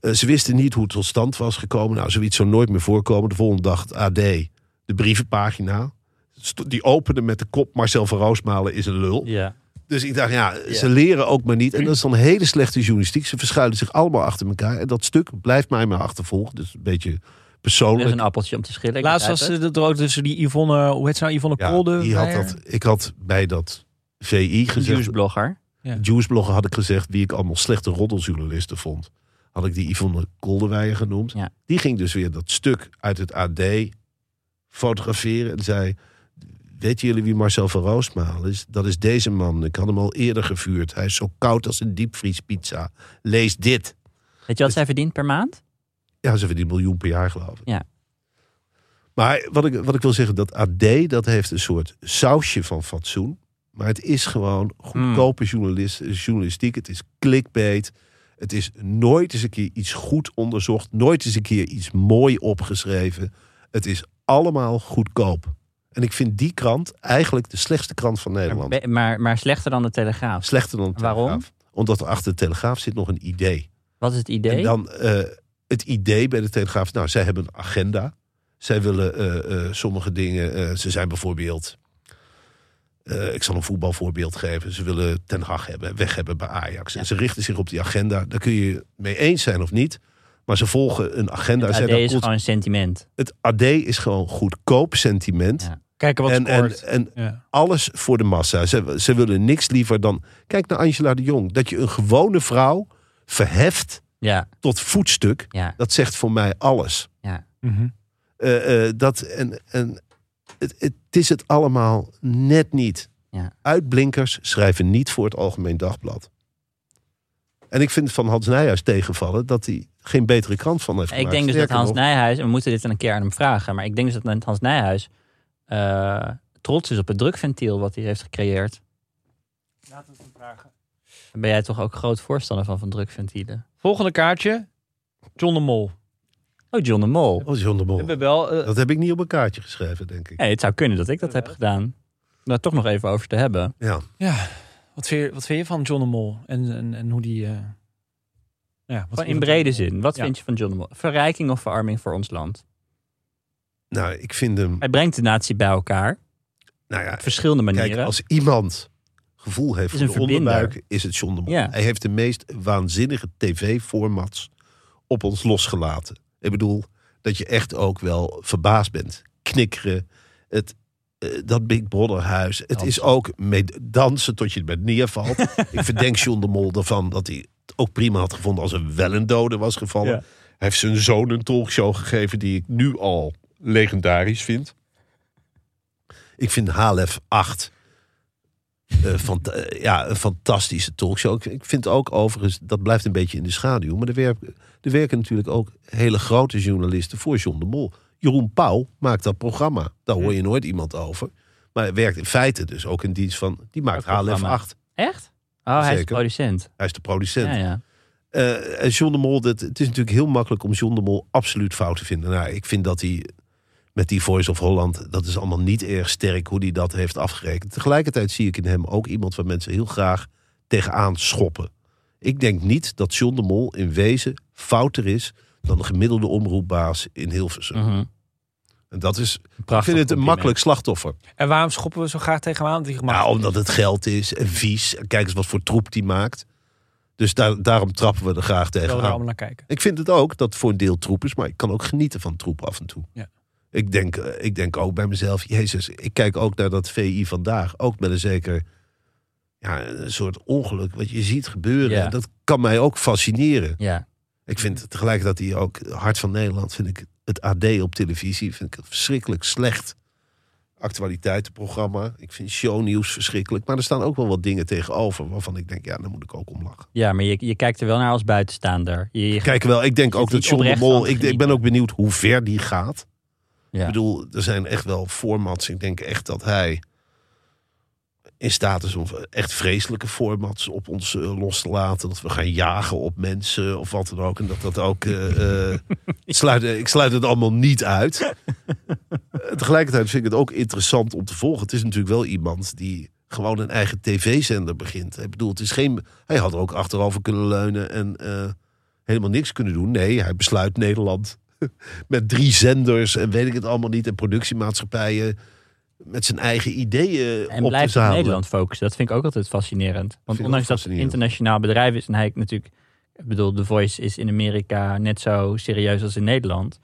eh, ze wisten niet hoe het tot stand was gekomen. Nou, zoiets zou nooit meer voorkomen. De volgende dag het AD, de brievenpagina. Sto- Die opende met de kop Marcel van Roosmalen is een lul.
Ja.
Dus ik dacht, ja, ze leren ook maar niet. En dat is dan hele slechte journalistiek. Ze verschuilen zich allemaal achter elkaar. En dat stuk blijft mij maar achtervolgen. Dus een beetje
Er is
persoonlijk.
een appeltje om te schillen. ik
Laatst was
begrijp het.
het er ook tussen die Yvonne, hoe heet ze nou, Yvonne
Ja,
Kolde?
die had
Meijer?
dat, ik had bij dat VI
Een
gezegd.
nieuwsblogger.
Juiceblogger had ik gezegd wie ik allemaal slechte roddeljournalisten vond. Had ik die Yvonne Kolderweijer genoemd.
Ja.
Die ging dus weer dat stuk uit het AD fotograferen en zei... Weten jullie wie Marcel van Roosmalen is? Dat is deze man. Ik had hem al eerder gevuurd. Hij is zo koud als een diepvriespizza. Lees dit.
Weet je wat zij verdient per maand?
Ja, ze verdienen miljoen per jaar, geloof ik.
Ja.
Maar wat ik, wat ik wil zeggen, dat AD, dat heeft een soort sausje van fatsoen. Maar het is gewoon goedkope
Hmm.
journalis- journalistiek. Het is clickbait. Het is nooit eens een keer iets goed onderzocht. Nooit eens een keer iets mooi opgeschreven. Het is allemaal goedkoop. En ik vind die krant eigenlijk de slechtste krant van
Maar,
Nederland.
be- maar, maar slechter dan de Telegraaf.
Slechter dan de Telegraaf.
Waarom?
Omdat er achter de Telegraaf zit nog een idee.
Wat is het
En
idee?
dan eh, het idee bij de Telegraaf. Nou, zij hebben een agenda. Zij willen eh, eh, sommige dingen. eh, ze zijn bijvoorbeeld. eh, ik zal een voetbalvoorbeeld geven. Ze willen Ten Hag hebben, weg hebben bij Ajax. En ze richten zich op die agenda. Daar kun je mee eens zijn of niet. Maar ze volgen een agenda.
het
Zij
AD
hebben
is
cons-
gewoon een sentiment.
Het AD is gewoon goedkoop sentiment.
Ja.
Kijken wat
En, en,
scoort.
en
Ja.
alles voor de massa. Ze, ze willen niks liever dan. Kijk naar Angela de Jong. Dat je een gewone vrouw verheft
Ja,
tot voetstuk.
ja,
Dat zegt voor mij alles.
ja.
Mhm.
Eh, eh, dat en, en het, het is het allemaal net niet.
Ja.
Uitblinkers schrijven niet voor het Algemeen Dagblad. En ik vind van Hans Nijhuis tegenvallen dat hij geen betere krant van heeft
Ik
gemaakt.
denk dus dat
Sterker
Hans
nog,
Nijhuis, en we moeten dit een keer aan hem vragen, maar ik denk dus dat Hans Nijhuis eh, trots is op het drukventiel wat hij heeft gecreëerd. Daar ben jij toch ook groot voorstander van, van drukventielen?
Volgende kaartje, John de Mol.
Oh, John de Mol.
Oh, John de Mol.
We hebben wel, eh,
Dat heb ik niet op een kaartje geschreven, denk ik.
Hey, het zou kunnen dat ik dat heb gedaan. Om daar toch nog even over te hebben.
Ja.
ja, wat vind, je, wat vind je van John de Mol en, en, en hoe die... eh, Ja, wat
Gewoon in brede zin. Wat
Ja.
vind je van John de Mol? Verrijking of verarming voor ons land?
Nou, ik vind hem...
Hij brengt de natie bij elkaar.
Nou ja,
Op verschillende manieren.
Kijk, als iemand gevoel heeft
Is
voor
een
de
verbinder.
onderbuik, is het John de Mol.
Ja.
Hij heeft de meest waanzinnige tv-formats op ons losgelaten. Ik bedoel, dat je echt ook wel verbaasd bent. Knikkeren, het, eh, dat Big Brother-huis. Het is ook mee dansen tot je het bent neervalt. Ik verdenk John de Mol ervan dat hij het ook prima had gevonden als er wel een dode was gevallen.
Ja.
Hij heeft zijn zoon een talkshow gegeven die ik nu al legendarisch vind. Ik vind HLF 8 eh, fant- eh, ja, een fantastische talkshow. Ik, ik vind ook overigens, dat blijft een beetje in de schaduw. Maar er, werk- er werken natuurlijk ook hele grote journalisten voor John de Mol. Jeroen Pauw maakt dat programma. Daar hoor je nooit iemand over. Maar hij werkt in feite dus ook in dienst van... Die maakt
Dat
HLF
programma.
8.
Echt? Oh, hij is
Zeker.
producent.
Hij is de producent.
Ja, ja.
Eh, en John de Mol, dat, het is natuurlijk heel makkelijk om John de Mol absoluut fout te vinden. Nou, ik vind dat hij met die Voice of Holland, dat is allemaal niet erg sterk hoe hij dat heeft afgerekend. Tegelijkertijd zie ik in hem ook iemand waar mensen heel graag tegenaan schoppen. Ik denk niet dat John de Mol in wezen fouter is dan de gemiddelde omroepbaas in Hilversum.
Mhm.
En dat is, ik
Prachtig
vind het een
compliment.
makkelijk slachtoffer.
En waarom schoppen we zo graag tegen hem aan? Die gemaakt
Nou, omdat het geld is en vies. En kijk eens wat voor troep die maakt. Dus daar, daarom trappen we er
Terwijl we
graag
daar
tegenaan.
allemaal naar kijken.
Ik vind het ook dat het voor een deel troep is, maar ik kan ook genieten van troep af en toe.
Ja.
Ik, denk, eh, ik denk ook bij mezelf, Jezus, ik kijk ook naar dat VI vandaag. Ook met een zeker ja, een soort ongeluk wat je ziet gebeuren.
Ja.
Dat kan mij ook fascineren.
Ja.
Ik vind tegelijkertijd die ook Hart van Nederland, vind ik het AD op televisie, vind ik een verschrikkelijk slecht. Actualiteitenprogramma. Ik vind shownieuws verschrikkelijk. Maar er staan ook wel wat dingen tegenover waarvan ik denk, ja, daar moet ik ook om lachen.
ja, maar je, je kijkt er wel naar als buitenstaander. Je, je-
Kijk wel, ik denk
Zit
ook dat
hij
John de
oprecht aan
Mol...
te
Ik, ik ben
genieten?
ook benieuwd hoe ver die gaat.
ja.
Ik bedoel, er zijn echt wel formats. Ik denk echt dat hij in staat is om echt vreselijke formats op ons eh, los te laten. Dat we gaan jagen op mensen of wat dan ook. En dat dat ook... eh, eh, sluit, ik sluit het allemaal niet uit. Eh, Tegelijkertijd vind ik het ook interessant om te volgen. Het is natuurlijk wel iemand die gewoon een eigen tv-zender begint. Ik bedoel, het is geen... Hij had er ook achterover kunnen leunen en... eh, helemaal niks kunnen doen. Nee, hij besluit Nederland met drie zenders en weet ik het allemaal niet. En productiemaatschappijen met zijn eigen ideeën
En
op te
blijft op
zadelen.
Nederland focussen. Dat vind ik ook altijd fascinerend. Want
vind ik
ondanks
ook
dat het een
fascinerend.
internationaal bedrijf is... en hij natuurlijk... Ik bedoel, The Voice is in Amerika net zo serieus als in Nederland.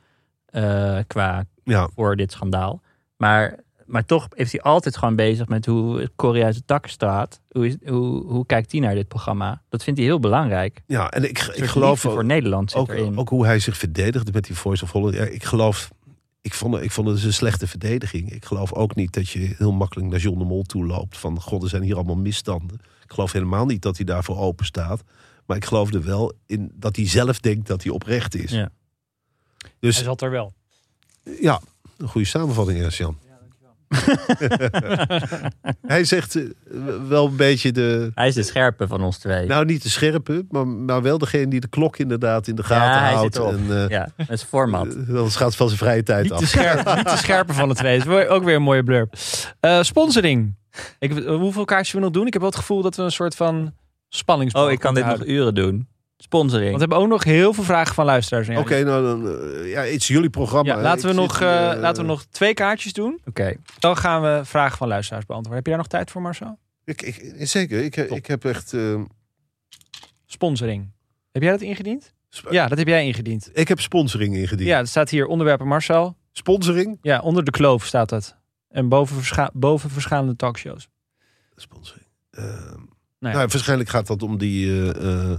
eh, qua
Ja,
voor dit schandaal. Maar, maar toch is hij altijd gewoon bezig met hoe Korea uit het dak staat. Hoe, is, hoe, hoe kijkt hij naar dit programma? Dat vindt hij heel belangrijk.
ja, en ik,
Een
ik
soort
geloof
liefde
ook,
voor Nederland zit
ook,
erin.
ook hoe hij zich verdedigde met die Voice of Holland. Ja, ik geloof, ik vond, het- ik vond het dus een slechte verdediging. Ik geloof ook niet dat je heel makkelijk naar John de Mol toe loopt. Van, god, er zijn hier allemaal misstanden. Ik geloof helemaal niet dat hij daarvoor open staat. Maar ik geloof er wel in dat hij zelf denkt dat hij oprecht is.
Ja.
Hij
Dus
zat er wel.
Ja, een goede samenvatting, Ernst Jan. Hij zegt eh, w- wel een beetje de.
Hij is de scherpe van ons twee.
Nou, niet de scherpe, maar, maar wel degene die de klok inderdaad in de gaten
ja, hij
houdt.
zit erop.
en, eh,
ja, dat is format.
eh, anders gaat het van zijn vrije tijd
Niet
af.
te, scherp, niet te scherper van de twee. Is wel- ook weer een mooie blurb. Eh, sponsoring. Ik, eh, hoeveel kaartjes we nog doen? Ik heb wel het gevoel dat we een soort van spanning
Oh, ik kan dit nog
houden.
uren doen. Sponsoring.
Want we hebben ook nog heel veel vragen van luisteraars. aan
Oké,
jou.
nou dan. eh, ja, het is jullie programma.
Ja, laten, we
Ik
nog,
zit, eh,
eh, laten we nog twee kaartjes doen.
Oké.
Dan gaan we vragen van luisteraars beantwoorden. Heb je daar nog tijd voor, Marcel?
Ik, ik, zeker, ik, ik heb echt. eh,
Sponsoring. Heb jij dat ingediend?
Eh.
sp-
Ja, dat heb jij ingediend.
Ik heb sponsoring ingediend.
Ja, dat staat hier onderwerpen Marcel.
Sponsoring?
Ja, onder de kloof staat dat. En boven, verscha- boven verschillende talkshows.
Sponsoring. Ehm,
Nou ja.
Nou, waarschijnlijk gaat dat om die. eh, eh,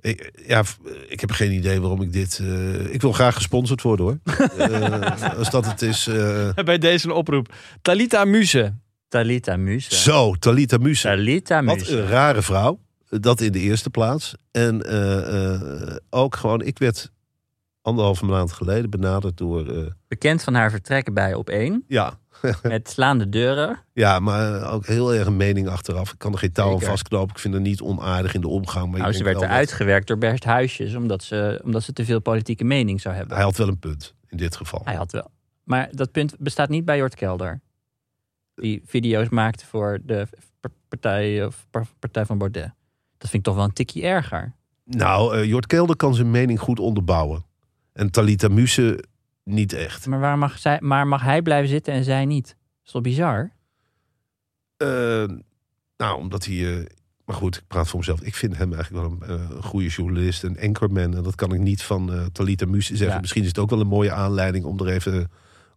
ik, ja, f- ik heb geen idee waarom ik dit. eh, ik wil graag gesponsord worden hoor. Eh, als dat het is. eh,
Bij deze een oproep. Talita Muze.
Talita Muze.
zo, Talita Musa.
Talita
Wat
Muze.
een rare vrouw. Dat in de eerste plaats. En eh, eh, ook gewoon, ik werd anderhalve maand geleden benaderd door. eh,
Bekend van haar vertrekken bij Op1.
ja.
Met slaande deuren.
ja, maar ook heel erg een mening achteraf. Ik kan er geen touw aan
Zeker.
vastknopen. Ik vind haar niet onaardig in de omgang. Maar
Nou,
ik
ze
denk
werd
wel
eruit
dat-
gewerkt door Bert Huisjes. Omdat ze, omdat ze te veel politieke mening zou hebben.
Hij had wel een punt in dit geval.
Hij had wel. Maar dat punt bestaat niet bij Jort Kelder. Die video's maakte voor de p- partij, of par- partij van Baudet. Dat vind ik toch wel een tikje erger.
Nou, eh, Jort Kelder kan zijn mening goed onderbouwen. En Talita Muse niet echt.
Maar, waar mag zij, maar mag hij blijven zitten en zij niet? Is toch bizar?
Eh, nou, omdat hij... eh, maar goed, ik praat voor mezelf. Ik vind hem eigenlijk wel een eh, goede journalist, een anchorman. En dat kan ik niet van eh Talita Muse zeggen.
Ja.
Misschien is het ook wel een mooie aanleiding om er even,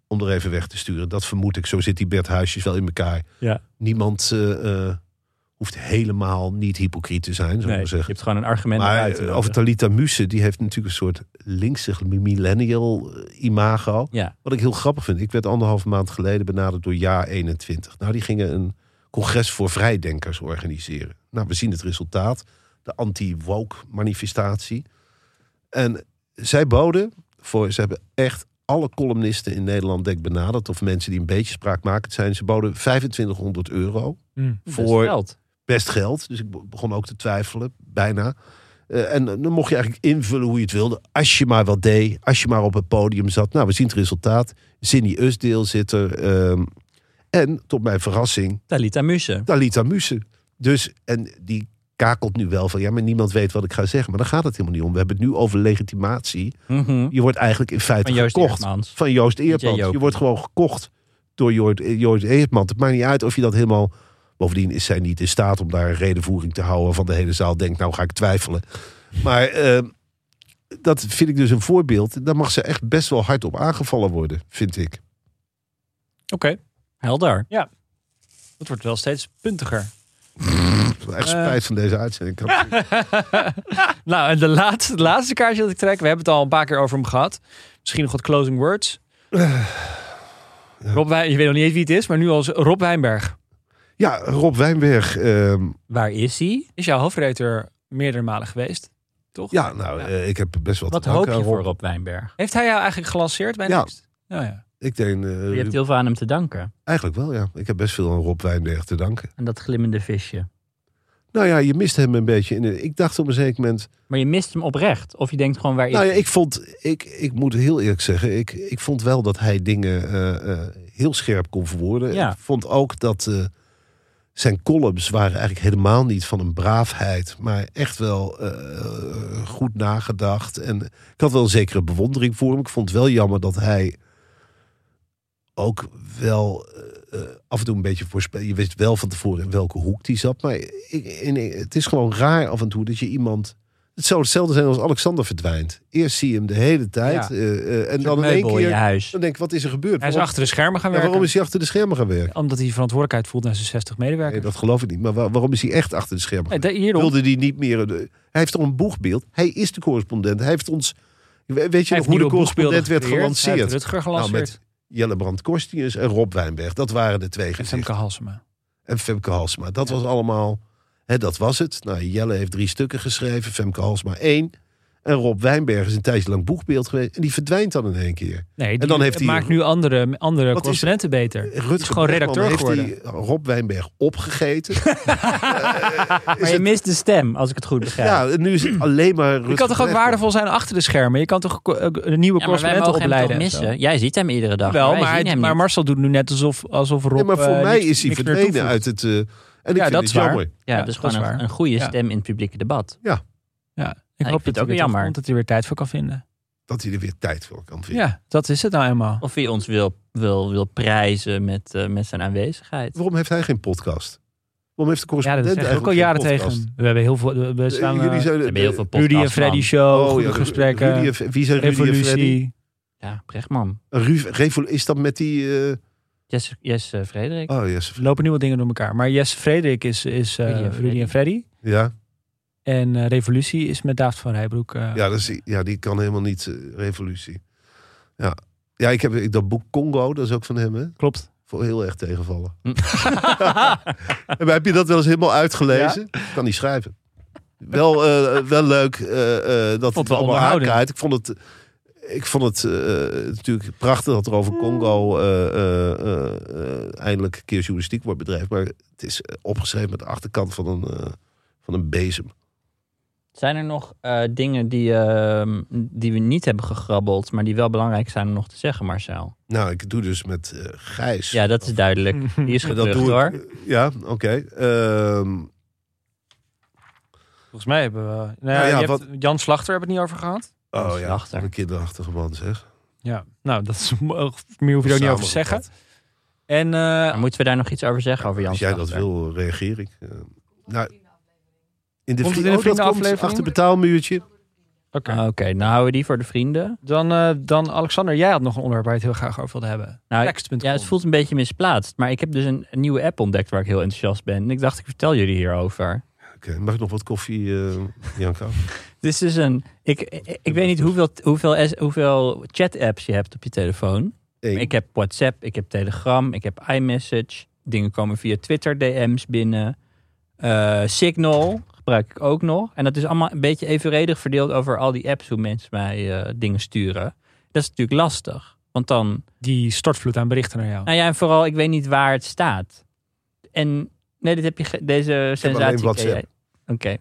om er even weg te sturen. Dat vermoed ik. Zo zit die Bert Huisjes wel in elkaar.
Ja.
Niemand eh, eh, hoeft helemaal niet hypocriet te zijn, zou ik
Nee,
maar
je
zeggen.
hebt gewoon een argument om
Maar
uit te
eh,
nodigen.
over Talita Muse, die heeft natuurlijk een soort linksig millennial eh, imago.
Ja.
Wat ik heel grappig vind. Ik werd anderhalve maand geleden benaderd door Ja 21. Nou, die gingen een congres voor vrijdenkers organiseren. Nou, we zien het resultaat. De anti-woke manifestatie. En zij boden voor, ze hebben echt alle columnisten in Nederland denk ik benaderd. Of mensen die een beetje spraakmakend zijn. Ze boden 2500 euro
Best
voor
geld.
best geld. Dus ik be- begon ook te twijfelen, bijna. Eh, en dan mocht je eigenlijk invullen hoe je het wilde. Als je maar wat deed, als je maar op het podium zat. Nou, we zien het resultaat. Cindy Usdeel zit er. ehm, en, tot mijn verrassing,
Talita Muse.
Talita Muse. Dus, en die kakelt nu wel van... ja, maar niemand weet wat ik ga zeggen. Maar daar gaat het helemaal niet om. We hebben het nu over legitimatie.
Mhm.
Je wordt eigenlijk in feite
Van Joost
gekocht
Eerdmans.
van Joost Eerdmans.
Joop.
Je wordt gewoon gekocht door Joost, Joost Eerdmans. Het maakt niet uit of je dat helemaal... Bovendien is zij niet in staat om daar een redenvoering te houden... van de hele zaal denkt, nou ga ik twijfelen. Maar eh, dat vind ik dus een voorbeeld. Daar mag ze echt best wel hard op aangevallen worden, vind ik.
Helder.
Dat wordt wel steeds puntiger.
Echt
Eh.
spijt van deze uitzending.
nou, en de laatste, het laatste kaartje dat ik trek, we hebben het al een paar keer over hem gehad. Misschien nog wat closing words.
Eh.
Rob Wij- je weet nog niet eens wie het is, maar nu als Rob Wijnberg
Ja, Rob Wijnberg. ehm,
Waar is hij?
is jouw hoofdredacteur meerdere malen geweest, toch?
ja, nou, eh, ik heb best wel
Wat
te danken
hoop je
aan
voor Rob Wijnberg?
Heeft hij jou eigenlijk gelanceerd bij
Ja.
Next? Nou ja.
Ik denk, eh,
Je hebt heel veel aan hem te danken.
eigenlijk wel, ja. Ik heb best veel aan Rob Wijnberg te danken.
En dat glimmende visje.
Nou ja, je mist hem een beetje. in de- Ik dacht op een zeker moment...
Maar je mist hem oprecht. Of je denkt gewoon waar is
Nou ja,
hij?
ik vond, ik, ik moet heel eerlijk zeggen, ik, ik vond wel dat hij dingen eh, eh, heel scherp kon verwoorden.
Ja.
Ik vond ook dat eh, zijn columns waren eigenlijk helemaal niet van een braafheid, maar echt wel eh, goed nagedacht. En ik had wel een zekere bewondering voor hem. Ik vond het wel jammer dat hij ook wel eh, eh, af en toe een beetje voorspel. Je wist wel van tevoren in welke hoek die zat. Maar ik, in- het is gewoon raar af en toe dat je iemand. Het zou hetzelfde zijn als Alexander verdwijnt. Eerst zie je hem de hele tijd.
Ja.
eh, eh, en
Een soort
dan in één
meubel in je
keer.
huis.
Dan denk ik, wat is er gebeurd?
Hij is
Waarom-
achter de schermen gaan
ja,
werken.
waarom is hij achter de schermen gaan werken?
Omdat hij verantwoordelijkheid voelt naar zijn 60
Nee,
medewerkers.
dat geloof ik niet. Maar waar- waarom is hij echt achter de schermen?
Nee,
gaan
da- hierop.
werken? Wilde hij niet meer. de- hij heeft toch een boegbeeld? Hij is de correspondent. Hij heeft ons. we- Weet je
Hij
nog
heeft
hoe
nieuwe
de
boekbeelden
correspondent werd
gecreëerd. Hij heeft
gelanceerd?
Rutger
Nou,
gelanceerd.
met Jelle Brand Korstius en Rob Wijnberg. Dat waren de twee
en
gezichten.
Femke Halsema.
en Femke Halsma. Dat was allemaal, hè, dat was het. Nou, Jelle heeft drie stukken geschreven, Femke Halsma één. En Rob Wijnberg is een tijdje lang boegbeeld geweest. En die verdwijnt dan in één keer.
Nee, die
En dan heeft hij-
maakt nu andere, andere
is-
correspondenten beter. Die
Rutger
is gewoon
Bregman
redacteur
heeft
geworden.
die Rob Wijnberg opgegeten.
Maar je mist de stem, als ik het goed begrijp.
ja, en nu is het alleen maar Rutger
Je kan toch ook
Bregman.
waardevol zijn achter de schermen? Je kan toch ook, eh, een nieuwe
Ja, maar wij
correspondenten
mogen hem toch
opleiden? en zo?
missen? Jij ziet hem iedere dag.
Wel,
wij
maar,
zien
hij-
hem
maar
niet.
Marcel doet nu net alsof, alsof Rob...
Nee, maar voor
eh,
mij
niks-
is hij
niks meer
verdwenen
toevoegt.
uit het... eh, en ik
Ja,
vind
dat
het
is waar.
jammer.
ja,
Ja,
dat is
dat
gewoon
is
een,
waar.
een goede
Ja.
stem in het publieke debat.
Ja,
ik
ik
vind
hoop
het
dat
ook
hij weer
jammer.
terugkomt, dat hij weer tijd voor kan vinden.
Dat hij er weer tijd voor kan vinden.
Ja, dat is het nou eenmaal.
Of hij ons wil, wil, wil prijzen met, eh, met zijn aanwezigheid.
Waarom heeft hij geen podcast? Waarom heeft de
Ja, dat
correspondent
zeg ik ook al jaren
eigenlijk geen
tegen
podcast?
hem. We hebben heel veel... we- We staan,
Eh,
eh,
Jullie zijn,
We hebben heel veel podcasts,
Rudy en Freddy
man.
show,
Oh,
goede
ja, Ru-
gesprekken,
Rudy en F- wie zijn Rudy en Freddy? Eh,
revolutie.
Ja, Brechtman.
Ru- Revo- is dat met die... eh,
Jesse, Jesse Frederik.
Oh, yes.
Er lopen nieuwe dingen door elkaar. Maar Jesse Frederik is, is eh,
Rudy en Freddy.
Rudy en Freddy.
Ja,
En eh, Revolutie is met David van Rijbroek. eh,
ja, dat is, ja die kan helemaal niet eh, revolutie. Ja, ja ik heb ik- dat boek Congo, dat is ook van hem, hè?
Klopt.
Voor heel erg tegenvallen. en heb je dat wel eens helemaal uitgelezen? Kan niet schrijven. Wel, eh, wel leuk eh, eh, dat
wel
het allemaal
onderhoudend.
aankaart. Ik vond het, ik vond het eh, natuurlijk prachtig dat er over Congo eh, eh, eh, eh, eindelijk een keer journalistiek wordt bedreven. Maar het is eh, opgeschreven met de achterkant van een, eh, van een bezem.
Zijn er nog eh, dingen die, ehm, die we niet hebben gegrabbeld, maar die wel belangrijk zijn om nog te zeggen, Marcel?
Nou, ik doe dus met eh, Gijs.
Ja, dat is duidelijk.
Mhm.
Die is
dat
gedrukt
doe ik.
hoor.
Ja, oké. Ehm,
Volgens mij hebben we... Nou ja,
Nou ja,
je
wat-
hebt- Jan Slachter hebben we het niet over gehad.
Oh ja, wat
Slachter.
een kinderachtige man zeg.
Ja, nou, dat is, meer hoef je er ook niet over te zeggen. En eh,
Maar moeten we daar nog iets over zeggen over Jan
Als jij dat
Slachter?
wil, reageer ik. Eh, nou, in de
Komt het in de
vrienden- oh, dat komt
vriendenaflevering?
achter betaalmuurtje.
oké.
Ah, Oké, nou houden we die voor de vrienden.
dan, eh, dan Alexander, jij had nog een onderwerp waar je het heel graag over wilde hebben.
Nou,
Text.com.
Ja, het voelt een beetje misplaatst. Maar ik heb dus een, een nieuwe app ontdekt waar ik heel enthousiast ben. En ik dacht, ik vertel jullie hierover.
Oké, mag ik nog wat koffie, eh, Janka?
Dit is een... Ik, ik, ik weet niet hoeveel, hoeveel, S- hoeveel chat-apps je hebt op je telefoon.
Eén.
Ik heb WhatsApp, ik heb Telegram, ik heb iMessage. Dingen komen via Twitter DM's binnen. Eh, Signal gebruik ik ook nog. En dat is allemaal een beetje evenredig verdeeld over al die apps hoe mensen mij eh, dingen sturen. Dat is natuurlijk lastig. Want dan
Die stortvloed aan berichten naar jou.
Nou ja, en vooral, ik weet niet waar het staat. En nee, dit heb je ge- deze sensatie.
alleen
ken
WhatsApp.
jij. Oké.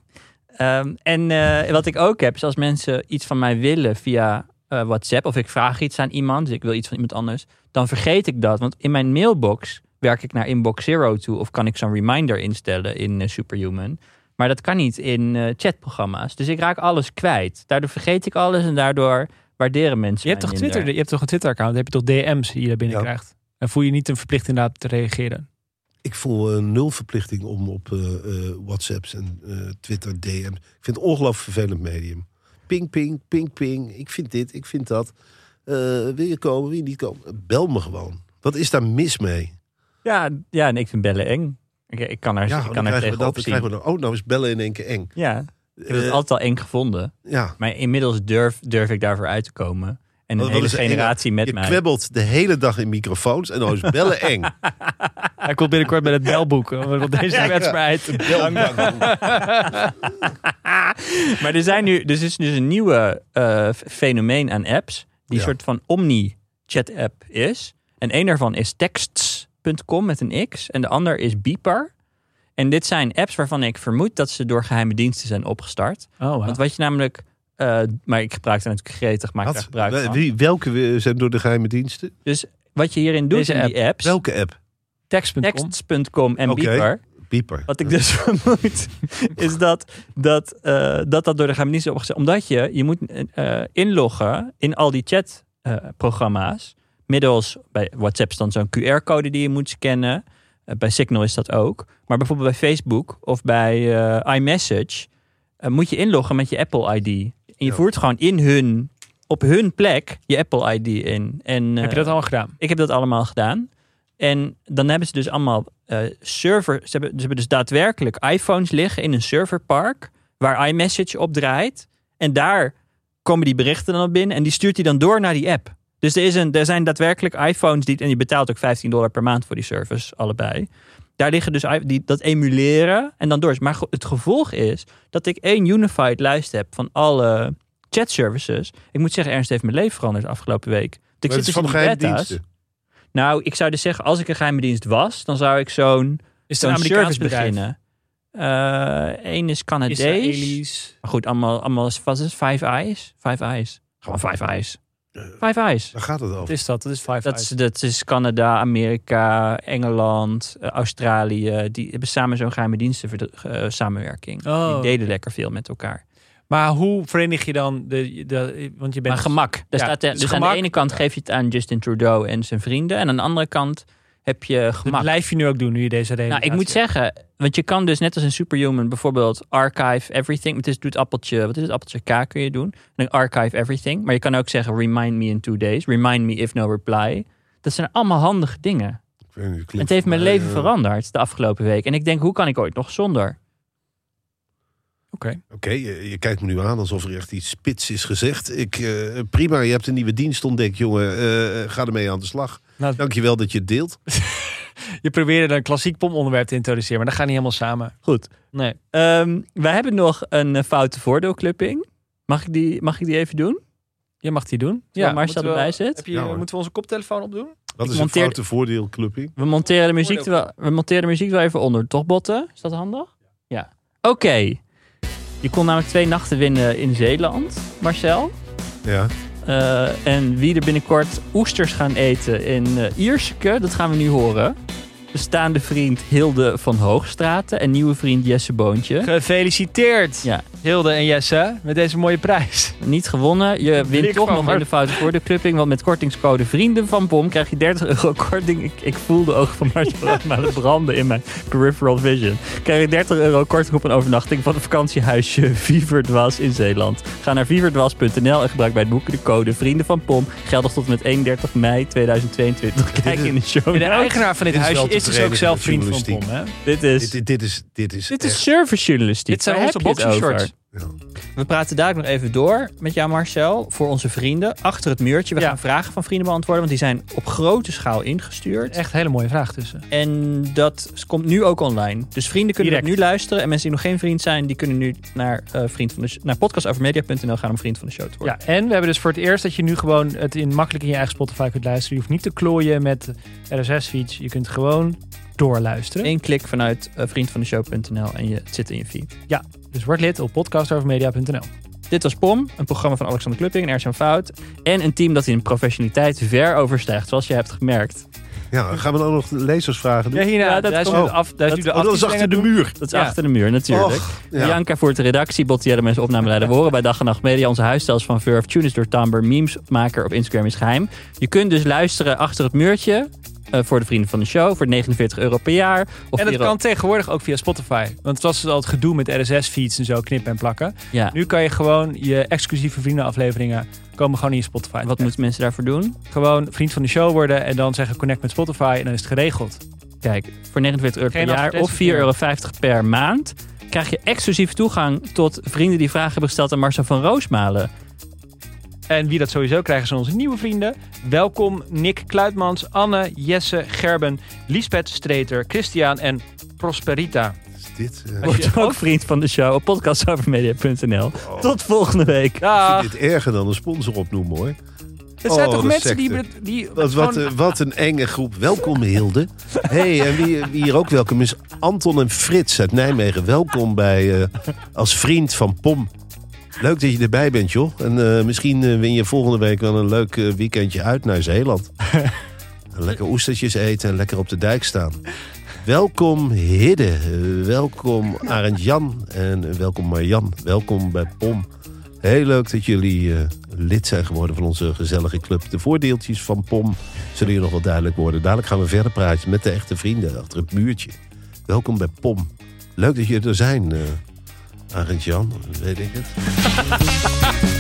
Ehm, en eh, wat ik ook heb, is als mensen iets van mij willen via eh, WhatsApp, of ik vraag iets aan iemand, dus ik wil iets van iemand anders, dan vergeet ik dat. Want in mijn mailbox werk ik naar inbox zero toe, of kan ik zo'n reminder instellen in eh, Superhuman. Maar dat kan niet in eh, chatprogramma's. Dus ik raak alles kwijt. Daardoor vergeet ik alles en daardoor waarderen mensen.
Je hebt,
mij
toch
minder.
Twitter, je hebt toch een Twitter-account? Dan heb je toch DM's die je binnenkrijgt? En voel je niet een verplicht inderdaad te reageren?
Ik voel eh, nul verplichting om op eh, eh, WhatsApps en eh, Twitter DM's. Ik vind het ongelooflijk vervelend medium. Ping, ping, ping, ping. Ik vind dit, ik vind dat. Eh, wil je komen, wil je niet komen? Bel me gewoon. Wat is daar mis mee?
Ja, ja en ik vind bellen eng. Ik, ik kan er,
Ja,
Dus ik
dan
kan er
krijgen we
tegenop
dat. Dan
zien.
krijgen we dan, oh, nou is bellen in één keer eng.
Ja, ik heb het
Eh,
altijd al eng gevonden.
ja.
Maar inmiddels durf, durf ik daarvoor uit te komen. En een
Wat- wat
hele
Oh, is er eng aan?
generatie met
Je
mij.
kwebbelt de hele dag in microfoons en dan is bellen eng.
Hij komt binnenkort met het belboek. eh, Wat deze wedstrijd.
Bel, bel, bel.
Maar er, zijn nu, dus is dus een nieuwe eh, f- fenomeen aan apps. Die
Ja.
een soort van omni-chat-app is. En een daarvan is texts.com met een x. En de ander is Beeper. En dit zijn apps waarvan ik vermoed dat ze door geheime diensten zijn opgestart.
Oh, wauw.
Want wat je namelijk... eh, maar ik gebruik er natuurlijk gretig, maar ik
Wat?
daar gebruik van.
Wie- welke we- zijn door de geheime diensten?
Dus wat je hierin doet
Deze
in die apps,
Welke app?
Text.com.
texts.com en
Oké.
Beeper,
Pieper.
wat ik dus vermoed, is dat dat, eh, dat, dat door de geheime dienst is opgezet. Omdat je, je moet eh, inloggen in al die chatprogramma's. middels, bij WhatsApp is dan zo'n QR-code die je moet scannen. Eh, bij Signal is dat ook. Maar bijvoorbeeld bij Facebook of bij eh, iMessage eh, moet je inloggen met je Apple ID. En je
Ja.
voert gewoon in hun, op hun plek je Apple ID in. En,
Heb je
eh,
dat allemaal gedaan?
ik heb dat allemaal gedaan. En dan hebben ze dus allemaal eh servers. Ze hebben, ze hebben dus daadwerkelijk iPhones liggen in een serverpark. Waar iMessage op draait. En daar komen die berichten dan op binnen. En die stuurt hij dan door naar die app. Dus er, is een, er zijn daadwerkelijk iPhones die. En je betaalt ook 15 dollar per maand voor die service, allebei. Daar liggen dus i- die dat emuleren en dan door. Maar ge- het gevolg is dat ik één unified lijst heb van alle chatservices. Ik moet zeggen, Ernst heeft mijn leven veranderd afgelopen week. Want Ik zit
Maar het is
dus
van
in die
geheime
beta's.
diensten.
Nou, ik zou dus zeggen, als ik een geheime dienst was, dan zou ik zo'n
Is het
zo'n
een
service
Amerikaans bedrijf?
beginnen. Eén is Canadees.
Israëli's.
Maar goed, allemaal, allemaal wat is het? Five Eyes? Five Eyes. Gewoon Five Eyes. Five Eyes.
Waar gaat het
Wat
over?
is dat? Dat is Five
Dat is,
Eyes.
dat is Canada, Amerika, Engeland, eh, Australië. Die hebben samen zo'n geheime dienstensamenwerking. samenwerking.
Oh.
Die deden lekker veel met elkaar.
Maar hoe verenig je dan de... de want je bent...
maar gemak. Daar
Ja,
staat er-
dus
dus aan
gemak.
de ene kant geef je het aan Justin Trudeau en zijn vrienden. En aan de andere kant heb je
Dat
gemak.
blijf je nu ook doen, nu je deze
Nou, ik moet
redenatie
zeggen, want je kan dus net als een superhuman bijvoorbeeld archive everything. Het is, doet appeltje, wat is het? Appeltje K kun je doen. En dan archive everything. Maar je kan ook zeggen remind me in two days. Remind me if no reply. Dat zijn allemaal handige dingen.
Ik weet niet,
Het
klinkt
heeft
voor
mijn
mij,
leven
eh,
veranderd de afgelopen week. En ik denk, hoe kan ik ooit nog zonder?
hebt. Oké.
Oké, je, je kijkt me nu aan alsof er echt iets spits is gezegd. Ik, eh, prima, je hebt een nieuwe dienst ontdekt, jongen. Eh, ga ermee aan de slag.
Nou,
Dankjewel dat je het deelt.
je probeerde een klassiek pomonderwerp te introduceren, maar dat gaat niet helemaal samen.
Goed.
Nee.
Ehm we hebben nog een eh, foute voordeelclipping. Mag ik die, mag ik die even doen?
Je mag die doen.
Terwijl Marcel
moeten we-
erbij zit.
heb je-
Ja, hoor.
moeten we onze koptelefoon opdoen?
Wat
Ik
is een
monteer-
foute voordeelclubbing?
We monteren, de muziek wel, we monteren de muziek wel even onder, toch Botten? Is dat handig? Ja. Oké. Je kon namelijk twee nachten winnen in Zeeland, Marcel.
Ja.
Eh, en wie er binnenkort oesters gaan eten in eh Ierseke, dat gaan we nu horen. Dus bestaande vriend Hilde van Hoogstraten en nieuwe vriend Jesse Boontje.
Gefeliciteerd,
Ja.
Hilde en Jesse, met deze mooie prijs.
Niet gewonnen. Je wint
Blik
toch
van
nog
Mar-
in de foute woorden clubbing. Want met kortingscode Vrienden van POM krijg je 30 euro korting. Ik, ik voel de ogen van Marcel aan het branden in mijn peripheral vision. Krijg je 30 euro korting op een overnachting van het vakantiehuisje Vieverdwas in Zeeland. Ga naar vieverdwas.nl en gebruik bij het boeken de code Vrienden van POM. Geldig tot en met 31 mei 2022. Kijk
Dit is-
in de show
De
notes.
eigenaar van dit,
Dit is
huisje
wel te
is dus ook
verenigen
zelf
met
vriend van POM.
journalistiek.
Hè?
Dit is,
Dit, dit, dit is, dit is,
dit
echt-
is servicejournalistiek.
Dit zijn
Waar
onze
heb je het over?
boxershorts.
We praten daar nog even door met jou, Marcel. Voor onze vrienden achter het muurtje. We
Ja.
gaan vragen van vrienden beantwoorden, want die zijn op grote schaal ingestuurd.
Echt een hele mooie vraag tussen.
En dat komt nu ook online. Dus vrienden kunnen dat nu
Direct.
luisteren. En mensen die nog geen vriend zijn, die kunnen nu naar, eh, vriend van de sh- naar podcastovermedia.nl gaan om vriend van de show te worden.
Ja, en we hebben dus voor het eerst dat je nu gewoon het in, makkelijk in je eigen Spotify kunt luisteren. Je hoeft niet te klooien met RSS-feeds. Je kunt gewoon doorluisteren.
Eén klik vanuit eh, vriendvandeshow.nl en je, het zit in je feed.
Dus word lid op podcastovermedia.nl.
Dit was POM, een programma van Alexander Klupping en Ersan Fout. En een team dat in professionaliteit ver overstijgt, zoals je hebt gemerkt.
Ja, gaan we dan nog lezersvragen doen?
Ja, hierna.
Ja, dat
daar is nu
komt-
de af, daar is nu de
Oh, dat is achter
aftiteling
de
aan
muur.
Dat is
Ja.
achter de muur, natuurlijk.
Och, ja.
Bianca voert de redactie, Bottielle mensen opnameleider. We horen bij Dag en Nacht Media. Onze huisstels van Verve, Tunes door Tamber, memesmaker op Instagram is geheim. Je kunt dus luisteren achter het muurtje eh, voor de vrienden van de show voor 49 euro per jaar. Of
doen. En dat
euro-
kan tegenwoordig ook via Spotify. Want het was dus al het gedoe met RSS-feeds en zo knippen en plakken.
Ja.
Nu kan je gewoon je exclusieve vriendenafleveringen komen gewoon in je Spotify.
Wat moeten mensen daarvoor doen?
Gewoon vriend van de show worden en dan zeggen connect met Spotify en dan is het geregeld.
Kijk, voor 49 euro per
Geen
jaar of 4,50
advertentie.
euro per maand krijg je exclusief toegang tot vrienden die vragen hebben gesteld aan Marcel van Roosmalen.
En wie dat sowieso krijgen zijn onze nieuwe vrienden. Welkom Nick Kluitmans, Anne, Jesse, Gerben, Lisbeth Streeter, Christian en Prosperita.
Wat is dit? eh?
Als je-
Word ook vriend van de show op podcastovermedia.nl.
Oh,
Tot volgende week.
ik
Dag!
vind dit erger dan een sponsor opnoemen hoor.
Het zijn
Oh,
toch
dat
mensen die,
secte.
be- die
Wat, wat,
gewoon-
eh, wat een enge groep. Welkom Hilde. hey, en wie, wie hier ook welkom is Anton en Frits uit Nijmegen. Welkom bij eh, als vriend van POM. Leuk dat je erbij bent joh. En eh, misschien eh, win je volgende week wel een leuk eh, weekendje uit naar Zeeland. En lekker oestertjes eten en lekker op de dijk staan. Welkom Hidde, Eh, welkom Arend Jan en eh, welkom Marjan. Welkom bij POM. Heel leuk dat jullie eh, lid zijn geworden van onze gezellige club. De voordeeltjes van POM zullen je nog wel duidelijk worden. Dadelijk gaan we verder praten met de echte vrienden achter het muurtje. Welkom bij POM. Leuk dat jullie er zijn, eh Arend Jan, weet ik het.